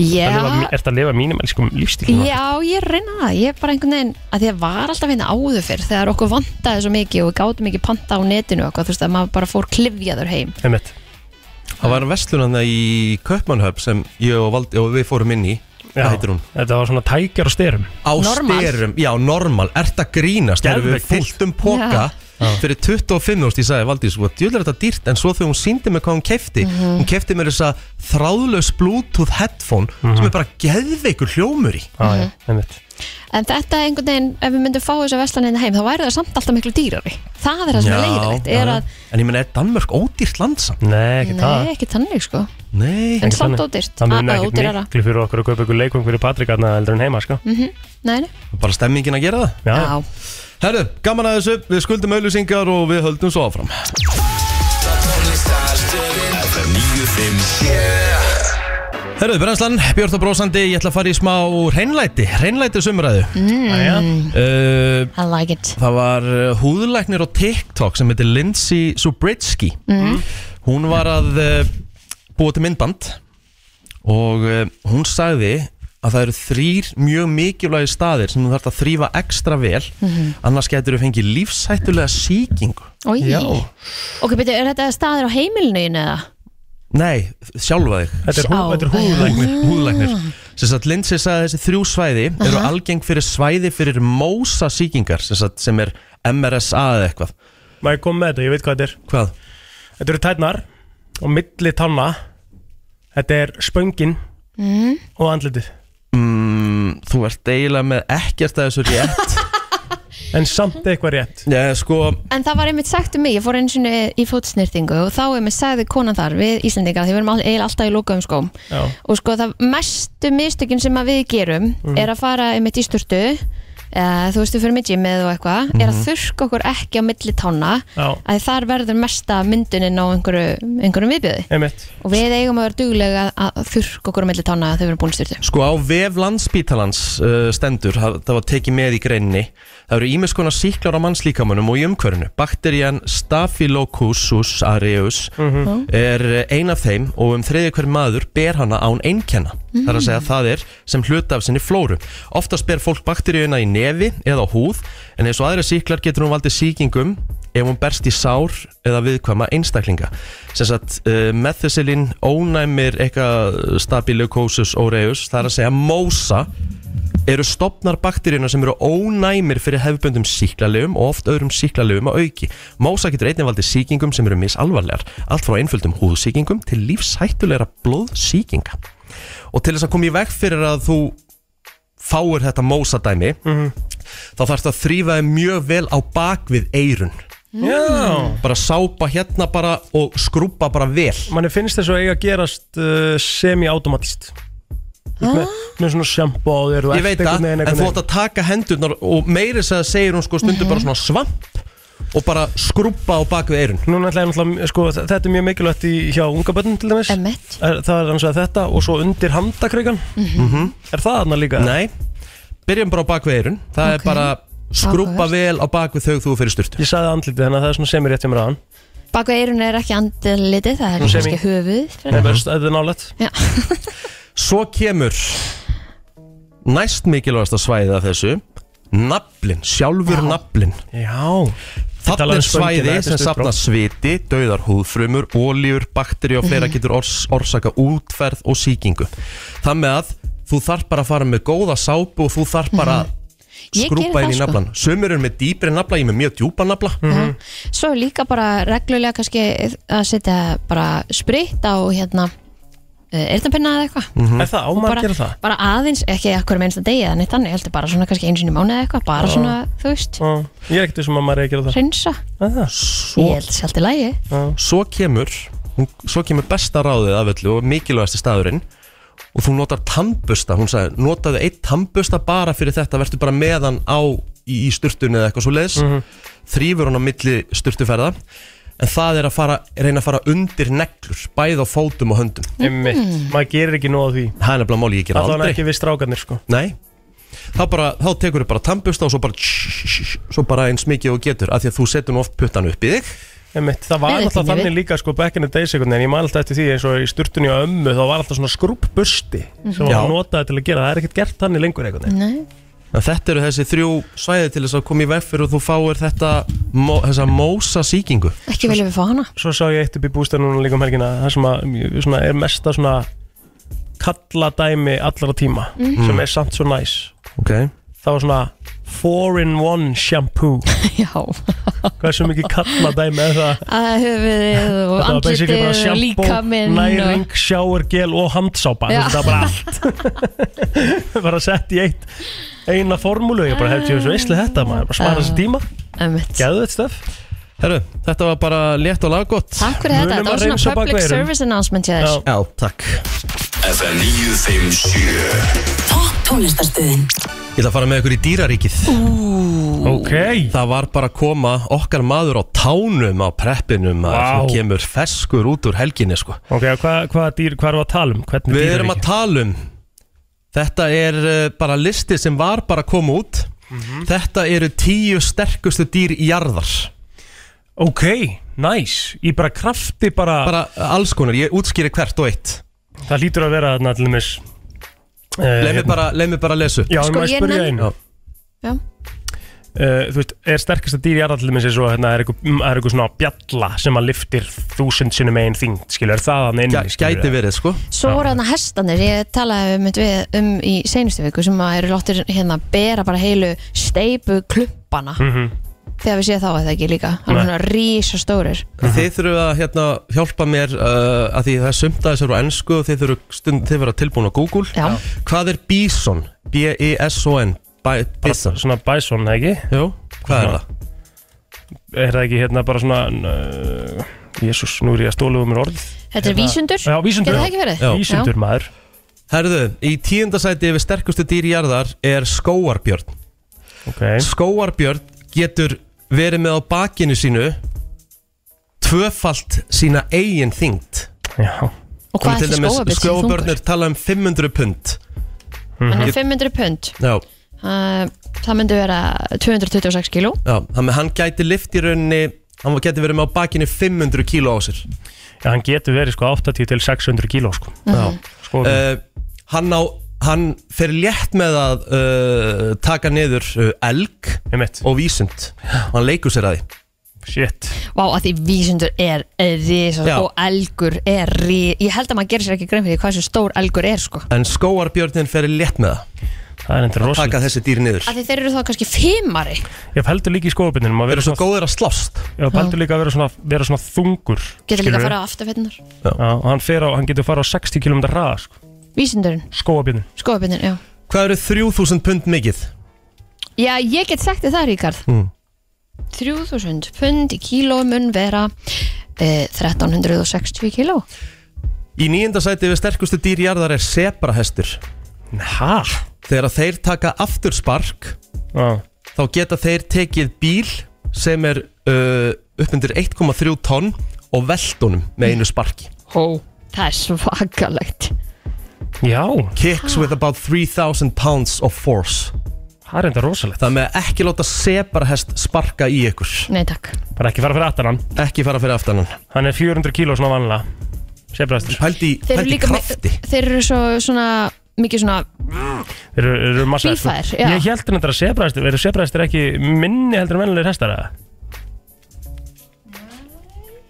[SPEAKER 2] Já.
[SPEAKER 3] Er þetta að lifa mínimalískum lífstíl? hérna?
[SPEAKER 2] Já, ég reyna það, ég er bara einhvern veginn að því að var alltaf hérna áður fyrr þegar okkur vantaði svo mikið og við gátum ekki panta á netinu og eitthvað, þú veist að maður bara fór klifjaður heim
[SPEAKER 3] Einmitt.
[SPEAKER 1] Það var vestlunarna í Kaupmannhöf sem ég og, Valdi, og við fórum inn í
[SPEAKER 3] Já,
[SPEAKER 1] Hvað heitir hún?
[SPEAKER 3] Þetta var svona tækjar og styrum
[SPEAKER 1] Á
[SPEAKER 3] Normal.
[SPEAKER 1] styrum, já, normal, ert að grínast Þegar við
[SPEAKER 3] Geðveikt fúlt.
[SPEAKER 1] fylltum póka Fyrir 25 ást, ég sagði Valdís Þú er þetta dýrt, en svo þegar hún síndi mig hvað hún kefti
[SPEAKER 2] Mhm.
[SPEAKER 1] Hún kefti mér þessa þráðlaus Bluetooth headphone Sem er bara geðveikur hljómur í
[SPEAKER 3] Mhm. Já, já, einmitt
[SPEAKER 2] En þetta einhvern veginn, ef við myndum fá þessu veslanin heim þá væri það samt alltaf miklu dýrari Það er það sem er leiðilegt, er að
[SPEAKER 1] En ég menna, er Danmörk ódýrt land samt?
[SPEAKER 3] Nei, ekki það
[SPEAKER 2] Nei, ekki þannig sko
[SPEAKER 1] Nei
[SPEAKER 2] En samt ódýrt.
[SPEAKER 3] Það
[SPEAKER 2] Apa
[SPEAKER 3] muni ekkert
[SPEAKER 2] ódýrara.
[SPEAKER 3] miklu fyrir okkur að kaupa ykkur leikvang fyrir Patrik aðna eldur en heima, sko
[SPEAKER 2] mm Nei, nei,
[SPEAKER 1] Bara stemmingin að gera það
[SPEAKER 3] Já,
[SPEAKER 1] Herðu, gaman að þessu, við skuldum auðlýsingar og við höldum svo áfram
[SPEAKER 9] FM 957
[SPEAKER 1] Herðu, Brennslan, Björn og Brósandi, ég ætla að fara í smá reynlæti, reynlæti sumræðu
[SPEAKER 2] mm,
[SPEAKER 1] uh,
[SPEAKER 2] I like it
[SPEAKER 1] Það var uh, húðlæknir á TikTok sem heitir Lindsay Subritsky
[SPEAKER 2] Mm.
[SPEAKER 1] Hún var að uh, búa til myndband og uh, hún sagði að það eru þrýr mjög mikilvægi staðir sem þú þarf að þrýfa ekstra vel
[SPEAKER 2] Mhm.
[SPEAKER 1] annars getur þú fengið lífshættulega sýkingu
[SPEAKER 2] Oj.
[SPEAKER 1] Já.
[SPEAKER 2] Ok, betur, er þetta staðir á heimilinu þínu eða?
[SPEAKER 1] Nei, sjálfa þig
[SPEAKER 2] Þetta er hú- Sjá- þetta er
[SPEAKER 1] húðlæknir,
[SPEAKER 2] Ah.
[SPEAKER 1] húðlæknir. Sess að Lindsay sagði að þessi þrjú svæði eru algeng fyrir svæði fyrir mósa sýkingar sem, sagt, sem er MRSA eða eitthvað
[SPEAKER 3] Má ég koma með þetta, ég veit hvað þetta er
[SPEAKER 1] Hvað?
[SPEAKER 3] Þetta eru tætnar og milli tanna Þetta er spöngin
[SPEAKER 2] Mm.
[SPEAKER 3] og andlitið
[SPEAKER 1] mm, Þú ert eiginlega með ekkert að þessu rétt
[SPEAKER 3] <laughs> En samt eitthvað rétt
[SPEAKER 1] Já, sko
[SPEAKER 2] En það var einmitt sagt um mig, ég fór einu sinni í fótsnýrtingu og þá einmitt sagði konan þar við Íslandingar, því við erum all- eiginlega alltaf í lokaðum skóm
[SPEAKER 3] Já.
[SPEAKER 2] og sko það mestu mistökin sem að við gerum
[SPEAKER 3] Mhm.
[SPEAKER 2] er að fara einmitt í sturtu eða þú veistu fyrir mig gymið og eitthvað er að
[SPEAKER 3] Mhm.
[SPEAKER 2] þurrka okkur ekki á milli tána
[SPEAKER 3] Já.
[SPEAKER 2] að þar verður mesta mynduninn á einhverju, einhverjum viðbjöði
[SPEAKER 3] Einmitt
[SPEAKER 2] og við eigum að vera duglega að þurrka okkur á milli tána þegar við erum búin í sturtu
[SPEAKER 1] Sko á vef landsbítalans uh, stendur, það, það var tekið með í greinni Það eru ímis konar síklar á mannslíkamunum og í umhverfinu Bakterían Staphylococcus aureus
[SPEAKER 3] Mhm.
[SPEAKER 1] er eh, ein af þeim og um þriði hver maður ber hana án einkenna mm. Það er að segja að það er sem hluta af sinni flóru Oftast ber fólk bakteríuna í nefi eða á húð En eins og aðra síklar getur hún valdið síkingum ef hún berst í sár eða viðkvæma einstaklinga sem sagt uh, methicillin ónæmir eitthvað staphylococcus aureus það er að segja mósa eru stopnar bakteríuna sem eru ónæmir fyrir hefböndum síklalegum og oft öðrum síklalegum að auki. Mósa getur einnig valdið síkingum sem eru misalvarlegar, allt frá einföldum húðsíkingum til lífshættulegra blóðsíkinga. Og til þess að koma í veg fyrir að þú fáir þetta mósadæmi,
[SPEAKER 3] Mhm.
[SPEAKER 1] þá þarfst að þrýfa þið mjög vel á bak við eirun.
[SPEAKER 3] Já.
[SPEAKER 1] Bara sápa hérna bara og skrúpa bara vel.
[SPEAKER 3] Manni finnst þess að eiga að gerast uh, semi-automatist með,
[SPEAKER 2] ah.
[SPEAKER 3] með svona sjampo á þér og
[SPEAKER 1] Ég veit
[SPEAKER 3] ert einhvern
[SPEAKER 1] það,
[SPEAKER 3] veginn- Mhm.
[SPEAKER 1] en
[SPEAKER 3] einhvern
[SPEAKER 1] þú átt að taka hendurnar og meiri þess að segir hún sko stundum bara svona svamp og bara skrúpa á bak við eirun.
[SPEAKER 3] Núna ætla ég náttúrulega, sko, þ- þetta er mjög mikilvægt í, hjá unga börnum til dæmis
[SPEAKER 2] Emmett.
[SPEAKER 3] Er- Það er hans að þetta og svo undir handakreikan Er það þarna líka?
[SPEAKER 1] Nei, byrjum bara á bakveirun Það er bara skrúpa vel á bakvið þau þú fyrir styrtu
[SPEAKER 3] Ég sagði andlitið hennar, það er svona semi rétt hjá mér aðan
[SPEAKER 2] Baka eirun er ekki andlitið, það er
[SPEAKER 3] Nú sem
[SPEAKER 2] kannski
[SPEAKER 3] ég-
[SPEAKER 2] höfuð
[SPEAKER 3] Nei, veist, þetta er nálægt
[SPEAKER 1] <laughs> Svo kemur næst mikilvægasta svæðið af þessu Naflin, sjálfur naflin
[SPEAKER 3] Já
[SPEAKER 1] Þarna
[SPEAKER 3] talaði um
[SPEAKER 1] er
[SPEAKER 3] spöngina,
[SPEAKER 1] svæði
[SPEAKER 3] þetta er
[SPEAKER 1] sem
[SPEAKER 3] stutt frá.
[SPEAKER 1] safna sviti, dauðar húðfrumur, ólíur, bakteri og fleira
[SPEAKER 3] Mhm.
[SPEAKER 1] getur ors, orsaka útferð og sýkingu Það með að þú þarf bara að fara með góða sápu og þú þarf bara að
[SPEAKER 2] Mhm. Ég geri
[SPEAKER 1] skrúpa
[SPEAKER 2] það,
[SPEAKER 1] inn í
[SPEAKER 2] sko. Mhm.
[SPEAKER 1] naflan Sumur eru með dýpri nafla, ég er með mjög djúpa nafla
[SPEAKER 2] Svo líka bara reglulega kannski eh, að setja bara spritt á hérna eyrnapinna eða eitthvað
[SPEAKER 3] Mhm. Er það, á
[SPEAKER 2] Og
[SPEAKER 3] maður að
[SPEAKER 2] bara-
[SPEAKER 3] gera það?
[SPEAKER 2] Bara aðeins, ekki ekkur með einsta degi eða neitt þannig, heldur bara svona kannski eins og í mánu eða eitthvað bara
[SPEAKER 3] Já.
[SPEAKER 2] svona, þú veist,
[SPEAKER 3] Já, Ég er ekkert þessum að maður er að gera það
[SPEAKER 2] reynsa
[SPEAKER 1] Svo,
[SPEAKER 2] Ég held sjálft í lægi
[SPEAKER 1] svo kemur hún- svo kemur besta ráðið af öllu og mikilvægasti staðurinn og þú notar tannbusta hún sagði, notaðu eitt tannbusta bara fyrir þetta verður bara meðan á í, í sturtunni eða eitthvað svo leiðis
[SPEAKER 3] Mhm.
[SPEAKER 1] þrýfur hún á milli sturtuferða en það er að fara, reyna að fara undir neglur, bæð á fótum og höndum
[SPEAKER 3] Einmitt. maður gerir ekki nóg á því
[SPEAKER 1] það er nefnilega máli, ég gera
[SPEAKER 3] Það
[SPEAKER 1] aldrei
[SPEAKER 3] er ekki við strákarnir sko
[SPEAKER 1] Nei Þá, bara, þá tekur þau bara tannbusta og svo bara svo bara eins mikið og þú getur af því að þú setur nú oft puttan upp í þig
[SPEAKER 3] Einmitt. Það
[SPEAKER 1] Nei,
[SPEAKER 3] var
[SPEAKER 1] þetta
[SPEAKER 3] alltaf
[SPEAKER 1] er
[SPEAKER 3] þannig
[SPEAKER 1] við.
[SPEAKER 3] líka sko back in the days einhvern veginn, ég man alltaf eftir því eins og í sturtunni á ömmu þá var alltaf svona skrúpbusti
[SPEAKER 2] Mhm.
[SPEAKER 3] sem
[SPEAKER 1] Já.
[SPEAKER 3] var notaði til að gera, það er ekkert gert þannig lengur einhvern veginn
[SPEAKER 2] Nei.
[SPEAKER 1] En þetta eru þessi þrjú svæði til þess að koma í veg fyrir og þú fáir þetta mó, þessa mósa sýkingu
[SPEAKER 2] Ekki viljum við fá hana
[SPEAKER 3] Svo sá ég eitt upp í bústað núna líka um helgina það sem að, mjög- svona, er mesta svona kalladæmi allra tíma
[SPEAKER 2] Mhm.
[SPEAKER 3] sem er samt svo næs
[SPEAKER 1] okay.
[SPEAKER 3] Það var svona 4-in-1 shampoo
[SPEAKER 2] <laughs> Já
[SPEAKER 3] Hversu mikið kalladæmi er það?
[SPEAKER 2] Að höfuðið og
[SPEAKER 3] <laughs> Þetta var basically
[SPEAKER 2] andlitið
[SPEAKER 3] bara
[SPEAKER 2] og
[SPEAKER 3] sjampó,
[SPEAKER 2] líkaminn
[SPEAKER 3] næring, sjáur, gel og handsápa
[SPEAKER 2] Já.
[SPEAKER 3] Þetta var bara <laughs> allt Bara sett í eitt eina formúlu Ég bara hefði þessu veistlega þetta maður bara spara þessi tíma Gæðu þetta stöf
[SPEAKER 1] Herru, þetta var bara létt og laggott
[SPEAKER 2] Takk fyrir þetta, þetta var svona public service announcement hjá þér
[SPEAKER 1] Já, takk
[SPEAKER 9] FM 957
[SPEAKER 10] Tónlistarstöðin
[SPEAKER 1] Ég ætla að fara með ykkur í dýraríkið
[SPEAKER 3] Ok
[SPEAKER 1] Það var bara að koma okkar maður á tánum á preppinum wow.
[SPEAKER 3] Vá.
[SPEAKER 1] sem kemur feskur út úr helginni sko.
[SPEAKER 3] Ok, og hvað hva dýr, hvað erum við að tala um? Hvernig
[SPEAKER 1] Við
[SPEAKER 3] dýr
[SPEAKER 1] erum að tala um Þetta er eh, bara listi sem var bara að koma út
[SPEAKER 3] Mhm.
[SPEAKER 1] Þetta eru tíu sterkustu dýr í jarðar
[SPEAKER 3] Ok, nice Ég bara krafti bara
[SPEAKER 1] Bara alls konar, ég útskýri hvert og eitt
[SPEAKER 3] Það lítur að vera þarna til dæmis eh, hérna.
[SPEAKER 1] Leið mér bara, leið mér bara að lesa upp.
[SPEAKER 3] Já, sko, ég spyrja
[SPEAKER 1] nenn-
[SPEAKER 3] einu
[SPEAKER 2] Já.
[SPEAKER 3] Uh, þú veist, er sterkasta dýr í aðallumins eins og hérna er eitthvað, mm, er eitthvað svona bjalla sem að liftir þúsund sinnum einn þing, skilur, er það hann inn
[SPEAKER 1] Gæ- gæti verið, sko
[SPEAKER 2] Svo voru þarna hestanir, ég talaði um, við, um í seinustu viku sem að eru láttir hérna bera bara heilu steipu klumpana
[SPEAKER 3] Mhm.
[SPEAKER 2] þegar við séð þá að það ekki líka hann
[SPEAKER 1] Nei.
[SPEAKER 2] er svona rísa stórir
[SPEAKER 1] Þið þurfum að hérna, hjálpa mér uh, að því það er sumt að þessu eru á ennsku og þið þurfum stund, þið vera tilbúin á Google
[SPEAKER 2] Já.
[SPEAKER 1] Hvað er bison? E B-I-S-O-N Bi- Bison
[SPEAKER 3] Svona bison, ekki?
[SPEAKER 1] Jú, hvað er það?
[SPEAKER 3] Er það ekki hérna bara svona uh, Jésús, nú er ég að stóla um mér orð
[SPEAKER 2] Þetta er vísundur?
[SPEAKER 3] Já, vísundur
[SPEAKER 2] Getur það ekki verið?
[SPEAKER 1] Já.
[SPEAKER 2] Vísundur, Já.
[SPEAKER 3] maður
[SPEAKER 1] Herðu, í tíundasæti yfir sterkustu dýr í jarðar er skóarbjörn
[SPEAKER 3] okay.
[SPEAKER 1] Skóarbjörn getur verið með á bakinu sínu tvöfalt sína eigin þyngd
[SPEAKER 3] Já
[SPEAKER 2] Og hvað ætli skógarbjörn sé þungur?
[SPEAKER 1] Skóarbjörn er talað um 500 pund
[SPEAKER 3] Mhm.
[SPEAKER 2] hann er
[SPEAKER 1] Ég-
[SPEAKER 2] 500 pund
[SPEAKER 1] Já
[SPEAKER 2] uh, það myndi vera 226 kíló
[SPEAKER 1] Já, þannig að hann gæti lift í rauninni Hann gæti verið með á bakinu 500 kíló á sér
[SPEAKER 3] Já, hann getur verið sko 80 til 600 kíló
[SPEAKER 2] Mhm.
[SPEAKER 3] sko
[SPEAKER 1] Já.
[SPEAKER 3] Sko,
[SPEAKER 1] uh, Hann á Hann fer létt með að uh, taka niður uh, elg
[SPEAKER 3] Einmitt.
[SPEAKER 1] og vísund og hann leikur sér að því
[SPEAKER 3] Shit
[SPEAKER 2] Vá, að því vísundur er, er risa
[SPEAKER 1] Já.
[SPEAKER 2] og elgur er ri... Ég held að maður gerir sér ekki grein fyrir því hvað svo stór elgur er sko.
[SPEAKER 1] En skóarbjörnin fer létt með það
[SPEAKER 3] Það er endur rosalegt
[SPEAKER 1] Taka þessi dýr niður
[SPEAKER 2] Af því þeir eru þá kannski fimmari
[SPEAKER 3] Ég fældur líka í skóðbindinum Þeir
[SPEAKER 1] eru svo góðir að slást
[SPEAKER 3] Já, fældur líka að vera svona, vera svona þungur
[SPEAKER 2] Getur líka að
[SPEAKER 3] skilurðu.
[SPEAKER 2] fara á afturfettunar
[SPEAKER 1] Já,
[SPEAKER 3] og hann, fer á, hann getur fara á 60 km hraða sko.
[SPEAKER 2] Vísundurinn,
[SPEAKER 3] Skóðbindin
[SPEAKER 2] skóðabinnir, já
[SPEAKER 1] Hvað eru 3000 pund mikið?
[SPEAKER 2] Já, ég get sagt þið það, Ríkard
[SPEAKER 1] Mm.
[SPEAKER 2] 3000 pund í kíló mun vera eh, 1360 kíló
[SPEAKER 1] Í nýjunda sæti við sterkustu dýrjarðar er sebrahestur
[SPEAKER 3] Hæ?
[SPEAKER 1] Þegar að þeir taka afturspark
[SPEAKER 3] ah.
[SPEAKER 1] Þá geta þeir tekið bíl sem er uh, uppmyndir 1,3 tonn og veldunum með einu sparki
[SPEAKER 2] Hó, það er svakalegt
[SPEAKER 3] Já
[SPEAKER 1] Kicks with about 3000 pounds of force
[SPEAKER 3] Það er enda rosalegt
[SPEAKER 1] Það með ekki láta sebrahest sparka í ykkur
[SPEAKER 2] Nei, takk
[SPEAKER 3] Bara ekki fara fyrir aftan hann
[SPEAKER 1] Ekki fara fyrir aftan hann
[SPEAKER 3] Hann er 400 kíló svona vanlega Sefræstur
[SPEAKER 1] Pældi,
[SPEAKER 2] Þeir eru líka með- Þeir eru svo svona mikið svona
[SPEAKER 3] Þeir eru, eru massa
[SPEAKER 2] Bífæðir, já.
[SPEAKER 3] Ég held hérna að sefræstur Eru sefræstur ekki minni heldur en vennilegir hestar eða?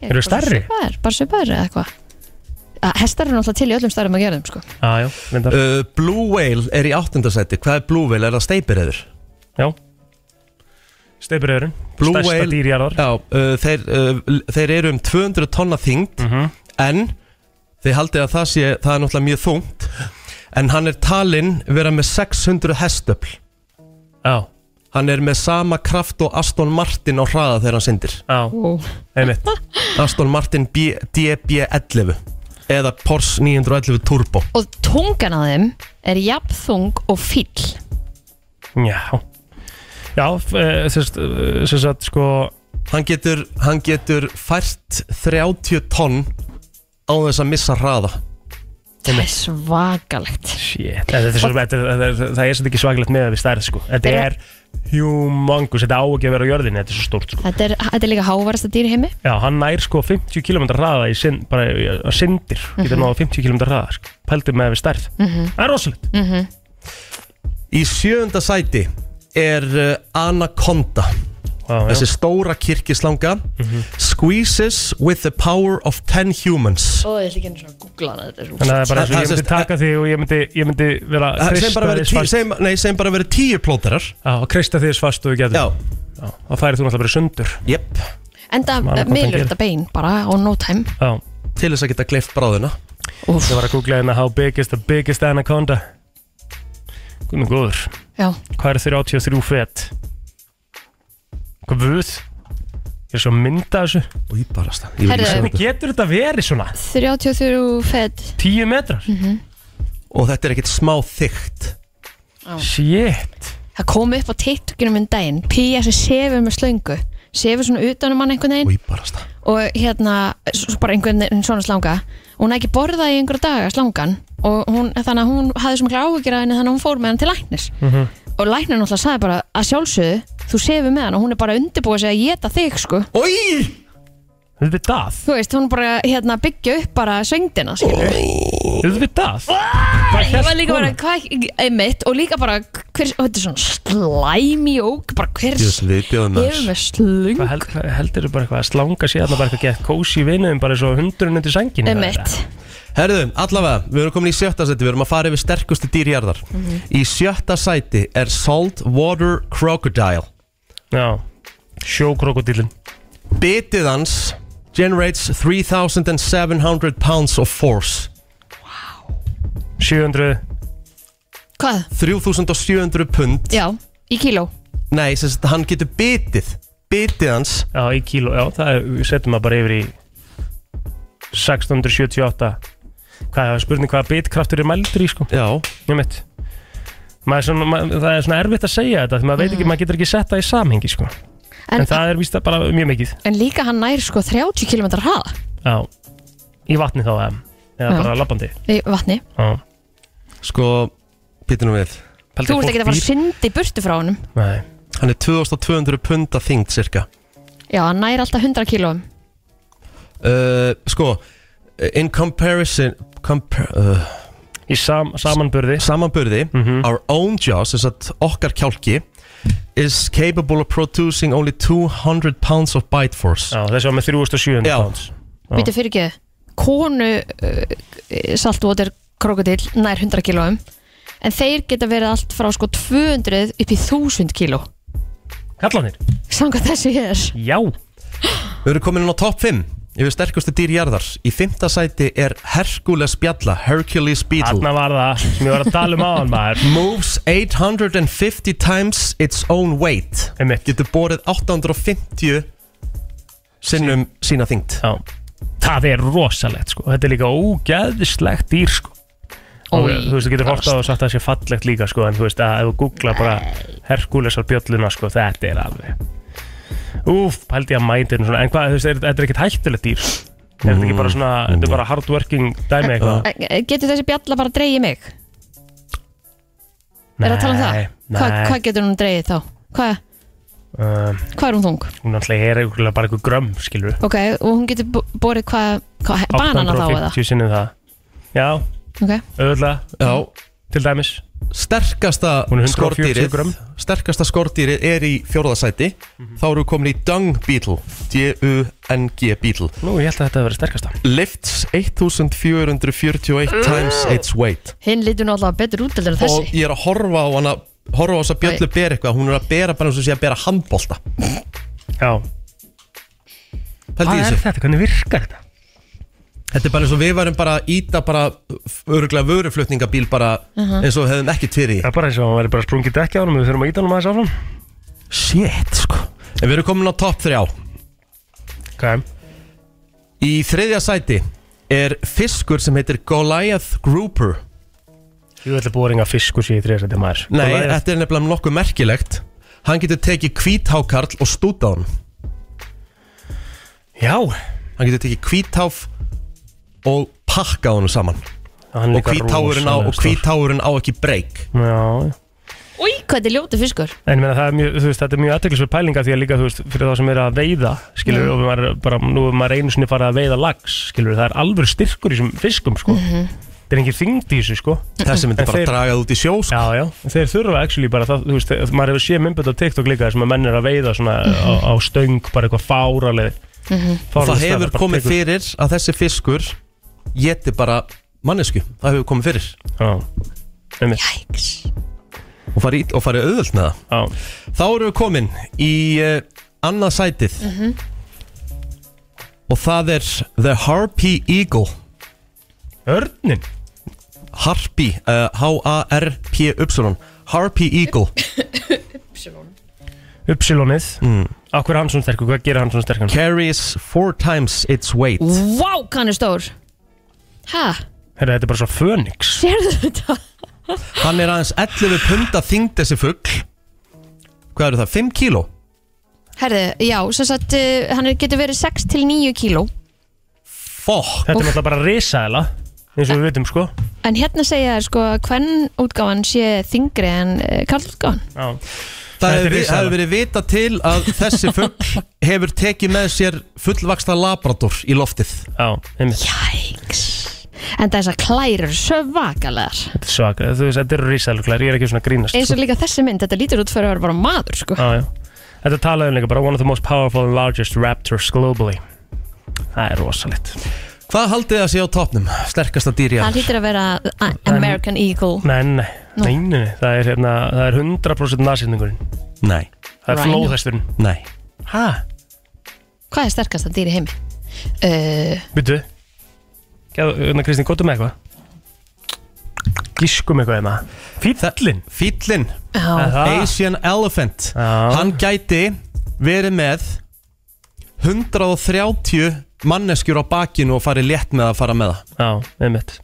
[SPEAKER 2] Ég
[SPEAKER 3] Eru
[SPEAKER 2] er bara
[SPEAKER 3] stærri?
[SPEAKER 2] svipaðir, bara svipaðir eða eitthvað Að Hestar eru náttúrulega til í öllum stærðum að gera þeim sko.
[SPEAKER 3] ah, já,
[SPEAKER 1] uh, Blue Whale er í áttunda sæti Hvað er Blue Whale? Er það steipireyður?
[SPEAKER 3] Já Steipuröðurinn
[SPEAKER 1] Blue
[SPEAKER 3] Stærsta
[SPEAKER 1] Whale
[SPEAKER 3] dýr jarðar
[SPEAKER 1] já, uh, þeir, uh, þeir eru um 200 tonna þyngd
[SPEAKER 3] Mhm.
[SPEAKER 1] En Þið haldið að það sé, það er náttúrulega mjög þungt En hann er talinn vera með 600 hestöfl
[SPEAKER 3] Já
[SPEAKER 1] Hann er með sama kraft og Aston Martin á hraða þegar hann syndir
[SPEAKER 3] Já,
[SPEAKER 2] Ó.
[SPEAKER 3] einmitt
[SPEAKER 1] Aston Martin B- DB11 eða Porsche 911 Turbo
[SPEAKER 2] Og tungan á þeim er jafnþung og fíll
[SPEAKER 3] Já Já, eh, þess að sko
[SPEAKER 1] Hann getur, hann getur fært 30 tonn á þess að missa hraða
[SPEAKER 2] Það er svakalegt
[SPEAKER 3] Shit, þetta er, svo, þetta, er- þetta er, það er svolítið ekki svaglegt með við stærð sko. Þetta er humangus, þetta á ekki að vera á jörðinni, þetta er svo stórt sko.
[SPEAKER 2] Þetta er, þetta er líka hávarasta dýr í heimi
[SPEAKER 3] Já, hann nær sko 50 km hraða í sind, bara í- að sindir, getur
[SPEAKER 2] Mhm.
[SPEAKER 3] náða 50 km hraða sko. Pældu með við stærð.
[SPEAKER 2] Mhm.
[SPEAKER 3] Það er rosalegt
[SPEAKER 2] Mhm.
[SPEAKER 1] Í sjöunda sæti er uh, Anaconda Þessi stóra kirkislanga
[SPEAKER 3] Mhm.
[SPEAKER 1] Squeezes with the power of 10 humans
[SPEAKER 2] Ó, ég ætla ekki einu svona að googla hana þetta er svo-
[SPEAKER 3] Þannig að það er bara eins og
[SPEAKER 1] Það-
[SPEAKER 3] ég
[SPEAKER 1] það
[SPEAKER 3] myndi taka þig og ég myndi, ég myndi vera
[SPEAKER 1] Það- segjum bara verið tí- segjum- Nei, segjum bara verið tíu plóterar
[SPEAKER 3] Já, og kreista þig eins fast og við getum Já Það færi þú náttúrulega bara í sundur
[SPEAKER 1] Jep
[SPEAKER 2] Enda
[SPEAKER 3] Man, hvað
[SPEAKER 2] meilur
[SPEAKER 3] það
[SPEAKER 2] þetta bein bara og no time
[SPEAKER 3] Já
[SPEAKER 1] Til þess að geta kleift bráðuna
[SPEAKER 2] Úf.
[SPEAKER 3] Ég var að googla hérna How big is the biggest anaconda Guðnum góður
[SPEAKER 2] Já.
[SPEAKER 3] Hvað er 33 fet? Guð Ég er svo að mynda þessu
[SPEAKER 1] Og ég bara stað
[SPEAKER 2] ég vil ekki Herðu. sjá
[SPEAKER 3] Hvernig
[SPEAKER 2] þetta.
[SPEAKER 3] getur þetta verið svona?
[SPEAKER 2] 33 fed
[SPEAKER 3] 10 metrar mm
[SPEAKER 2] -hmm.
[SPEAKER 1] Og þetta er ekkert smá þygt
[SPEAKER 3] Shit
[SPEAKER 2] Það kom upp á tiktokinu minn daginn Pía sem sefur með slöngu Sefur svona utan um hann einhvern veginn
[SPEAKER 1] Í barasta
[SPEAKER 2] Og hérna, svo svo bara einhvern veginn svona slanga Og hún hafði ekki borðað í einhverja daga slangan Og hún, þannig að hún hafði svo mikla áhyggjur af henni Þannig að hún fór með hann til læknis
[SPEAKER 12] Mhm.
[SPEAKER 2] Og læknir náttúrulega sagði bara að sjálfsögðu Þú sefur með hann og hún er bara að undirbúa sig að geta þig sko
[SPEAKER 1] Oi!
[SPEAKER 3] Auðvitað
[SPEAKER 2] Þú veist, hún er bara hérna að byggja upp bara söngdina skilur
[SPEAKER 3] Auðvitað
[SPEAKER 2] Ég var líka bara, hvað, einmitt Og líka bara, hver, og þetta er svona slæmi og bara hver
[SPEAKER 3] Djöfull viðbjóður, maður.
[SPEAKER 2] Hefur með slung
[SPEAKER 3] Hvað held, hvað heldur þau bara eitthvað að slanga sér Þannig bara eitthvað gett kósi vinuðum bara svo hundurinn undir sængin
[SPEAKER 2] Einmitt.
[SPEAKER 1] Herðu, allavega, við erum komin í sjötta sæti Við erum að fara yfir sterkustu dýrjarðar
[SPEAKER 3] Mhm.
[SPEAKER 1] Í sjötta sæti er Salt Water Crocodile
[SPEAKER 3] Já, sjókrokodillin
[SPEAKER 1] Bitið hans generates 3700 pounds of force
[SPEAKER 3] 700
[SPEAKER 2] Hvað?
[SPEAKER 1] 3700 pund
[SPEAKER 2] Já, í kíló
[SPEAKER 1] Nei, sem sagt, hann getur bitið Bitið hans
[SPEAKER 3] Já, í kíló, já, það er, við setjum það bara yfir í 678 Hvað er spurning hvað bitkraftur er mældur í, sko
[SPEAKER 1] Já
[SPEAKER 3] Njömmitt Maður er svona, maður, það er svona erfitt að segja þetta því maður veit ekki, maður getur ekki sett það í samhengi sko. en,
[SPEAKER 2] Mm. En-
[SPEAKER 3] það er víst að bara mjög mikið
[SPEAKER 2] En líka hann nær sko 30 km hraða
[SPEAKER 3] Já, í vatni þá eða, eða
[SPEAKER 2] Já.
[SPEAKER 3] bara labbandi
[SPEAKER 2] í vatni
[SPEAKER 3] Já.
[SPEAKER 1] Sko, bitinu við
[SPEAKER 2] Þú ert ekki að fara að syndi burtu frá honum
[SPEAKER 3] Nei
[SPEAKER 1] Hann er 2200 pund að þyngd cirka
[SPEAKER 2] Já, hann nær alltaf 100 km
[SPEAKER 1] uh, Sko, in comparison compar uh,
[SPEAKER 3] Í sam samanburði Mhm.
[SPEAKER 1] Samanburði, our own jaw sem sagt okkar kjálki is capable of producing only 200 pounds of bite force
[SPEAKER 3] Já, þessi var með 3700
[SPEAKER 1] Já.
[SPEAKER 3] pounds
[SPEAKER 2] Býtu fyrir ekki Konu uh, saltwater krokodil nær 100 km En þeir geta verið allt frá sko 200 upp í 1000 km
[SPEAKER 3] Kallanir
[SPEAKER 2] Samkvæmt þessu hér
[SPEAKER 3] Já
[SPEAKER 1] Við erum komin inn á top 5 yfir sterkustu dýrjarðar Í fymta sæti er Hercules Bjalla Hercules Beetle
[SPEAKER 3] Þarna var það sem ég var að tala um áðan maður
[SPEAKER 1] <laughs> Moves 850 times its own weight
[SPEAKER 3] Einmitt.
[SPEAKER 1] Getur borið 850 sinnum sína þyngd
[SPEAKER 3] Já Það er rosalegt sko Þetta er líka ógeðslegt dýr sko Og
[SPEAKER 1] Ói,
[SPEAKER 3] þú veist, þú getur hort á og sagt að það sé fallegt líka sko En þú veist, að ef þú googla bara Herkulesar bjölluna sko Þetta er alveg Úf, pældi ég að mæti hérna svona En hvað, þú veist, er- þetta er ekkert hættulegt dýr Er þetta ekki bara
[SPEAKER 1] Mm.
[SPEAKER 3] svona, þetta er bara hardworking dæmi eitthvað
[SPEAKER 2] Eh, Getur þessi bjalla bara að dreigja mig? Er að tala um það?
[SPEAKER 3] Nei,
[SPEAKER 2] Hva,
[SPEAKER 3] nei.
[SPEAKER 2] hvað getur hún dreigið þá? Hvað
[SPEAKER 3] Um,
[SPEAKER 2] hva er hún þung?
[SPEAKER 3] Hún alltaf er eitthvað bara eitthvað grömm, skilur
[SPEAKER 2] Ok, og hún getur bo- borið hvað hva, Banana þá eða?
[SPEAKER 3] 850 sinnið það Já,
[SPEAKER 2] Ok
[SPEAKER 3] auðvitað
[SPEAKER 1] Já
[SPEAKER 3] Til dæmis
[SPEAKER 1] Sterkasta
[SPEAKER 3] Hún er 140
[SPEAKER 1] skordýrið
[SPEAKER 3] grömm.
[SPEAKER 1] Sterkasta skordýrið er í fjórðasæti
[SPEAKER 3] Mhm.
[SPEAKER 1] Þá eru við komin í Dung Beetle D-U-N-G Beetle
[SPEAKER 3] Nú, ég held að þetta verið sterkasta
[SPEAKER 1] Lifts 1441
[SPEAKER 3] Mm.
[SPEAKER 1] times its weight
[SPEAKER 2] Hinn lítur nú alltaf betur út heldur en þessi
[SPEAKER 1] Og ég er að horfa á hana Horfa á þess að bjöllu ber eitthvað Hún er að bera bara eins og sé að bera handbolta
[SPEAKER 3] Já
[SPEAKER 1] Pældi
[SPEAKER 3] Hvað
[SPEAKER 1] í
[SPEAKER 3] er
[SPEAKER 1] þessu
[SPEAKER 3] þetta? Hvernig virkar þetta?
[SPEAKER 1] Þetta er bara eins og við varum bara að íta bara öruglega vöruflutningabíl bara
[SPEAKER 3] Mhm.
[SPEAKER 1] eins og hefðum ekkert fyrir í
[SPEAKER 3] Það er bara eins og hann væri bara sprungið dekki á hann Við þurfum að íta hann aðeins áfram
[SPEAKER 1] Shit sko En við erum komin á topp þrjá
[SPEAKER 3] okay.
[SPEAKER 1] Í þriðja sæti er fiskur sem heitir Goliath Grouper
[SPEAKER 3] Ég ætla búið að fiskur sé í þriðasæti maður
[SPEAKER 1] Nei, þetta er nefnilega nokkuð merkilegt Hann getur tekið hvíthákarl og stúta á hann
[SPEAKER 3] Já
[SPEAKER 1] Hann getur tekið hvítháf og pakka á hann saman
[SPEAKER 3] Hann er
[SPEAKER 1] Og
[SPEAKER 3] líka
[SPEAKER 1] hvítháurinn á, og
[SPEAKER 3] rosalega stór.
[SPEAKER 1] hvítháurinn á ekki breyk
[SPEAKER 3] Já
[SPEAKER 2] Új, hvað þetta er ljótu fiskur
[SPEAKER 3] En ég meina, það er mjög, þú veist, þetta er mjög aðteklisverð pælinga því að líka, þú veist, fyrir þá sem er að veiða, skilur,
[SPEAKER 2] Mm.
[SPEAKER 3] og maður, er bara, nú er maður einu sinni farið að veiða lags, skilur, það er alveg styrkur í þessum fiskum, sko.
[SPEAKER 1] Mhm.
[SPEAKER 3] Það er engin þyngd í þessu, sko.
[SPEAKER 1] Þessi myndi
[SPEAKER 3] En
[SPEAKER 1] bara
[SPEAKER 3] þeir-
[SPEAKER 1] dragað út í sjó, sko.
[SPEAKER 3] Já, já, þeir þurfa actually bara, það, þú veist, þeir- maður hefur séð mymböld á TikTok líka þar sem að menn er að veiða svona á, á stöng, bara eitthvað fáraleg.
[SPEAKER 1] Mhm. Og það hefur komið fyrir að þessi fiskur geti bara mannesku það hefur komið fyrir
[SPEAKER 3] Jæks
[SPEAKER 1] og farið, og farið auðvöld með
[SPEAKER 3] það
[SPEAKER 1] þá erum við komin í uh, annað sætið
[SPEAKER 2] Mhm.
[SPEAKER 1] og það er The Harpy Eagle
[SPEAKER 3] Örnin?
[SPEAKER 1] Harpy, uh, H-A-R-P-Y Harpy
[SPEAKER 3] <coughs>
[SPEAKER 1] Eagle
[SPEAKER 3] Upsilonið
[SPEAKER 1] mm.
[SPEAKER 3] Akkur er hann svona sterkur, hvað gerir hann svona sterkur?
[SPEAKER 1] Carries four times its weight
[SPEAKER 2] Vá, hann er stór Hæ,
[SPEAKER 3] Herra, þetta er bara svo fönix
[SPEAKER 2] sérðu þetta?
[SPEAKER 1] Hann er aðeins 11 punda þyngd þessi fugg Hvað eru það? 5 kíló?
[SPEAKER 2] Herðu, já, sem sagt uh, hann er- getur verið 6 til 9 kíló
[SPEAKER 1] Fokk
[SPEAKER 3] Þetta er náttúrulega bara risaðila eins og við vitum sko
[SPEAKER 2] En hérna segja þær sko að hvern útgáfan sé þingri en uh, karl útgáfan
[SPEAKER 3] Já.
[SPEAKER 1] Það
[SPEAKER 3] Þetta er
[SPEAKER 1] hefur vi-
[SPEAKER 3] risaeðla.
[SPEAKER 1] hefur verið vita til að þessi fugg hefur tekið með sér fullvaksna labrador í loftið
[SPEAKER 3] Já, einmitt
[SPEAKER 2] Jæks En þessar klær eru svakalegar
[SPEAKER 3] Þetta er svaka, þú veist, þetta eru risaðila klær, ég er ekki svona að grínast
[SPEAKER 2] Eins og líka þessi mynd, þetta lítur út fyrir að vera bara maður sko
[SPEAKER 3] Já, já Þetta talaðum líka bara one of the most powerful and largest raptors globally Það er rosalegt
[SPEAKER 1] Hvað haldið það sé á topnum? Sterkasta dýr í
[SPEAKER 2] Það
[SPEAKER 1] alveg
[SPEAKER 2] lítur að vera uh, American Eagle
[SPEAKER 3] Nei, nei, nei, nei, nei, nei. Það, er, hérna, það er 100% nasýtningurinn
[SPEAKER 1] Nei
[SPEAKER 3] Það er
[SPEAKER 2] Rhino.
[SPEAKER 3] flóðhesturinn
[SPEAKER 1] Nei
[SPEAKER 3] Hæ?
[SPEAKER 2] Hvað er sterkasta dýr í heimi? Uh,
[SPEAKER 3] Byttu Hérna Kristín, gotum með eitthvað Gískum eitthvað hérna Fýllin
[SPEAKER 1] Fýllin
[SPEAKER 2] Já.
[SPEAKER 1] Asian Elephant Hann gæti verið með 130 manneskjur á bakinu og farið létt með að fara með það
[SPEAKER 3] Já, einmitt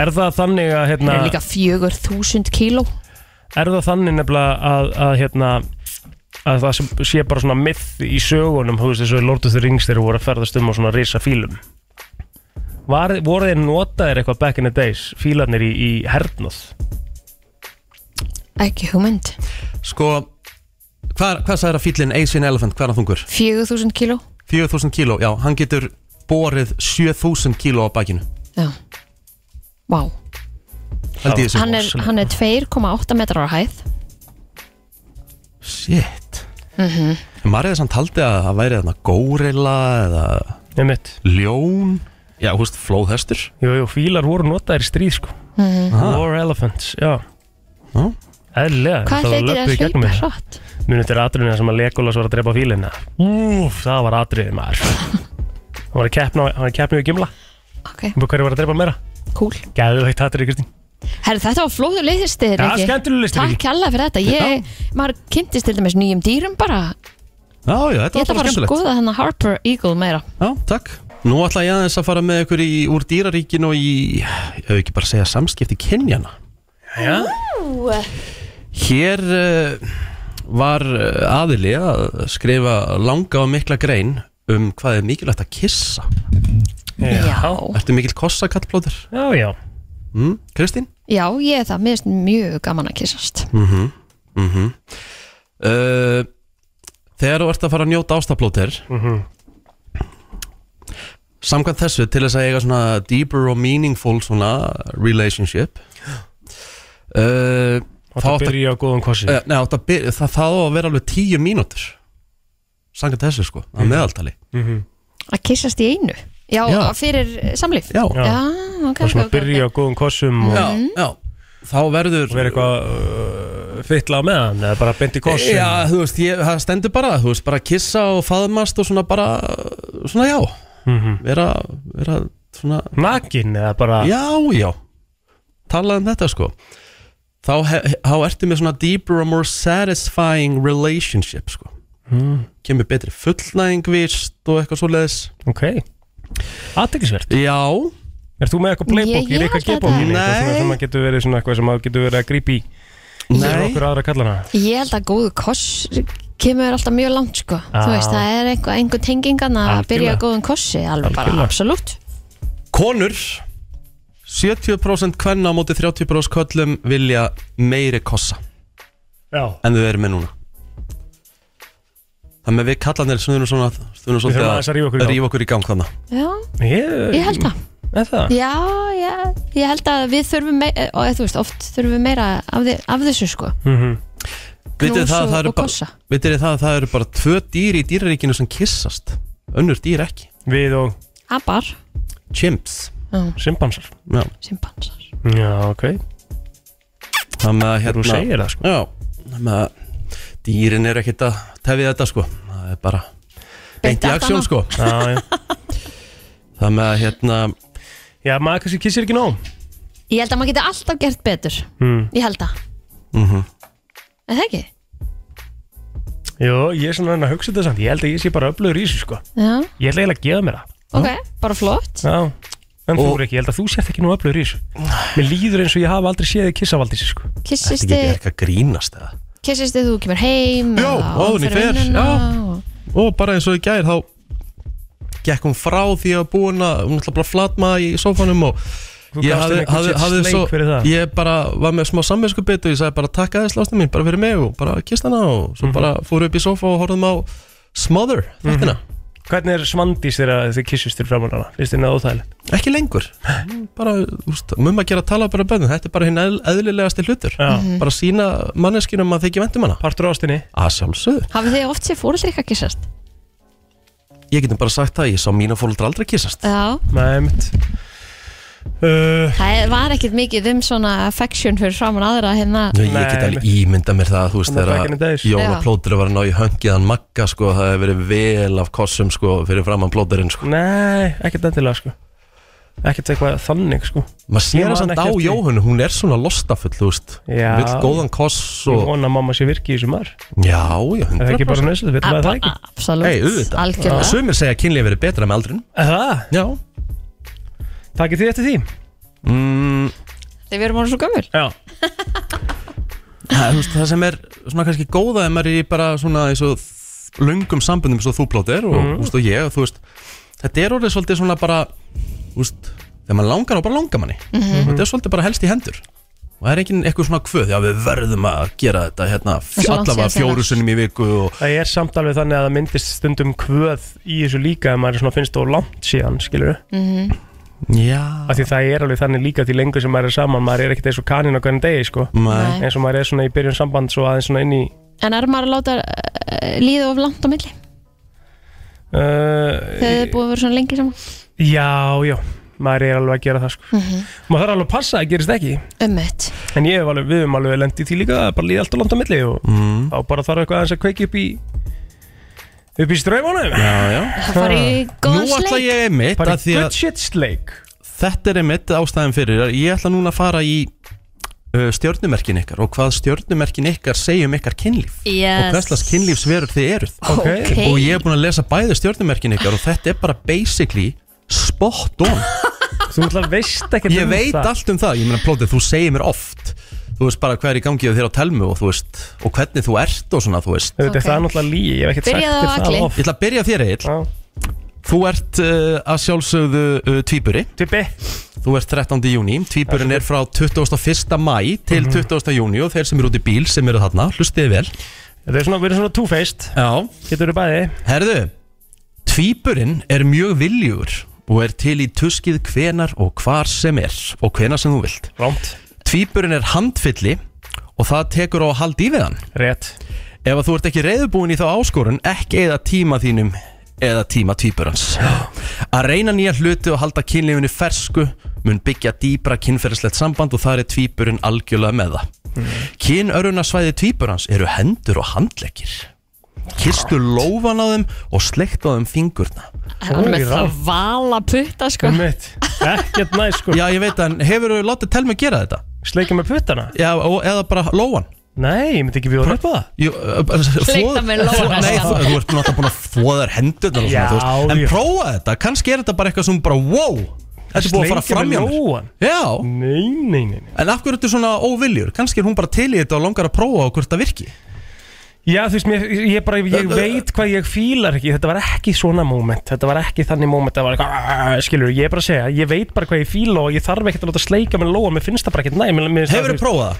[SPEAKER 3] Er það þannig að
[SPEAKER 2] það
[SPEAKER 3] hérna,
[SPEAKER 2] er líka 4000 kíló
[SPEAKER 3] Er það þannig nefnilega að, að hérna að það sem sé bara svona myth í sögunum þú veist þessu í Lord of the Rings þegar voru að ferðast um á svona risa fílum Var, voru þeir notaðir eitthvað back in the days fílarnir í, í hernað
[SPEAKER 2] Ekki hugmynd
[SPEAKER 1] Sko, hvað, hvað sagði það fýllin Asian Elephant? Hvað er hann þungur?
[SPEAKER 2] 4000 kíló
[SPEAKER 1] 4000 kíló, já, hann getur borið 7000 kíló á bakinu
[SPEAKER 2] Já Vá
[SPEAKER 1] Held ég þessi
[SPEAKER 2] Hann er, hann er 2,8 metrar á hæð
[SPEAKER 1] Shit
[SPEAKER 2] mm
[SPEAKER 1] Maður hefði samt haldið að það væri þarna górilla eða
[SPEAKER 3] Einmitt.
[SPEAKER 1] ljón Já, hú veist, flóðhestur
[SPEAKER 3] Jú, jú, fílar voru notaðir í stríð sko
[SPEAKER 11] <laughs>
[SPEAKER 2] Mhm.
[SPEAKER 1] Aha.
[SPEAKER 3] War Elephants, já Eðlilega
[SPEAKER 2] Hvað ætli þeir að hlaupa hratt?
[SPEAKER 3] Munu þetta er atriðina sem að Legolas var að drepa fílina Úf, það var atriðið
[SPEAKER 2] <laughs>
[SPEAKER 3] maður Hann var að keppna, hann var að keppna við gimla
[SPEAKER 2] Ok
[SPEAKER 3] Og hverju var að drepa meira?
[SPEAKER 2] Cool
[SPEAKER 3] Gæðveikt atrið, Kristín
[SPEAKER 2] Herri, þetta var flóður leiðisti,
[SPEAKER 3] Já,
[SPEAKER 2] Riki.
[SPEAKER 3] skemmtilegur listi, Riki.
[SPEAKER 2] Takk hella fyrir þetta. Ég, maður kynntist til dæmis nýjum dýrum bara.
[SPEAKER 1] Já, já,
[SPEAKER 2] Ég ætla
[SPEAKER 1] þetta var bara
[SPEAKER 2] bara að
[SPEAKER 1] skemmtilegt
[SPEAKER 2] skoða þennan Harper Eagle meira.
[SPEAKER 1] Já, takk. Nú ætla ég aðeins að fara með ykkur í, úr dýraríkinu og í, ég hef ekki bara að segja samskipti kynjana.
[SPEAKER 3] Já.
[SPEAKER 1] Hér uh, var eh, aðili að skrifa langa og mikla grein um hvað er mikilvægt að kissa.
[SPEAKER 3] Já.
[SPEAKER 1] Ertu mikil kossakallblóður?
[SPEAKER 3] Já, já.
[SPEAKER 1] Mm, Kristín?
[SPEAKER 2] Já, ég er það. Mér finnst mjög gaman að kyssast.
[SPEAKER 1] Mhm, mhm. uh, þegar þú ert að fara að njóta ástaflótir
[SPEAKER 3] Mhm.
[SPEAKER 1] Samkvæmt þessu til þess að eiga svona deeper og meaningful svona relationship uh,
[SPEAKER 3] Átt að byrja á góðum kossi.
[SPEAKER 1] uh, Nei, átt að byrja, það, það á að vera alveg tíu mínútur Samkvæmt þessu sko, að
[SPEAKER 3] Mhm.
[SPEAKER 1] meðaltali
[SPEAKER 3] Mhm.
[SPEAKER 2] Að kyssast í einu. Já,
[SPEAKER 1] Já.
[SPEAKER 2] fyrir eh, samlíf.
[SPEAKER 1] Já.
[SPEAKER 3] Já.
[SPEAKER 2] Já, ok,
[SPEAKER 3] Og
[SPEAKER 2] ok,
[SPEAKER 3] svona
[SPEAKER 2] ok.
[SPEAKER 3] byrja á góðum kossum og
[SPEAKER 1] Já, já Þá verður
[SPEAKER 3] Verður eitthvað uh, fytla með hann Eða bara beint í kossum
[SPEAKER 1] Já, þú veist, ég, það stendur bara, þú veist, bara kissa og faðmast og svona bara, svona já vera, vera svona
[SPEAKER 3] Mhm. Nakin eða bara
[SPEAKER 1] Já, já, talað um þetta sko Þá, he, þá ertu með svona deeper and more satisfying relationship sko
[SPEAKER 3] Mm.
[SPEAKER 1] Kemur betri fullnæðing vist og eitthvað svoleiðis
[SPEAKER 3] Ok Aðtekisvert
[SPEAKER 1] Já
[SPEAKER 3] Er þú með eitthvað
[SPEAKER 2] Ég-
[SPEAKER 3] playbook
[SPEAKER 2] ég
[SPEAKER 3] í Rikka
[SPEAKER 2] held
[SPEAKER 3] G-bók?
[SPEAKER 2] þetta-
[SPEAKER 3] Eitthvað svona sem að getur verið svona eitthvað sem að getur verið að grípi í Fyrir okkur aðra kallana
[SPEAKER 2] Ég held að góðu koss kemur alltaf mjög langt sko
[SPEAKER 3] Já.
[SPEAKER 2] Þú veist, það er einhver, einhver tengingan að
[SPEAKER 1] Algjörlega.
[SPEAKER 2] byrja á góðum kossi alveg bara, absolutt
[SPEAKER 1] Konur 70% kvenna á móti 30% köllum vilja meiri kossa
[SPEAKER 3] Já.
[SPEAKER 1] en þau eru með núna Þannig að við kallanir sem við erum svona, við erum svolítið
[SPEAKER 3] þurfum aðeins að rífa okkur í gang.
[SPEAKER 1] rífa okkur í gang þannig
[SPEAKER 2] Já,
[SPEAKER 3] Ég,
[SPEAKER 2] ég held það
[SPEAKER 3] Er það?
[SPEAKER 2] Já, já, ég held að við þurfum meira, og eh, þú veist, oft þurfum við meira af, þi af þessu sko
[SPEAKER 3] Mhm.
[SPEAKER 1] Vitið
[SPEAKER 2] Knús
[SPEAKER 1] það, að
[SPEAKER 2] og-
[SPEAKER 1] það eru
[SPEAKER 2] og
[SPEAKER 1] bara,
[SPEAKER 2] kossa.
[SPEAKER 1] vitið þið það, að það eru bara tvö dýr í dýraríkinu sem kissast önnur dýr ekki
[SPEAKER 3] Við og
[SPEAKER 2] Abar,
[SPEAKER 1] Chimps
[SPEAKER 2] Já.
[SPEAKER 3] Simpansar
[SPEAKER 1] Já.
[SPEAKER 2] simpansar
[SPEAKER 3] Já, ok
[SPEAKER 1] Þannig að hérna
[SPEAKER 3] Þú segir það,
[SPEAKER 1] sko Já, þannig að dýrin eru ekkert að tefið þetta sko Það er bara beint í
[SPEAKER 3] aftan á.
[SPEAKER 1] aksjón sko
[SPEAKER 3] Já,
[SPEAKER 1] <laughs>
[SPEAKER 3] já
[SPEAKER 1] Þannig að hérna
[SPEAKER 3] Já, maður kannski kissir ekki nóg
[SPEAKER 2] Ég held að maður geti alltaf gert betur
[SPEAKER 1] Hmm.
[SPEAKER 3] mm.
[SPEAKER 2] Ég held að,
[SPEAKER 1] mm
[SPEAKER 3] Mhm.
[SPEAKER 1] -hmm.
[SPEAKER 2] er það ekki?
[SPEAKER 3] Jó, ég er svona að reyna að hugsa þetta samt Ég held að ég sé bara öflugur í þessu sko
[SPEAKER 2] Já,
[SPEAKER 3] Ég held eiginlega að gefa mér það
[SPEAKER 2] ok, bara flott
[SPEAKER 3] Já, en þú
[SPEAKER 1] Og-
[SPEAKER 3] er ekki, ég held að þú sért ekki nú öflugur í þessu Mér líður eins og ég hafa aldrei séð þig kissa valdísi sko
[SPEAKER 2] Kissist þið,
[SPEAKER 1] að grínast eða
[SPEAKER 2] kissist þið þú kemur heim
[SPEAKER 1] Já,
[SPEAKER 2] eða
[SPEAKER 1] áður
[SPEAKER 2] áður
[SPEAKER 1] en ég
[SPEAKER 2] fyrir
[SPEAKER 1] fer,
[SPEAKER 2] vinnuna
[SPEAKER 1] já.
[SPEAKER 2] og-
[SPEAKER 1] Og bara eins og í gær þá Gekk hún frá því að búin að Hún ætla bara að flatma í sófanum og
[SPEAKER 3] Þú
[SPEAKER 1] Ég
[SPEAKER 3] gafst henni
[SPEAKER 1] hafði,
[SPEAKER 3] einhvern
[SPEAKER 1] hafði,
[SPEAKER 3] sér
[SPEAKER 1] hafði
[SPEAKER 3] sleik
[SPEAKER 1] svo,
[SPEAKER 3] fyrir það.
[SPEAKER 1] ég bara var með smá samvinsku bit og ég sagði bara takk aðeins lástu mín, bara fyrir mig og bara kist hana og
[SPEAKER 3] Mhm.
[SPEAKER 1] svo bara fóru upp í sofa og horfðum á Smother, þettina
[SPEAKER 3] Hvernig er svandís þegar þið kissist þér framan hana? Finnst þið neða óþægilegt?
[SPEAKER 1] ekki lengur bara, úst, mumma gera að tala bara bönnum þetta er bara hinn eðl- eðlilegasti hlutur
[SPEAKER 3] Já. Mhm.
[SPEAKER 1] bara sína manneskinum að þykja vendum hana
[SPEAKER 3] partur ástinni
[SPEAKER 1] að sjálfsögðu,
[SPEAKER 2] Hafið þið oft séð fóreldri ykkar kissast?
[SPEAKER 1] ég getum bara sagt það ég sá mína fólaldra aldrei kissast
[SPEAKER 2] Já,
[SPEAKER 3] Nei, mitt uh,
[SPEAKER 2] það er- var ekkert mikið um svona affection fyrir framan aðra hérna
[SPEAKER 1] Nei, ég get alveg ímynda mér það, þú veist,
[SPEAKER 3] Þannig að back in the
[SPEAKER 1] þegar
[SPEAKER 3] days.
[SPEAKER 1] Jóna
[SPEAKER 2] Já.
[SPEAKER 1] Plótur var að ná í höngiðan Magga, sko, það hefur verið vel af kossum, sko, fyrir framann Plóturinn, sko.
[SPEAKER 3] Nei, ekkert endilega sko Ekkert eitthvað þannig sko
[SPEAKER 1] Maður
[SPEAKER 3] Ég
[SPEAKER 1] sér
[SPEAKER 3] man
[SPEAKER 1] það samt
[SPEAKER 3] ekki
[SPEAKER 1] á
[SPEAKER 3] eftir því.
[SPEAKER 1] Jóhannu, hún er svona lostafull, þú veist,
[SPEAKER 3] Já.
[SPEAKER 1] vill góðan koss
[SPEAKER 3] Ég
[SPEAKER 1] og,
[SPEAKER 3] vona að mamma sé virki í þessu maður
[SPEAKER 1] já, já,
[SPEAKER 3] Er það ekki bara
[SPEAKER 1] 100%.
[SPEAKER 3] nöðslega, veitum við það ekki
[SPEAKER 2] Absolutt,
[SPEAKER 1] Ei, auðvitað.
[SPEAKER 2] algjörlega
[SPEAKER 1] Sumir segja að kynlíf verið betra með aldrinum.
[SPEAKER 3] Er Það,
[SPEAKER 1] Já.
[SPEAKER 3] takið þið eftir því
[SPEAKER 1] Mm,
[SPEAKER 2] Þegar við erum orðin svo gömul
[SPEAKER 3] Já,
[SPEAKER 1] <laughs> Það, þú veist, það sem er svona kannski góða ef maður er í bara svona eins og lungum sambundum eins og þú plótir og, mm. og ég og þú veist þetta er orðið svolítið svona bara þú veist, þegar maður langar og bara langar manni
[SPEAKER 2] Mhm.
[SPEAKER 1] þetta er svolítið bara helst í hendur og það er enginn eitthvað svona kvöð já við verðum að gera þetta hérna
[SPEAKER 2] er
[SPEAKER 1] fj-
[SPEAKER 2] svo langt
[SPEAKER 1] allavega
[SPEAKER 2] síðan
[SPEAKER 1] fjóru sinnum í viku og
[SPEAKER 3] það er samt alveg þannig að það myndist stundum kvöð í þessu líka ef maður svona finnst þó langt síðan, skilur við
[SPEAKER 2] Mhm.
[SPEAKER 1] já
[SPEAKER 3] Því það er alveg þannig líka því lengur sem maður er saman maður er ekkert eins og kanin á hvernig degi sko
[SPEAKER 1] Nei.
[SPEAKER 3] eins og maður er svona í byrjun samband svo aðeins svona inn í
[SPEAKER 2] En er maður að láta uh, líða of langt á milli
[SPEAKER 3] uh,
[SPEAKER 2] Þegar þið er búið að vera svona lengi saman
[SPEAKER 3] Já, já, maður er alveg að gera það sko
[SPEAKER 1] Mhm.
[SPEAKER 3] Maður þarf alveg að passa að gerist ekki
[SPEAKER 2] Ömmett
[SPEAKER 3] En ég hef alveg, við höfum alveg lendið því líka að bara líða alltaf langt á milli og
[SPEAKER 1] mm.
[SPEAKER 3] þá bara þarf eitthvað aðeins að kveiki upp í upp í ströimunum
[SPEAKER 1] já já
[SPEAKER 2] Það fari í
[SPEAKER 1] nú
[SPEAKER 2] góðan
[SPEAKER 1] ætla
[SPEAKER 2] sleik
[SPEAKER 1] ég einmitt
[SPEAKER 3] Bara
[SPEAKER 1] að
[SPEAKER 3] í
[SPEAKER 1] því
[SPEAKER 3] good
[SPEAKER 1] að
[SPEAKER 3] shit sleik
[SPEAKER 1] þetta er einmitt ástæðan fyrir að ég ætla núna að fara í uh, stjörnumerkin ykkar og hvað stjörnumerkin ykkar segjum ykkar kynlíf og
[SPEAKER 2] yes.
[SPEAKER 1] hverslas kynlífsverur þið eruð
[SPEAKER 3] Ok.
[SPEAKER 1] og ég er búin að lesa bæði stjórnumerkin ykkar og þetta er bara basically spot on
[SPEAKER 3] <laughs> Þú ætla veist ekkert
[SPEAKER 1] ég
[SPEAKER 3] um
[SPEAKER 1] veit
[SPEAKER 3] það
[SPEAKER 1] allt um það, ég meina plótið, þú segir mér oft þú veist bara hvað er í gangi á þér á telmu og þú veist, og hvernig þú ert og svona þú veist,
[SPEAKER 3] Þetta
[SPEAKER 2] Ok.
[SPEAKER 3] er það náttúrulega líi, ég hef ekkert sagt
[SPEAKER 2] Byrjaðu á
[SPEAKER 3] þér
[SPEAKER 2] Agli.
[SPEAKER 3] það oft
[SPEAKER 1] ég ætla að byrja á þér Egil
[SPEAKER 3] Já,
[SPEAKER 1] þú ert uh, að sjálfsögðu uh, tvíburi,
[SPEAKER 3] Tippi
[SPEAKER 1] þú ert 13. júni tvíburinn er frá 21. mæ til
[SPEAKER 3] Mhm.
[SPEAKER 1] 20. júni og þeir sem eru út í bíl sem eru þarna, hlustiði vel
[SPEAKER 3] Þetta er svona, við erum svona two-faced
[SPEAKER 1] já,
[SPEAKER 3] Getur við bæði
[SPEAKER 1] Herðu, tvíburinn er mjög viljugur og er til í tuskið hvenar og hvar sem er og hvenar sem þú vilt.
[SPEAKER 3] Rámt
[SPEAKER 1] Tvíburinn er handfylli og það tekur á að halda í við hann.
[SPEAKER 3] Rétt
[SPEAKER 1] Ef að þú ert ekki reyðubúin í þá áskorun, ekki eða tíma þínum eða tíma tvíburans. Að reyna nýja hluti og halda kynlífinu fersku mun byggja dýbra kynferðislegt samband og þar er tvíburinn algjörlega með það.
[SPEAKER 3] Mm.
[SPEAKER 1] Kynörunasvæði tvíburans eru hendur og handleggir. Kistu lófan á þeim og slegt á þeim fingurna.
[SPEAKER 2] Hann er
[SPEAKER 3] Oj,
[SPEAKER 2] með
[SPEAKER 3] rá.
[SPEAKER 2] það vala putta sko
[SPEAKER 3] Um mitt Ekkert næ sko
[SPEAKER 1] Já, ég veit en hefur þú látið telmi gera þetta?
[SPEAKER 3] Sleikja með puttana
[SPEAKER 1] Já, og, eða bara lóan?
[SPEAKER 3] Nei, ég myndi ekki bjóða upp á það
[SPEAKER 1] Sleikta
[SPEAKER 2] Sleikta með lófana,
[SPEAKER 1] Nei,
[SPEAKER 2] sko.
[SPEAKER 1] þú, þú ert náttúrulega búin að þvoðar hendunar
[SPEAKER 3] Já,
[SPEAKER 1] En
[SPEAKER 3] já.
[SPEAKER 1] prófa þetta, kannski er þetta bara eitthvað sem bara wow Þetta er búið að fara
[SPEAKER 3] Sleikja
[SPEAKER 1] fram
[SPEAKER 3] með
[SPEAKER 1] hjá mér
[SPEAKER 3] lófann.
[SPEAKER 1] Já
[SPEAKER 3] Nei, nei, nei, nei
[SPEAKER 1] En af hverju ertu svona óviljur? Kannski er hún bara til í þetta og langar að prófa á hvort það virki
[SPEAKER 3] Já, þú veist, mér, ég, bara, ég veit hvað ég fílar ekki Þetta var ekki svona moment Þetta var ekki þannig moment Það var eitthvað, "Ah, skilur, ég er bara að segja Ég veit bara hvað ég fíla og ég þarf ekkert að láta sleika með lóa Mér finnst það bara ekkert næ mér- mér finnst
[SPEAKER 1] Hefurðu
[SPEAKER 3] það, þú
[SPEAKER 1] prófað það?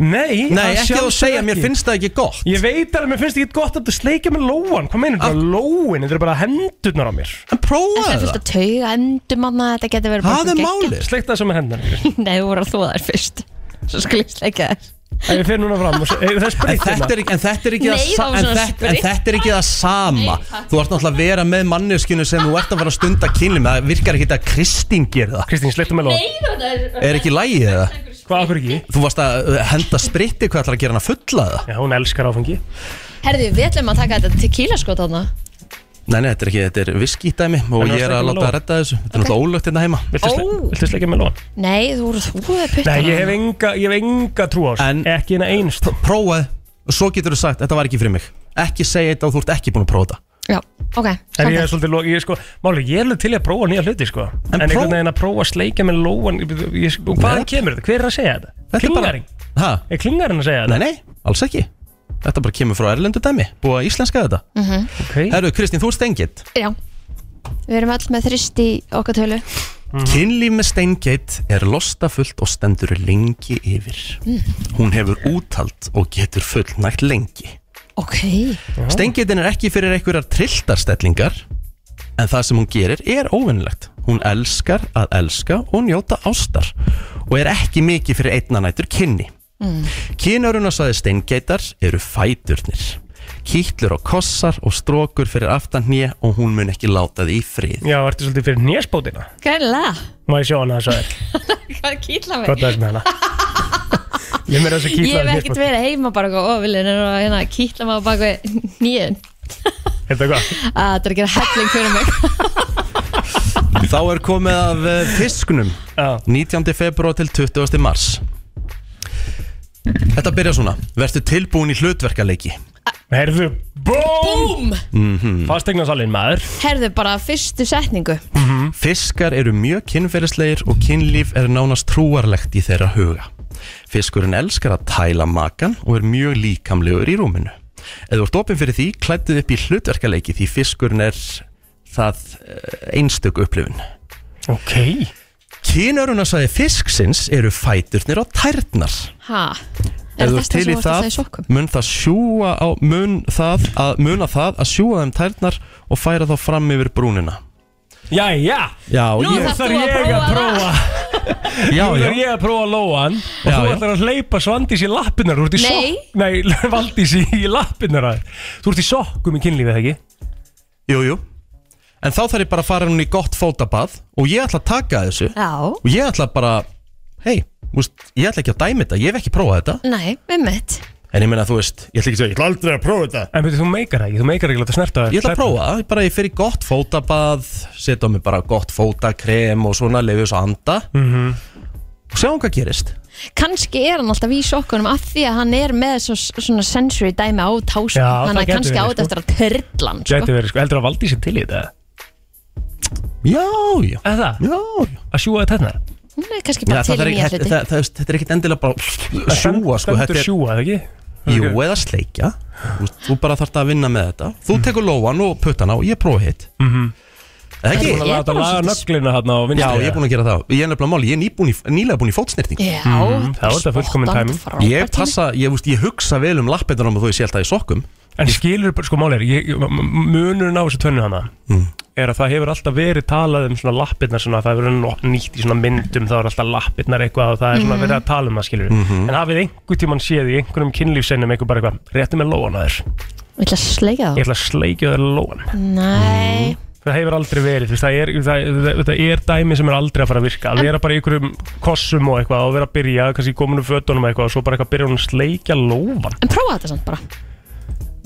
[SPEAKER 3] Nei, að
[SPEAKER 1] Nei, ekki að þú
[SPEAKER 3] sjálfsögðu
[SPEAKER 1] segja, mér
[SPEAKER 3] ekki.
[SPEAKER 1] finnst það ekki gott
[SPEAKER 3] Ég veit alveg, mér finnst ekki gott að þú sleika með lóan Hvað meinur þetta? Lóin, þetta er bara hendurnar á mér
[SPEAKER 1] En prófa
[SPEAKER 2] Það er fullt að tauga endum hann þetta getur verið bara geggjað.
[SPEAKER 3] Sleikta þessu með hendurnar
[SPEAKER 2] Nei, þú voru að þóða þær fyrst Svo skulle ég sleika þær
[SPEAKER 3] En ég fer núna fram og se- eh, það er
[SPEAKER 1] En
[SPEAKER 3] spritt
[SPEAKER 1] þetta er ekki, en þetta er ekki,
[SPEAKER 2] Nei, það
[SPEAKER 1] það, sa-
[SPEAKER 2] var
[SPEAKER 1] en,
[SPEAKER 2] svona
[SPEAKER 1] þetta, en
[SPEAKER 2] spritt.
[SPEAKER 1] þetta er ekki það sama Þú ert náttúrulega að vera með manneskinu sem þú ert að fara að stunda kynlum Það virkar ekki þetta að Kristín gerir það
[SPEAKER 3] Kristín, sleikta með lóan
[SPEAKER 1] Er ekki lægið það?
[SPEAKER 3] Hvað, okkur ekki?
[SPEAKER 1] Þú varst að uh, henda spritti, hvað ætlar að gera hann að fulla það?
[SPEAKER 3] Já, hún elskar áfengi
[SPEAKER 2] Herðu, við ætlum að taka þetta tequila skot þarna
[SPEAKER 1] Nei, nei, þetta er ekki, þetta er viskítæmi og
[SPEAKER 3] En það
[SPEAKER 1] ég er
[SPEAKER 3] sleikja
[SPEAKER 1] að
[SPEAKER 3] með
[SPEAKER 1] láta að
[SPEAKER 3] lófann.
[SPEAKER 1] redda þessu Þetta er náttúrulega ólögt hérna heima
[SPEAKER 3] Viltu sle-
[SPEAKER 2] Ó.
[SPEAKER 3] viltu sleikja með lóan?
[SPEAKER 2] Nei, þú voru þóða puttan
[SPEAKER 3] Nei, ég hef enga, ég hef enga trú á þessu
[SPEAKER 1] En-
[SPEAKER 3] Ekki eina einst
[SPEAKER 1] Prófaði, og svo getur þú sagt, þetta var ekki fyrir mig Ekki segja þetta og þú ert ekki búin að prófa þetta
[SPEAKER 2] Já, ok,
[SPEAKER 3] En ég
[SPEAKER 2] samþykkt.
[SPEAKER 3] er svolítið, lo- ég er sko, máli, ég er alveg til í að prófa nýja hluti sko En,
[SPEAKER 1] próf-
[SPEAKER 3] einhvern veginn að prófa að sleika með lóan ég, ég, Og hvaðan
[SPEAKER 1] Nei.
[SPEAKER 3] kemur þetta? Hver er að segja þetta?
[SPEAKER 1] Þetta er bara-
[SPEAKER 3] Klingaring?
[SPEAKER 1] Ha?
[SPEAKER 3] Er klingarinn að segja
[SPEAKER 1] Nei,
[SPEAKER 3] þetta?
[SPEAKER 1] nei, alls ekki Þetta bara kemur frá erlendu dæmi, búið að íslenska þetta
[SPEAKER 3] Ok,
[SPEAKER 1] Herru, Kristín, þú ert stengið
[SPEAKER 2] Já, við erum öll með þrist í okkar tölu
[SPEAKER 1] Kynlíf með Steingate er lostafullt og stendur lengi yfir.
[SPEAKER 2] Mm.
[SPEAKER 1] Hún hefur úthald og getur fullnægt lengi.
[SPEAKER 2] Ok,
[SPEAKER 1] Steingate er ekki fyrir einhverjar trilltarstellingar, en það sem hún gerir er óvinnilegt. Hún elskar að elska og njóta ástar og er ekki mikið fyrir einnanætur kynni. Mm. Kynarunasæði steingeitar eru fæturnir. Kýtlur og kossar og strókur fyrir aftan hnið og hún mun ekki láta því í frið.
[SPEAKER 3] já, ertu svolítið fyrir nésbótina?
[SPEAKER 2] gæðilega
[SPEAKER 3] Má ég sjá hana þess að
[SPEAKER 2] Hvað kýtla mig?
[SPEAKER 3] Hvað það er með hana? hérna. Ég meira þess að
[SPEAKER 2] Ég
[SPEAKER 3] kýtla
[SPEAKER 2] hef ekkert verið heima bara eitthvað ofilin en að, hérna, kýtla mig á baka nýjun
[SPEAKER 3] Þetta hvað?
[SPEAKER 2] að það er að gera helling fyrir mig
[SPEAKER 1] <laughs> Þá er komið af eh, fisknum.
[SPEAKER 3] Já,
[SPEAKER 1] 19. februar til 20. mars Þetta byrja svona Vertu tilbúin í hlutverkaleiki Mhm.
[SPEAKER 3] heyrðu, BOOM!
[SPEAKER 2] Búm!
[SPEAKER 3] Fastegnasalinn maður
[SPEAKER 2] Herðu bara fyrstu setningu
[SPEAKER 1] Fiskar eru mjög kynferðislegir og kynlíf er nánast trúarlegt í þeirra huga Fiskurinn elskar að tæla makan og er mjög líkamlegur í rúminu Ef þú ert opinn fyrir því, klættuð upp í hlutverkaleiki því fiskurinn er það eh, einstök upplifun
[SPEAKER 3] Ok
[SPEAKER 1] Kynörunasæði fisksins eru fæturnir á tærnar
[SPEAKER 2] Ha?
[SPEAKER 1] Ef
[SPEAKER 2] Er
[SPEAKER 1] þú
[SPEAKER 2] þetta
[SPEAKER 1] ert til
[SPEAKER 2] sem
[SPEAKER 1] í
[SPEAKER 2] þú ert að
[SPEAKER 1] það,
[SPEAKER 2] það í sokkum?
[SPEAKER 1] mun það sjúa á, mun það að, muna það að sjúa þeim tærnar og færa þá fram yfir brúnina.
[SPEAKER 3] Jæja,
[SPEAKER 1] Já,
[SPEAKER 2] Nú
[SPEAKER 1] ég,
[SPEAKER 2] þarf
[SPEAKER 3] þarf
[SPEAKER 2] þú að
[SPEAKER 3] ég að
[SPEAKER 2] prófa
[SPEAKER 3] prófa
[SPEAKER 1] já,
[SPEAKER 3] Nú
[SPEAKER 1] já.
[SPEAKER 3] þarf ég að prófa lóan og
[SPEAKER 1] Já,
[SPEAKER 3] þú
[SPEAKER 1] já.
[SPEAKER 3] ætlar að hleypa Svandís í lappinnar Þú ert í
[SPEAKER 2] Nei.
[SPEAKER 3] sokk Nei, <laughs> Valdís í, í lappinnar að þér. Þú ert í sokkum í kynlífið ekki?
[SPEAKER 1] Jú, jú. En þá þarf ég bara að fara hún í gott fótabað og ég ætla að taka þessu
[SPEAKER 2] Já,
[SPEAKER 1] og ég ætla bara, hei, úst, ég ætla ekki að dæmi þetta, ég hef ekki prófað þetta.
[SPEAKER 2] nei, við mitt
[SPEAKER 1] En ég meina, þú veist, ég ætla ekki að segja, ég ætla aldrei að prófa þetta.
[SPEAKER 3] En betur þú meikar það ekki, þú meikar ekki að láta snerta
[SPEAKER 1] Ég ætla að prófa það, ég bara ég fer í gott fótabað, setja á mig bara gott fótakrem og svona, lefi þessu að anda Mhm. og sjáum hvað gerist.
[SPEAKER 2] kannski er hann alltaf í sokkunum af því að hann er með svo, svona sensory dæmi á tásum
[SPEAKER 3] Já, það
[SPEAKER 2] þannig að
[SPEAKER 3] gæti
[SPEAKER 2] kannski át
[SPEAKER 3] verið, sko.
[SPEAKER 2] eftir að törla hann sko.
[SPEAKER 3] Gæti verið, sko, heldur að Valdís er til í þetta
[SPEAKER 1] Já, já,
[SPEAKER 3] Eða það,
[SPEAKER 1] já, já.
[SPEAKER 3] að sjúa þetta hérna
[SPEAKER 2] hún er kannski
[SPEAKER 1] Já,
[SPEAKER 2] bara
[SPEAKER 1] það,
[SPEAKER 2] til
[SPEAKER 1] er
[SPEAKER 2] í
[SPEAKER 1] ekki,
[SPEAKER 2] nýja
[SPEAKER 1] þetta,
[SPEAKER 2] hluti
[SPEAKER 1] það, það, þetta er ekkit endilega bara sjúa sko, þetta
[SPEAKER 3] Stendur
[SPEAKER 1] er
[SPEAKER 3] sjúa, eða ekki?
[SPEAKER 1] jú eða sleikja þú, veist, þú bara þarft að vinna með þetta þú
[SPEAKER 3] Mm.
[SPEAKER 1] tekur lóan og puttana og ég prófa hitt mm -hmm.
[SPEAKER 3] Ég
[SPEAKER 1] eða
[SPEAKER 3] er
[SPEAKER 1] ekki?
[SPEAKER 3] Mhm. búin að láta
[SPEAKER 2] bara
[SPEAKER 3] laga
[SPEAKER 2] svolítið-
[SPEAKER 3] nöglina hérna á vinstri
[SPEAKER 1] Já, ég er búin að gera það ég er nefnilega máli, ég er nýbúin í, nýlega búin í fótsnýrting
[SPEAKER 2] Já,
[SPEAKER 3] Mhm, það var þetta fullkomin
[SPEAKER 2] spottan,
[SPEAKER 3] timing.
[SPEAKER 2] frábær
[SPEAKER 1] ég passa, ég, veist, ég hugsa vel um lappendunum og þó ég sé um. alltaf í sokkum
[SPEAKER 3] En skilur, sko málir, munurinn á þessu tönnu hana
[SPEAKER 1] Mm.
[SPEAKER 3] er að það hefur alltaf verið talað um svona lappirnar svona, það hefur verið nú- nýtt í svona myndum þá er alltaf lappirnar eitthvað og það er svona verið að tala um það skilur
[SPEAKER 1] Mhm.
[SPEAKER 3] en hafið einhver tíman séð í einhverjum kynlífseinum eitthvað bara eitthvað, réttu með lóan að þér
[SPEAKER 2] tími. Ég ætla að sleika
[SPEAKER 3] ég
[SPEAKER 2] það
[SPEAKER 3] ætla að sleikja þér lóan
[SPEAKER 2] Nei,
[SPEAKER 3] það hefur aldrei verið, þú veist, það er, það, það, það er dæmi sem er aldrei að fara að virka að vera bara í einhverjum kossum og eitthvað og vera að byrja, kannski kominu fötunum eitthvað og svo bara eitthvað byrja hún að sleikja lófan
[SPEAKER 2] en prófa þetta samt bara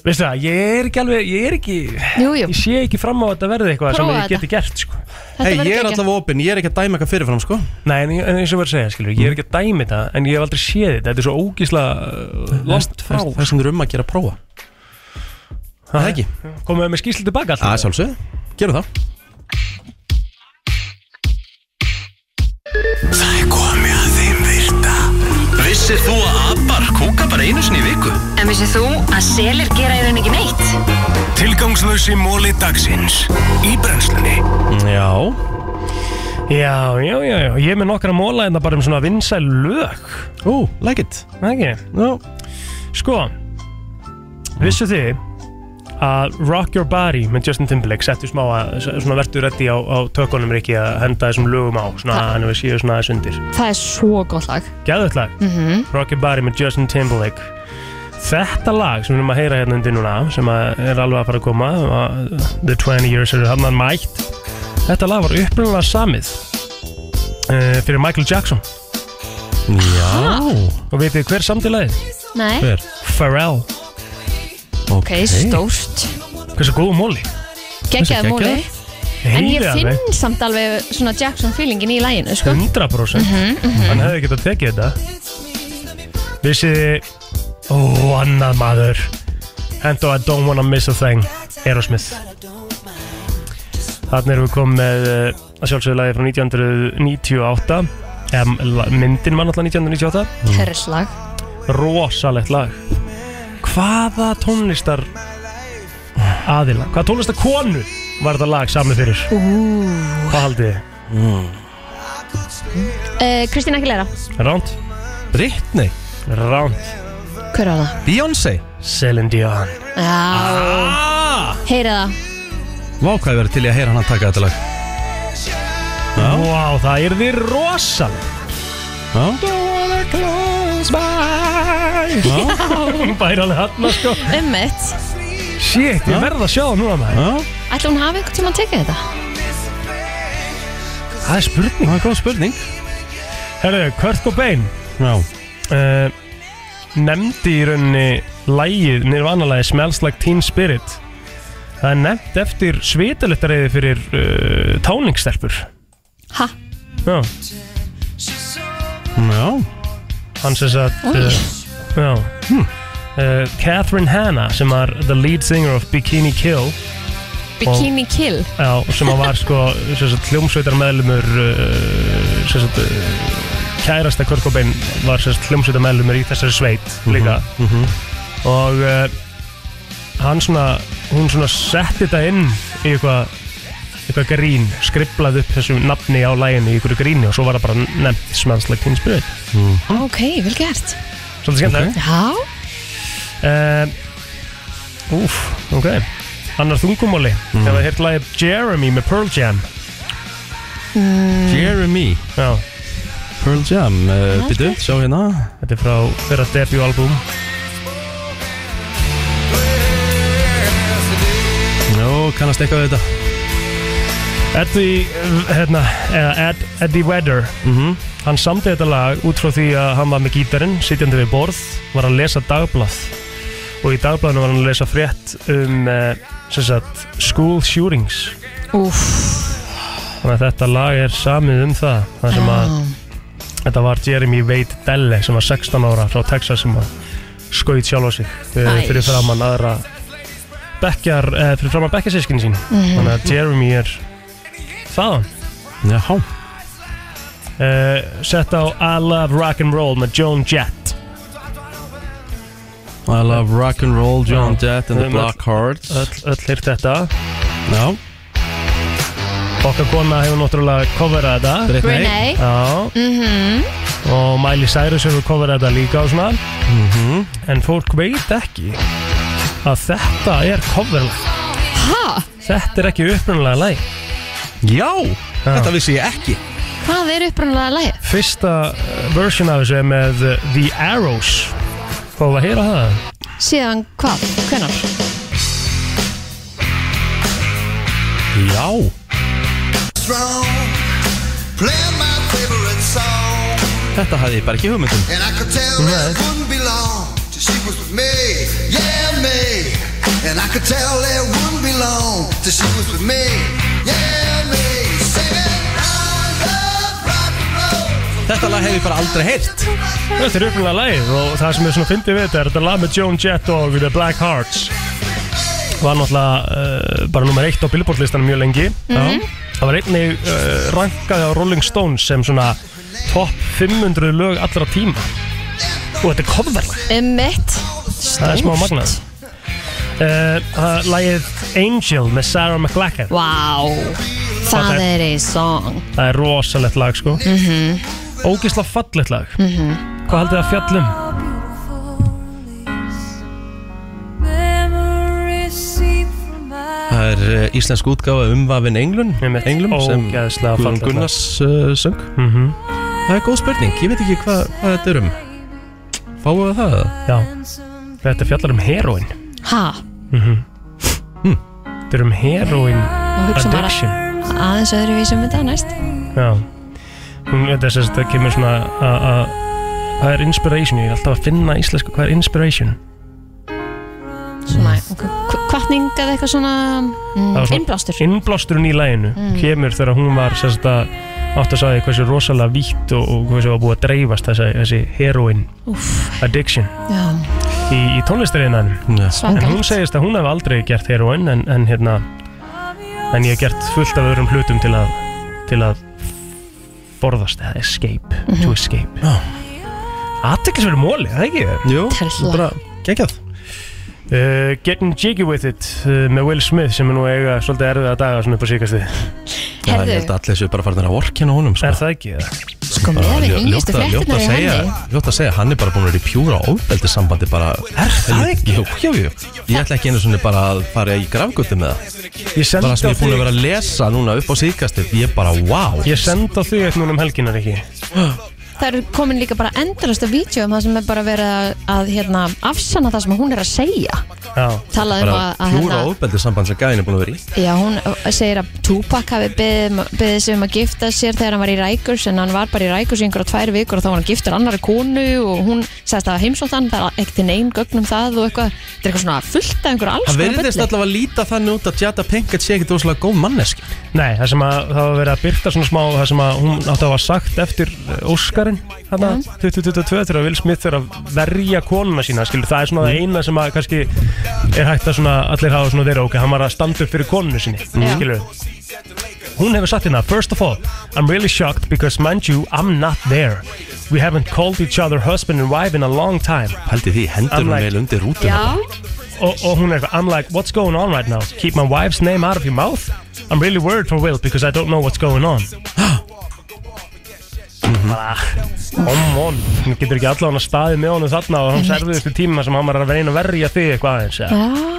[SPEAKER 3] veistu það, ég er ekki alveg, ég er ekki
[SPEAKER 2] Jú, jú,
[SPEAKER 3] ég sé ekki fram á að þetta verði eitthvað sem
[SPEAKER 2] Prófa
[SPEAKER 3] ég geti gert sko.
[SPEAKER 2] þetta
[SPEAKER 1] hei,
[SPEAKER 2] verður
[SPEAKER 1] ég er
[SPEAKER 2] geggjað.
[SPEAKER 1] alltaf opinn, ég er ekki að dæma eitthvað fyrirfram sko.
[SPEAKER 3] Nei, en, ég- en eins og verður að segja, skilur, ég er ekki að dæmi þetta en ég hef aldrei séð þetta, þetta er svo ógísla uh, langt frá
[SPEAKER 1] það er sem þú er um að gera prófa Það ekki
[SPEAKER 3] Komum við með skýrslu tilbaka alltaf?
[SPEAKER 1] Það er sjálfsögð, gerum það
[SPEAKER 9] Það er komið að þeim virta Vissir þú að abar kúka bara einu sinni í viku?
[SPEAKER 10] En vissið þú að selir gera í raun ekki neitt?
[SPEAKER 9] Tilgangslösi móli dagsins Í brennslunni
[SPEAKER 3] Já Já, já, já, já, ég er með nokkra móla en það bara um svona vinsæl lög
[SPEAKER 1] Ú, like it
[SPEAKER 3] Ekki,
[SPEAKER 1] no.
[SPEAKER 3] Sko, vissu þið að Rock Your Body með Justin Timberlake settu smá að, svona verður reddi á, á tökunum Rikki að henda þessum lögum á svona,
[SPEAKER 2] Það-
[SPEAKER 3] hann við séu svona aðeins undir
[SPEAKER 2] Það er svo gott lag
[SPEAKER 3] Gæðvögt lag
[SPEAKER 2] Mhm.
[SPEAKER 3] Rock Your Body með Justin Timberlake Þetta lag sem við erum að heyra hérna undir núna sem að er alveg að fara að koma að The 20 Years eru hann að mætt Þetta lag var upprunalega samið uh, fyrir Michael Jackson
[SPEAKER 1] Já
[SPEAKER 3] Og veitir hver samtilegið?
[SPEAKER 2] Nei.
[SPEAKER 1] Hver?
[SPEAKER 3] Pharrell
[SPEAKER 2] Ok, stórt
[SPEAKER 3] Hversu góðu móli
[SPEAKER 2] Gekkjaði móli En ég
[SPEAKER 3] Heiðarleg.
[SPEAKER 2] finn samt alveg svona Jackson feelingin í læginu sko.
[SPEAKER 3] 100%
[SPEAKER 2] Mhm, mhm.
[SPEAKER 3] Hann hefði getað tekið þetta Vissið þið Ó, annað maður Hendo I don't wanna miss a thing Aerosmith Þarna erum við komið með eh, að sjálfsögðu lagi frá 1998 em, la- myndin var náttúrulega 1998
[SPEAKER 2] Mhm. Herrslag
[SPEAKER 3] rosalegt lag hvaða tónlistar aðila, hvaða tónlistar konu var þetta lag samið fyrir hvað haldið þið?
[SPEAKER 2] Eh, Kristín Aguilera
[SPEAKER 3] Ránt
[SPEAKER 1] Brittany
[SPEAKER 3] Ránt
[SPEAKER 2] Hver var það?
[SPEAKER 1] Beyoncé
[SPEAKER 3] Celine Dion
[SPEAKER 2] Já Heyrið það
[SPEAKER 1] Vá, hvað ég verið til í að heyra hann að taka þetta lag
[SPEAKER 3] Vá, það er því rosal
[SPEAKER 1] Já
[SPEAKER 3] <laughs> Hún bæri alveg hann sko
[SPEAKER 2] Ummitt
[SPEAKER 3] Shit, ég verð að sjá það núna maður
[SPEAKER 2] Ætla hún hafi einhvern tíma að tekið þetta?
[SPEAKER 3] Það er spurning
[SPEAKER 1] Það er góð spurning
[SPEAKER 3] Herru, Kurt Cobain
[SPEAKER 1] Já
[SPEAKER 3] uh, Nemndi í rauninni Lægið, nirvanalagi Smells Like Teen Spirit Það er nefnt eftir svitaluttareiði fyrir uh, táningstelpur
[SPEAKER 2] Ha?
[SPEAKER 3] Já
[SPEAKER 1] Já
[SPEAKER 3] Hann sem sagt
[SPEAKER 2] Oj.
[SPEAKER 3] uh, Já uh, Catherine Hanna sem var the lead singer of Bikini Kill
[SPEAKER 2] Bikini Kill
[SPEAKER 3] Já, sem að var sko hljómsveitar meðlumur uh, sem sagt, uh, kærasta Kurt Cobain var hljómsveitar meðlumur í þessari sveit líka og uh, hann svona hún svona setti þetta inn í eitthvað eitthvað grín, skriflaði upp þessu nafni á læginu í einhverju gríni og svo var það bara nefnt smanslega tínspyrðið
[SPEAKER 2] Ok, vel gert
[SPEAKER 3] Svolítið skemmtilegt
[SPEAKER 2] Já
[SPEAKER 3] okay. Úf, Eh, ok Annar þungumóli mm. Hefur þið heyrt lagið Jeremy með Pearl Jam
[SPEAKER 2] mm,
[SPEAKER 1] Jeremy
[SPEAKER 3] Já
[SPEAKER 1] Pearl Jam uh,
[SPEAKER 2] Já,
[SPEAKER 1] Býtu,
[SPEAKER 2] ok.
[SPEAKER 1] sjá hérna
[SPEAKER 3] Þetta er frá þeirra debutalbum
[SPEAKER 1] Jó, kannast eitthvað við þetta
[SPEAKER 3] Eddie, eh, hérna, eða Ed, Eddie Vedder Hann samdi þetta lag út frá því að hann var með gítarinn sitjandi við borð, var að lesa dagblað og í dagblaðinu var hann að lesa frétt um eh, sem sagt, school shootings
[SPEAKER 2] Úf
[SPEAKER 3] Þannig að þetta lag er samið um það Það sem að Þetta var Jeremy Wade Delle sem var 16 ára frá Texas sem að skaut sjálfa sig eh,
[SPEAKER 2] Æ.
[SPEAKER 3] fyrir framann aðra bekkjar, eh, fyrir framann bekkjarsískin sín
[SPEAKER 2] Mhm.
[SPEAKER 3] þannig að Jeremy er þaðan
[SPEAKER 1] Já
[SPEAKER 3] eh, sett á I Love Rock'n'Roll með Joan Jett
[SPEAKER 1] I love rock and roll, John
[SPEAKER 3] Já.
[SPEAKER 1] Jett and the
[SPEAKER 3] Öll-
[SPEAKER 1] Black Hearts
[SPEAKER 3] öll, öll hýrt þetta
[SPEAKER 1] Já
[SPEAKER 3] okkar kona hefur náttúrulega coverað þetta
[SPEAKER 1] Brittany.
[SPEAKER 2] Renee
[SPEAKER 3] Já,
[SPEAKER 2] Mhm.
[SPEAKER 3] og Miley Cyrus hefur coverað þetta líka og svona
[SPEAKER 1] Mhm.
[SPEAKER 3] en fólk veit ekki að þetta er coverlag
[SPEAKER 2] Ha?
[SPEAKER 3] þetta er ekki upprunalega læg
[SPEAKER 1] Já, þetta vissi ég ekki
[SPEAKER 2] Hvað er upprunalega lagið?
[SPEAKER 3] Fyrsta eh, version af þessu er með eh, The Arrows Fáðu að heyra það?
[SPEAKER 2] Síðan hvað? Hvenar?
[SPEAKER 1] Já Þetta hafði ég bara ekki hugmyndum Þetta lag hef ég bara aldrei heyrt
[SPEAKER 3] Þetta er upprunalega lagið og það sem er svona fyndið við þetta er þetta lag með Joan Jett og The Black Hearts var náttúrulega uh, bara nummer eitt á Billboard listanum mjög lengi það var einnig uh, rankaði á Rolling Stones sem svona top 500 lög allra tíma og þetta er coverlag
[SPEAKER 2] Um mitt
[SPEAKER 3] það er smá magnað uh, það er lagið Angel með Sarah McLachlan
[SPEAKER 2] Vá, það er í song
[SPEAKER 3] það er rosalegt lag sko mm
[SPEAKER 2] Mhm.
[SPEAKER 3] ógisla fallegt lag
[SPEAKER 2] Mhm.
[SPEAKER 3] hvað haldið það fjallum?
[SPEAKER 1] Það er eh, íslensk útgáfa umvafin Englun Englum sem
[SPEAKER 3] Ógeðslega
[SPEAKER 1] Guðrún
[SPEAKER 3] fallegt lag.
[SPEAKER 1] Gunnars uh, söng
[SPEAKER 3] -hmm.
[SPEAKER 1] Það er góð spurning, ég veit ekki hvað hva þetta er um Fáum við það?
[SPEAKER 3] Já, þetta fjallar um heroin
[SPEAKER 2] Ha,
[SPEAKER 3] mm
[SPEAKER 1] Hm.
[SPEAKER 3] þetta er um heroin
[SPEAKER 2] og hugsa bara
[SPEAKER 3] addiction
[SPEAKER 2] aðeins öðruvísum við það næst
[SPEAKER 3] Já Hún, þetta er sem sagt, það kemur svona að- að hvað er inspiration, ég er alltaf að finna íslensku hvað er inspiration
[SPEAKER 2] Svona, ok, kvartning eða eitthvað svona
[SPEAKER 3] Mm. Það var
[SPEAKER 2] mm,
[SPEAKER 3] svona-
[SPEAKER 2] Innblástur
[SPEAKER 3] innblásturinn í læginu
[SPEAKER 2] Mm.
[SPEAKER 3] kemur þegar hún var sem sagt að átt að sagði hversu rosalega vítt og, og hversu var búið að dreifast þessi, þessi heroin
[SPEAKER 2] Úff.
[SPEAKER 3] addiction
[SPEAKER 2] Já,
[SPEAKER 3] í, í tónlistariðinanum en
[SPEAKER 2] Svakalegt.
[SPEAKER 3] hún segist að hún hef aldrei gert heroin en, en hérna en ég hef gert fullt af öðrum hlutum til að til að forðast eða escape,
[SPEAKER 2] Mhm.
[SPEAKER 3] to escape oh. aðteklisverið móli, það ekki? Jú,
[SPEAKER 2] Terla.
[SPEAKER 3] bara geggjað Uh, getting jiggy with it uh, með Will Smith sem er nú að eiga svolítið erfiða daga svona upp á síkast
[SPEAKER 1] Já, ég held að allir séu bara farin að vorkina honum sko.
[SPEAKER 3] Er það ekki?
[SPEAKER 1] Sko,
[SPEAKER 2] miðað við nýjustu fréttirnar í henni.
[SPEAKER 1] Ljótt að segja, hann er bara búin að vera í pjúra ofbeldi sambandi bara Er það ekki? Jú, jú, jú Ég ætla ekki einu svona bara að fara í grafgötu með það
[SPEAKER 3] Ég sendi
[SPEAKER 1] Bara sem
[SPEAKER 3] á
[SPEAKER 1] ég er búin
[SPEAKER 3] þig-
[SPEAKER 1] að vera að lesa núna upp á síðkastið Ég er bara, wow
[SPEAKER 3] Ég senda á því eitt núna um helginar ekki
[SPEAKER 2] það eru komin líka bara endalast af vídeo um það sem er bara verið að, að hérna, afsanna það sem hún er að segja
[SPEAKER 3] Já
[SPEAKER 2] Talaðu um að- að
[SPEAKER 1] Pjúra
[SPEAKER 2] hérna-
[SPEAKER 1] ofbeldi sambandi sem gæðin er búin að vera í
[SPEAKER 2] Já, hún uh, segir að Tupac hafi beðið sig um að gifta sér þegar hann var í Rækurs en hann var bara í Rækurs í einhverja tvær vikur og þá var hann giftur annari konu og hún sagðist að heimsótt hann, það er ekkert til neinn gögnum það og eitthvað, þetta er eitthvað svona fullt af einhverju alls
[SPEAKER 1] Það
[SPEAKER 2] konar
[SPEAKER 1] verðist
[SPEAKER 2] bulli.
[SPEAKER 1] allavega að líta þannig út að Jada Pinkett sé ekkit óslega góð manneski
[SPEAKER 3] Nei, það sem að það var verið að byrta svona smá það sem að hún átti að hafa sagt eftir uh, Óskarinn hana 2022 þegar Will Smith þegar að verja konuna sína skilur, það er svona
[SPEAKER 1] Mm.
[SPEAKER 3] það eina sem að kannski er hægt að svona, allir hafa svona verið ok, hann var að standa upp fyrir konunu sinni
[SPEAKER 9] Já.
[SPEAKER 3] skilur Hún hefur sagt hérna, first of all, I'm really shocked because mind you, I'm not there. We haven't called each other husband and wife in a long time.
[SPEAKER 1] Haldi því, hendur
[SPEAKER 3] I'm
[SPEAKER 1] hún
[SPEAKER 3] like-
[SPEAKER 1] vel undir rútuna
[SPEAKER 3] og, og hún er eitthvað I'm like, what's going on right now? Keep my wife's name out of your mouth I'm really worried for Will because I don't know what's going on Ah, Come on Hún getur ekki allan að staði með honum þarna og hann serfiðustu tíma sem hann var að reyna að verja þig eitthvað aðeins
[SPEAKER 2] Já,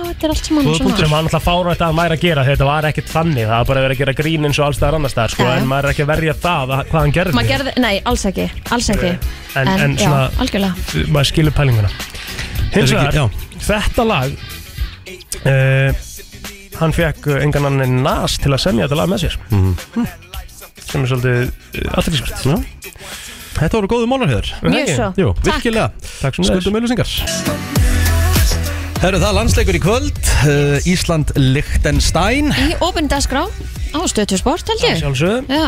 [SPEAKER 2] þetta er allt sem hann
[SPEAKER 3] sem
[SPEAKER 2] svona
[SPEAKER 3] hann alltaf fárætt að hann væri að gera því þetta var ekkert þannig, það var bara að vera að gera grín eins og allstaðar annars staðar, sko,
[SPEAKER 2] Já.
[SPEAKER 3] en maður er ekki að verja það að- hvað hann gerði
[SPEAKER 2] Maður gerði, nei, alls ekki, alls ekki
[SPEAKER 3] En- en
[SPEAKER 2] já,
[SPEAKER 3] svona-
[SPEAKER 2] algjörlega
[SPEAKER 3] maður skilur pælinguna hins
[SPEAKER 1] Er ekki- já.
[SPEAKER 3] vegar, þetta lag uh, hann fekk engan annan en Nas til að semja þetta lag með sér sem er svolítið eh, aðtrykkisvært
[SPEAKER 1] Þetta voru góðu málurheður
[SPEAKER 3] Mjög svo.
[SPEAKER 1] Jú,
[SPEAKER 3] Takk.
[SPEAKER 1] virkilega
[SPEAKER 3] Takk sem
[SPEAKER 1] Skuldum auðlýsingar Herru, það er landsleikur í kvöld uh, Ísland Lichtenstein
[SPEAKER 2] Í opin dagskrá á stötu sport held ég
[SPEAKER 3] Sjálfsögum
[SPEAKER 2] Já,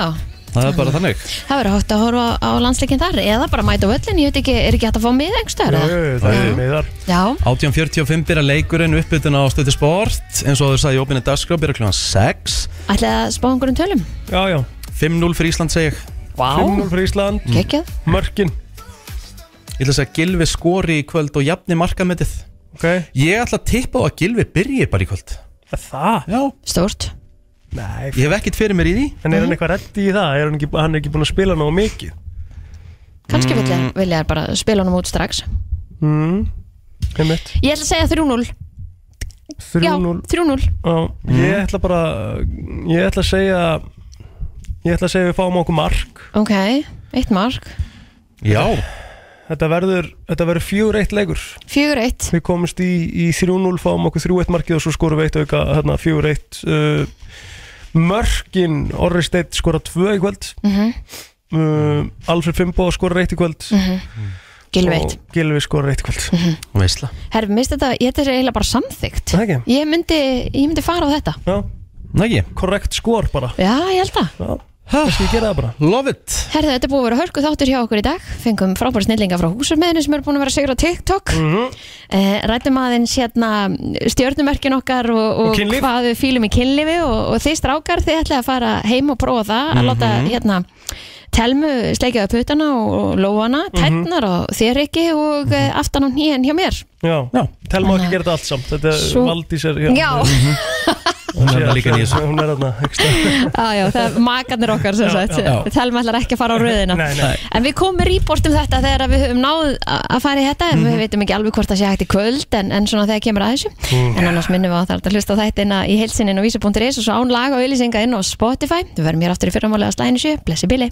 [SPEAKER 1] Það er bara þannig
[SPEAKER 2] það verður hótt að horfa á landsleikin þar eða bara mæta á öllin, ég veit ekki, er ekki hægt að fá mið einhverstaðar? eða?
[SPEAKER 1] það er
[SPEAKER 3] meðar
[SPEAKER 2] Já,
[SPEAKER 1] 18.45 byrja leikurinn uppbytun á stöðu sport eins og þú sagði í opinni dagskrá byrja kl. 6
[SPEAKER 2] ætlaði að spá einhverjum tölum
[SPEAKER 3] Já, já
[SPEAKER 1] 5-0 fyrir Ísland segi ég
[SPEAKER 2] Vá.
[SPEAKER 3] 5-0 fyrir Ísland
[SPEAKER 1] Mm.
[SPEAKER 2] Kekjað
[SPEAKER 3] Mörkin
[SPEAKER 1] Ég ætla að segja Gilvi skori í kvöld og jafni markametið
[SPEAKER 3] okay.
[SPEAKER 1] Ég ætla að tippa á að Gilvi byrji bara í kvöld
[SPEAKER 3] Það?
[SPEAKER 1] Já
[SPEAKER 2] Stort
[SPEAKER 3] Nei
[SPEAKER 1] Ég hef ekkert fyrir mér í því Mhm.
[SPEAKER 3] En er hann eitthvað reddi í það? Er hann ekki, hann er ekki búin að spila náðu mikið?
[SPEAKER 2] Kanski vilja, vilja þær bara spila honum út strax
[SPEAKER 3] Mm. Einmitt.
[SPEAKER 2] Ég ætla að segja 3-0 Já,
[SPEAKER 3] 3-0.
[SPEAKER 2] 3-0
[SPEAKER 3] Já, Ég
[SPEAKER 1] Mm.
[SPEAKER 3] ætla bara Ég ætla að segja Ég ætla að segja að við fáum okkur mark
[SPEAKER 2] Ok, eitt mark
[SPEAKER 1] Já
[SPEAKER 3] Þetta verður, þetta verður fjögur eitt leikur
[SPEAKER 2] 4-1
[SPEAKER 3] Við komumst í, í 3-0, fáum okkur 3-1 markið og svo skorum við eitt auka hérna, fjögur eitt uh, Mörkin Orri Steitt skora 2 í kvöld
[SPEAKER 2] Mhm.
[SPEAKER 3] uh, Alfred Fimbo skora 1 í kvöld
[SPEAKER 2] Mhm. Gylfi eitt. Mhm.
[SPEAKER 3] Og Gylfi skora 1 í kvöld
[SPEAKER 1] Veistla
[SPEAKER 2] Herfi, minnst þetta, ég þetta er eiginlega bara samþygt
[SPEAKER 3] Það ekki?
[SPEAKER 2] Ég myndi, ég myndi fara á þetta
[SPEAKER 3] Já
[SPEAKER 1] Nægi
[SPEAKER 3] Korrekt skor bara
[SPEAKER 2] Já, ég held að
[SPEAKER 3] Já. Kannski ég gera það bara
[SPEAKER 1] Love it
[SPEAKER 2] Herðu, þetta er búið að vera hörku þáttur hjá okkur í dag Fengum frábæra snillinga frá húsarmiðinu sem eru búin að vera sigur á TikTok mm
[SPEAKER 3] Mhm.
[SPEAKER 2] Rættum aðeins hérna stjörnumerkin okkar og,
[SPEAKER 3] Og
[SPEAKER 2] og
[SPEAKER 3] kynlíf.
[SPEAKER 2] hvað við fýlum í kynlifi og, og þið strákar, þið ætlaði að fara heim og prófa það að
[SPEAKER 3] Mhm.
[SPEAKER 2] láta hérna telmu sleikjaðu putana og lóana
[SPEAKER 3] Mhm.
[SPEAKER 2] tætnar og þér ekki og mm aftan á nýjan hjá mér
[SPEAKER 3] Já, já. telma ekki gera þetta allt samt Þetta er
[SPEAKER 2] Svo-
[SPEAKER 3] Valdís er Mhm.
[SPEAKER 2] Já.
[SPEAKER 3] Hún er
[SPEAKER 1] þarna líka í þessu.
[SPEAKER 3] Hún er þarna ekki stað.
[SPEAKER 2] ah, já, það er makarnir okkar sem
[SPEAKER 3] Já,
[SPEAKER 2] sagt
[SPEAKER 3] já. Já.
[SPEAKER 2] Telma ætlar ekki að fara á röðina
[SPEAKER 3] Nei, nei.
[SPEAKER 2] En við komum með report um þetta þegar að við höfum náð a- að fara í þetta en
[SPEAKER 3] Mhm.
[SPEAKER 2] við veitum ekki alveg hvort það sé hægt í kvöld en, en svona þegar kemur að þessu
[SPEAKER 3] Mhm.
[SPEAKER 12] Mm.
[SPEAKER 2] En annars minnum við að það er hægt að hlusta á þættina í heilsinni og vísa.is og svo án laga og ylýsinga inn á Spotify Við verðum hér aftur í fyrramálega slæðinu sjö Blessi Billy